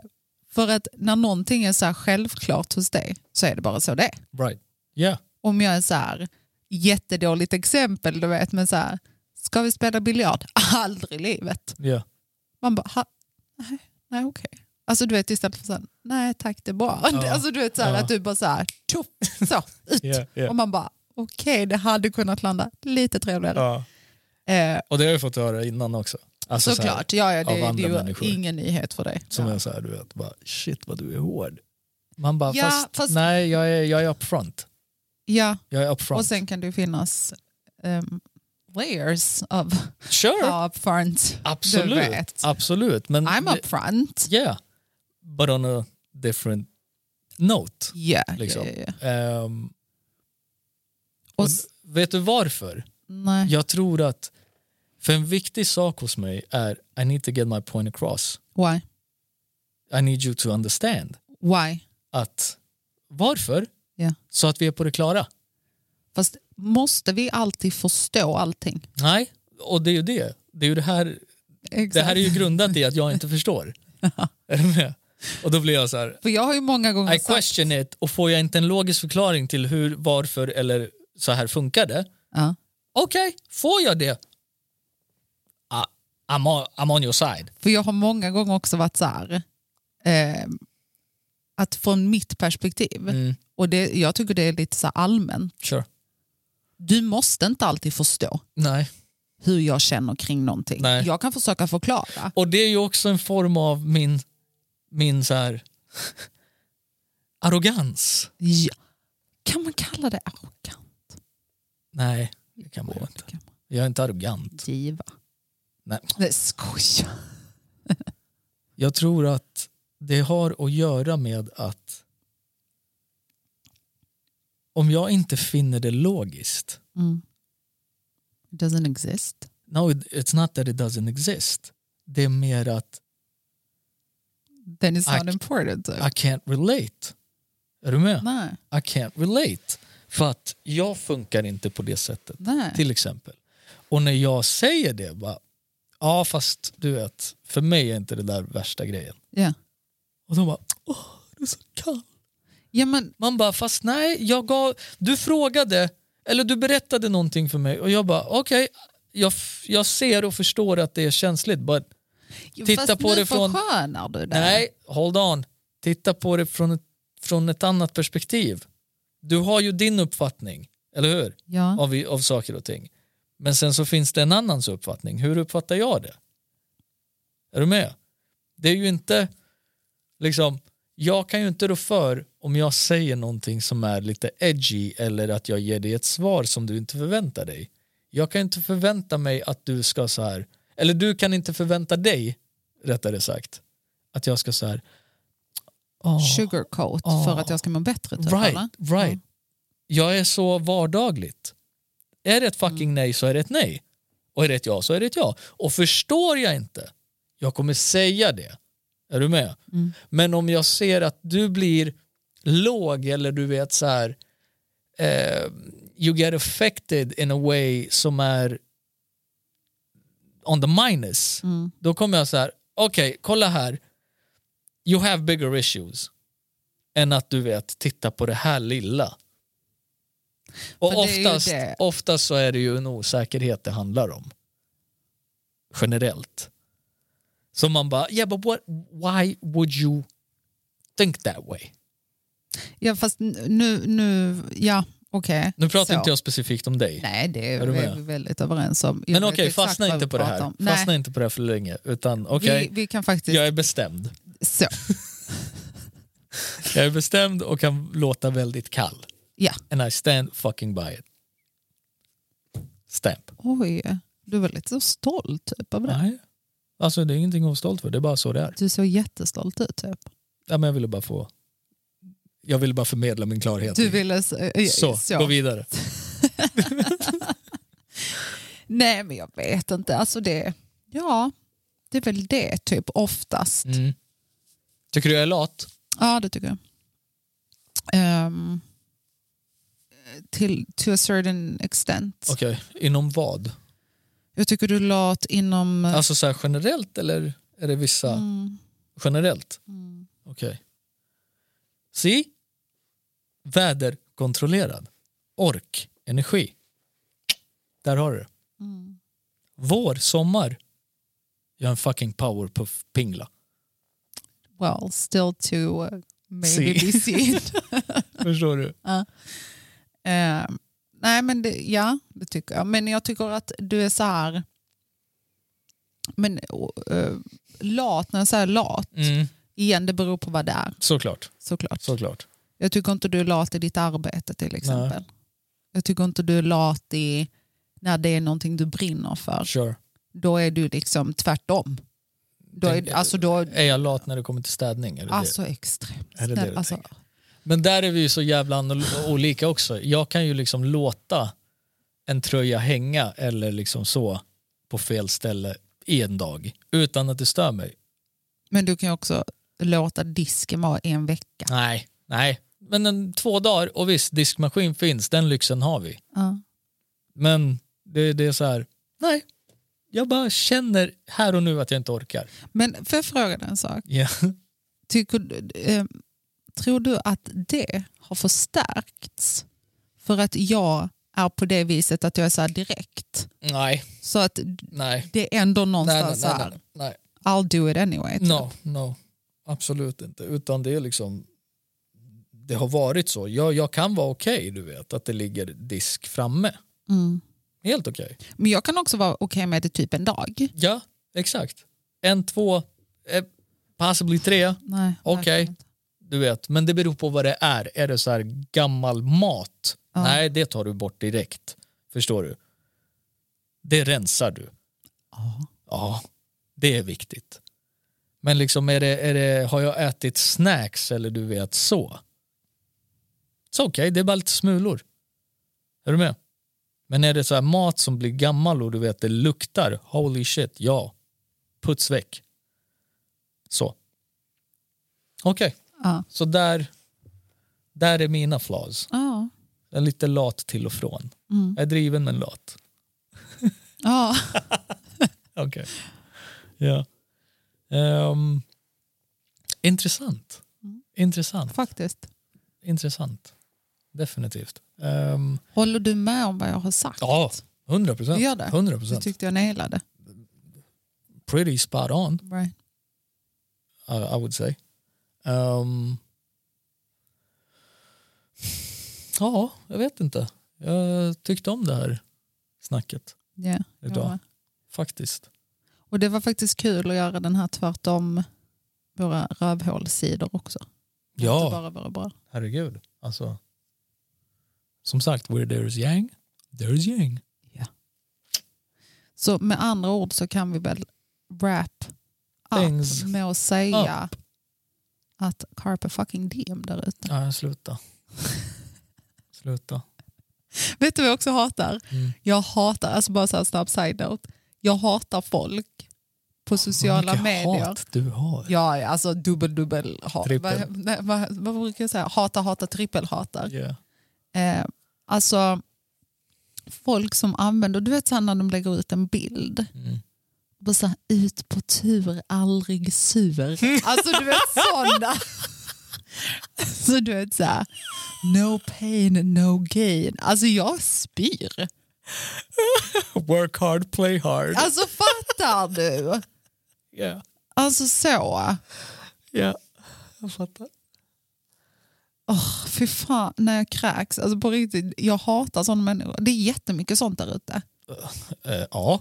Speaker 1: för att när någonting är så här självklart hos dig så är det bara så det är.
Speaker 2: Right. Ja,
Speaker 1: Om jag är så här, jättedåligt exempel du vet, men så här, ska vi spela biljard? Aldrig i livet.
Speaker 2: ja.
Speaker 1: Man bara, ha, nej, nej okej. Alltså du vet istället för så här, nej tack det är bra.
Speaker 2: Ja.
Speaker 1: Alltså du vet så här,
Speaker 2: Ja.
Speaker 1: att du bara så här, tjoff, så, ut.
Speaker 2: Ja, ja.
Speaker 1: Och man bara, okej det hade kunnat landa lite trevligare.
Speaker 2: ja.
Speaker 1: Eh,
Speaker 2: Och det har jag fått höra innan också. Alltså så här,
Speaker 1: Såklart, ja, ja, det,
Speaker 2: av andra
Speaker 1: det är ju
Speaker 2: människor.
Speaker 1: ingen nyhet för dig.
Speaker 2: Som
Speaker 1: ja.
Speaker 2: är så här, du vet, bara, shit vad du är hård. Man bara,
Speaker 1: Ja,
Speaker 2: fast,
Speaker 1: fast-
Speaker 2: nej jag är, jag är upfront.
Speaker 1: ja,
Speaker 2: Jag är upfront.
Speaker 1: och sen kan det ju finnas ehm, layers av
Speaker 2: sure,
Speaker 1: ja, upfront.
Speaker 2: absolut.
Speaker 1: du vet.
Speaker 2: Absolut. Men,
Speaker 1: I'm upfront.
Speaker 2: Yeah, but on a different note.
Speaker 1: Yeah,
Speaker 2: Liksom.
Speaker 1: yeah, yeah, yeah.
Speaker 2: Ehm,
Speaker 1: Och,
Speaker 2: och
Speaker 1: s-
Speaker 2: vet du varför?
Speaker 1: nej.
Speaker 2: Jag tror att, för en viktig sak hos mig är I need to get my point across.
Speaker 1: Why?
Speaker 2: I need you to understand
Speaker 1: Why?
Speaker 2: att varför?
Speaker 1: Ja.
Speaker 2: Så att vi är på det klara.
Speaker 1: Fast måste vi alltid förstå allting?
Speaker 2: Nej, och det är ju det. Det, är ju det, här, det här är ju grundat i att jag inte förstår. är du med? Och då blir jag så här,
Speaker 1: För jag har ju många gånger
Speaker 2: I question it och får jag inte en logisk förklaring till hur, varför eller så här funkar det.
Speaker 1: Ja.
Speaker 2: Okej, får jag det? Ah, I'm, on, I'm on your side.
Speaker 1: För jag har många gånger också varit så här, ehm, att från mitt perspektiv,
Speaker 2: Mm.
Speaker 1: och det, jag tycker det är lite så här allmänt,
Speaker 2: Sure.
Speaker 1: du måste inte alltid förstå
Speaker 2: Nej.
Speaker 1: hur jag känner kring någonting.
Speaker 2: Nej.
Speaker 1: Jag kan försöka förklara.
Speaker 2: Och det är ju också en form av min, min så här arrogans.
Speaker 1: Ja. Kan man kalla det arrogant?
Speaker 2: Nej, det kan man ju inte.
Speaker 1: Kan man
Speaker 2: Jag är inte arrogant.
Speaker 1: Diva.
Speaker 2: Nej.
Speaker 1: Nej, skoja.
Speaker 2: Jag tror att det har att göra med att om jag inte finner det logiskt
Speaker 1: Mm. It doesn't exist.
Speaker 2: No, it- it's not that it doesn't exist. Det är mer att
Speaker 1: Then it's not
Speaker 2: Ack.
Speaker 1: important. typ.
Speaker 2: I can't relate. Är du med?
Speaker 1: Nej,
Speaker 2: I can't relate. För att jag funkar inte på det sättet,
Speaker 1: nej.
Speaker 2: till exempel. Och när jag säger det, bara, ja fast du vet, för mig är inte det där värsta grejen.
Speaker 1: Ja.
Speaker 2: Och de bara, åh, du är så kall.
Speaker 1: Ja, men,
Speaker 2: Man bara, fast nej, jag gav, du frågade, eller du berättade någonting för mig och jag bara, okej, jag, f- jag ser och förstår att det är känsligt, but Titta
Speaker 1: fast
Speaker 2: på
Speaker 1: nu
Speaker 2: det från-
Speaker 1: förskönar du det.
Speaker 2: Nej, hold on. Titta på det från ett, från ett annat perspektiv. Du har ju din uppfattning, eller hur?
Speaker 1: Ja.
Speaker 2: Av, av saker och ting. Men sen så finns det en annans uppfattning. Hur uppfattar jag det? Är du med? Det är ju inte, liksom, jag kan ju inte rå för om jag säger någonting som är lite edgy eller att jag ger dig ett svar som du inte förväntar dig. Jag kan ju inte förvänta mig att du ska så här, eller du kan inte förvänta dig, rättare sagt, att jag ska så här, "Åh,
Speaker 1: Sugarcoat
Speaker 2: Åh.
Speaker 1: för att jag ska må bättre. Typ,
Speaker 2: Right,
Speaker 1: eller?
Speaker 2: right. Jag är så vardagligt. Är det ett fucking nej så är det ett nej. Och är det ett ja så är det ett ja. Och förstår jag inte, jag kommer säga det. Är du med?
Speaker 1: Mm.
Speaker 2: Men om jag ser att du blir låg eller du vet så här eh, you get affected in a way som är on the minus.
Speaker 1: Mm.
Speaker 2: Då kommer jag så här, okej, kolla här. You have bigger issues. Än att du vet, titta på det här lilla. Och
Speaker 1: För det är ju
Speaker 2: oftast,
Speaker 1: det.
Speaker 2: oftast så är det ju en osäkerhet det handlar om. Generellt. Så man bara, yeah but what, why would you think that way?
Speaker 1: Ja, fast n- nu, nu ja, okej.
Speaker 2: Nu pratar
Speaker 1: Så.
Speaker 2: inte jag specifikt om dig.
Speaker 1: Nej, det är,
Speaker 2: Är du med?
Speaker 1: vi väldigt överens om. Jag
Speaker 2: Men
Speaker 1: vet
Speaker 2: okej,
Speaker 1: exakt
Speaker 2: fastna
Speaker 1: vad
Speaker 2: inte
Speaker 1: vi
Speaker 2: på det
Speaker 1: pratar
Speaker 2: här.
Speaker 1: om. Nej,
Speaker 2: Fastna inte på det här för länge. Utan okej,
Speaker 1: vi, vi kan faktiskt...
Speaker 2: jag är bestämd.
Speaker 1: Så.
Speaker 2: Jag är bestämd och kan låta väldigt kall.
Speaker 1: Ja.
Speaker 2: And I stand fucking by it. Stamp.
Speaker 1: Oj, du var lite så stolt typ, av det.
Speaker 2: Nej. Alltså det är ingenting att vara stolt för, det är bara så det är.
Speaker 1: Du såg jättestolt ut. Typ.
Speaker 2: Ja, men jag ville bara få... Jag ville bara förmedla min klarhet.
Speaker 1: Du ville... s- eh,
Speaker 2: så, gå vidare.
Speaker 1: Nej, men jag vet inte. Alltså det, ja, det är väl det typ oftast.
Speaker 2: Mm. Tycker du jag är lat?
Speaker 1: Ja, det tycker jag. Ehm, till, to a certain extent.
Speaker 2: Okej, inom vad?
Speaker 1: Jag tycker du är lat inom... eh,
Speaker 2: Alltså så här generellt eller är det vissa?
Speaker 1: mm,
Speaker 2: Generellt?
Speaker 1: mm.
Speaker 2: Okej. See? Väder kontrollerad. Ork, energi. Där har du det.
Speaker 1: Mm.
Speaker 2: Vår, sommar. Jag är en fucking powerpuff-pingla.
Speaker 1: Well, still to uh, maybe
Speaker 2: See.
Speaker 1: be seen.
Speaker 2: Förstår du?
Speaker 1: Eh, nej, men det, ja, det tycker jag. Men jag tycker att du är så här... Men, eh, lat, när jag säger lat,
Speaker 2: Mm,
Speaker 1: igen, det beror på vad det är
Speaker 2: såklart.
Speaker 1: såklart.
Speaker 2: såklart.
Speaker 1: Jag tycker inte du är lat i ditt arbete till exempel. Jag tycker inte du är lat i när det är någonting du brinner för.
Speaker 2: Sure.
Speaker 1: Då är du liksom tvärtom. Då är,
Speaker 2: Tänk-
Speaker 1: alltså, då,
Speaker 2: Är jag lat när det kommer till städning? Är det det?
Speaker 1: alltså extremt.
Speaker 2: Är det det du
Speaker 1: alltså,
Speaker 2: tänker? Men där är vi ju så jävla anol- olika också. Jag kan ju liksom låta en tröja hänga eller liksom så på fel ställe i en dag utan att det stör mig.
Speaker 1: men du kan ju också låta disken vara en vecka.
Speaker 2: Nej, nej. Men en, två dagar och visst, diskmaskin finns, den lyxen har vi.
Speaker 1: Ja.
Speaker 2: Men det, det är så här, nej. Jag bara känner här och nu att jag inte orkar.
Speaker 1: Men får jag fråga dig en sak?
Speaker 2: Ja.
Speaker 1: Tycker, du- eh, tror du att det har förstärkts för att jag är på det viset att jag är så här direkt?
Speaker 2: Nej,
Speaker 1: Så att
Speaker 2: nej.
Speaker 1: det är ändå
Speaker 2: Nej,
Speaker 1: någonstans
Speaker 2: nej,
Speaker 1: så
Speaker 2: nej,
Speaker 1: här,
Speaker 2: nej, nej.
Speaker 1: I'll do it anyway. typ.
Speaker 2: No, no. Absolut inte. Utan det är liksom det har varit så. Jag, jag kan vara okej, du vet, att det ligger disk framme.
Speaker 1: Mm.
Speaker 2: Helt okej.
Speaker 1: Men jag kan också vara okej med det typ en dag.
Speaker 2: Ja, exakt. En, två, eh, possibly tre.
Speaker 1: Nej,
Speaker 2: Okej.
Speaker 1: verkligen inte.
Speaker 2: Du vet, men det beror på vad det är. Är det så här gammal mat?
Speaker 1: Ja.
Speaker 2: Nej, det tar du bort direkt. Förstår du? Det rensar du.
Speaker 1: Ja.
Speaker 2: Ja, det är viktigt. Men liksom är det, är det, har jag ätit snacks eller du vet så? Så okej, det är bara lite smulor. Är du med? Men är det så här mat som blir gammal och du vet det luktar, holy shit, ja. Puts väck. Så. Okej,
Speaker 1: Ja.
Speaker 2: så där, där är mina flaws.
Speaker 1: Ja.
Speaker 2: Jag är lite lat till och från.
Speaker 1: Mm.
Speaker 2: Jag är driven men lat.
Speaker 1: Ja.
Speaker 2: Okej. Ja. Ehm, intressant.
Speaker 1: Mm.
Speaker 2: Intressant.
Speaker 1: Faktiskt.
Speaker 2: Intressant. Definitivt. Ehm,
Speaker 1: Håller du med om vad jag har sagt?
Speaker 2: ja, 100 procent.
Speaker 1: Du gör det? Det
Speaker 2: 100%.
Speaker 1: tyckte jag nailade.
Speaker 2: Pretty spot on,
Speaker 1: Right.
Speaker 2: I, I would say. Ehm, ja, jag vet inte. Jag tyckte om det här snacket
Speaker 1: Yeah. jag
Speaker 2: idag.
Speaker 1: med.
Speaker 2: Faktiskt.
Speaker 1: Och det var faktiskt kul att göra den här tvärtom våra rövhålsidor också. Inte
Speaker 2: Ja,
Speaker 1: bara våra bra.
Speaker 2: herregud. Alltså, som sagt, where there is yang, there is yang.
Speaker 1: Så med andra ord så kan vi väl wrap
Speaker 2: Things
Speaker 1: up med att säga att Carpe fucking diem där ute.
Speaker 2: Nej, sluta. sluta.
Speaker 1: Vet du vad jag också hatar?
Speaker 2: Mm.
Speaker 1: Jag hatar, alltså bara så här snabb side-note, jag hatar folk på sociala
Speaker 2: Vilka
Speaker 1: medier.
Speaker 2: hat du har.
Speaker 1: Ja, ja, alltså dubbel dubbel hat.
Speaker 2: Trippel.
Speaker 1: Vad, nej, vad, vad brukar jag säga? Hata, hata, trippel hatar.
Speaker 2: Yeah.
Speaker 1: Eh, alltså folk som använder, du vet så här när de lägger ut en bild,
Speaker 2: Mm.
Speaker 1: bara så här, ut på tur, aldrig sur. Alltså du vet sådana. Så du vet så här, no pain, no gain. Alltså jag spyr.
Speaker 2: Work hard, play hard.
Speaker 1: Alltså fattar du?
Speaker 2: Yeah.
Speaker 1: Alltså så.
Speaker 2: Yeah. Jag fattar.
Speaker 1: Oh, fy fan, när jag kräks. Alltså på riktigt, jag hatar sådana människor. Det är jättemycket sånt där ute.
Speaker 2: Eh, ja,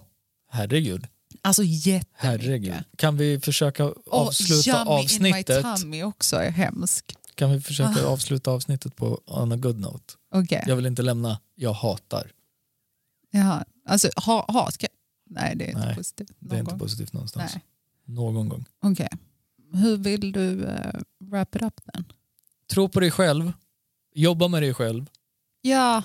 Speaker 2: herregud.
Speaker 1: Alltså jättemycket.
Speaker 2: herregud. Kan vi försöka
Speaker 1: Och
Speaker 2: avsluta
Speaker 1: Yummy
Speaker 2: avsnittet?
Speaker 1: in my tummy Ah. också är hemsk.
Speaker 2: Kan vi försöka avsluta avsnittet på on a good note?
Speaker 1: Okej,
Speaker 2: Jag vill inte lämna, jag hatar.
Speaker 1: jaha. Alltså ha, ha, ska... Nej, det är inte
Speaker 2: Nej,
Speaker 1: positivt.
Speaker 2: Det är
Speaker 1: någon
Speaker 2: inte
Speaker 1: gång.
Speaker 2: positivt någonstans.
Speaker 1: Nej.
Speaker 2: Någon gång.
Speaker 1: Okej. Hur vill du eh, wrap it up den?
Speaker 2: Tro på dig själv, jobba med dig själv
Speaker 1: Ja,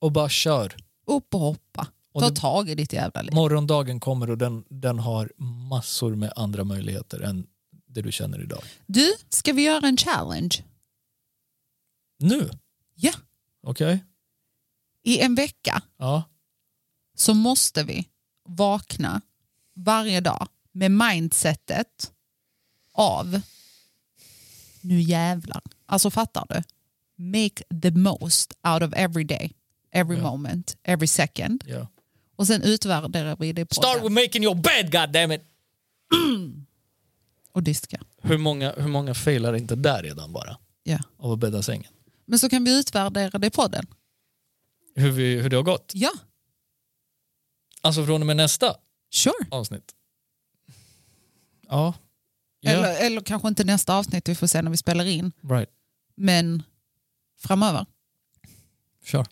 Speaker 2: och bara kör.
Speaker 1: upp och hoppa.
Speaker 2: Och
Speaker 1: Ta
Speaker 2: det-
Speaker 1: tag i ditt jävla liv.
Speaker 2: Morgondagen kommer och den, den har massor med andra möjligheter än det du känner idag.
Speaker 1: Du, ska vi göra en challenge?
Speaker 2: Nu?
Speaker 1: Ja.
Speaker 2: Okej?
Speaker 1: I en vecka
Speaker 2: Ja.
Speaker 1: så måste vi vakna varje dag med mindsetet av nu jävlar. Alltså fattar du? make the most out of every day, every
Speaker 2: Ja.
Speaker 1: moment, every second.
Speaker 2: Ja.
Speaker 1: Och sen utvärderar vi det på
Speaker 2: Start with making your bed, goddammit!
Speaker 1: och diska.
Speaker 2: Hur många, hur många failar inte där redan bara?
Speaker 1: Ja.
Speaker 2: Av att bädda sängen?
Speaker 1: Men så kan vi utvärdera det på den.
Speaker 2: Hur, vi, hur det har gått?
Speaker 1: Ja,
Speaker 2: Alltså från och med nästa
Speaker 1: sure.
Speaker 2: avsnitt. Ja. Ja,
Speaker 1: Eller, eller kanske inte nästa avsnitt, vi får se när vi spelar in.
Speaker 2: right.
Speaker 1: Men framöver.
Speaker 2: Sure.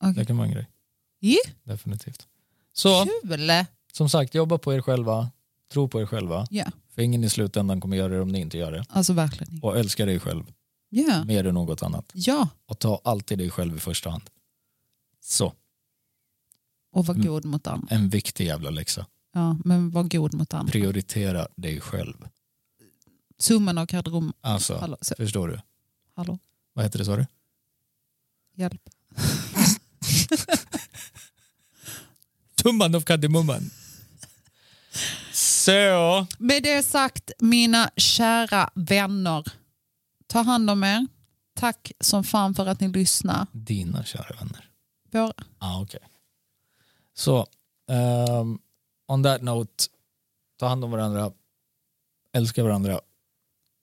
Speaker 1: Okej.
Speaker 2: Det kan vara en grej.
Speaker 1: Ja.
Speaker 2: Definitivt. Så,
Speaker 1: Kul!
Speaker 2: som sagt, jobba på er själva. Tro på er själva.
Speaker 1: Ja,
Speaker 2: För ingen i slutändan kommer göra det om ni inte gör det.
Speaker 1: alltså verkligen.
Speaker 2: Och älska dig själv
Speaker 1: Ja,
Speaker 2: mer än något annat.
Speaker 1: ja.
Speaker 2: Och ta alltid dig själv i första hand. Så,
Speaker 1: och var
Speaker 2: Mm.
Speaker 1: god mot andra.
Speaker 2: en viktig jävla läxa.
Speaker 1: Ja, men var god mot andra.
Speaker 2: Prioritera dig själv.
Speaker 1: Summan av kardemumman.
Speaker 2: Alltså,
Speaker 1: Hallå, så,
Speaker 2: förstår du?
Speaker 1: hallå,
Speaker 2: Vad heter det sa du?
Speaker 1: hjälp.
Speaker 2: Tumman av kardemumman. Så.
Speaker 1: Med det sagt, mina kära vänner. Ta hand om er. Tack som fan för att ni lyssnar.
Speaker 2: Dina kära vänner.
Speaker 1: Vår,
Speaker 2: Ah, okej. Så, ehm, on that note, ta hand om varandra, älska varandra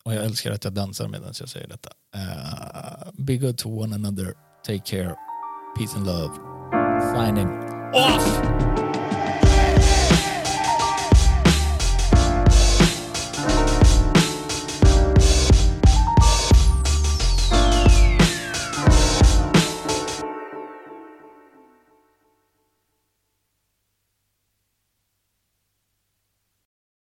Speaker 2: och jag älskar att jag dansar medan jag säger detta. Eh, be good to one another, take care, peace and love, signing off!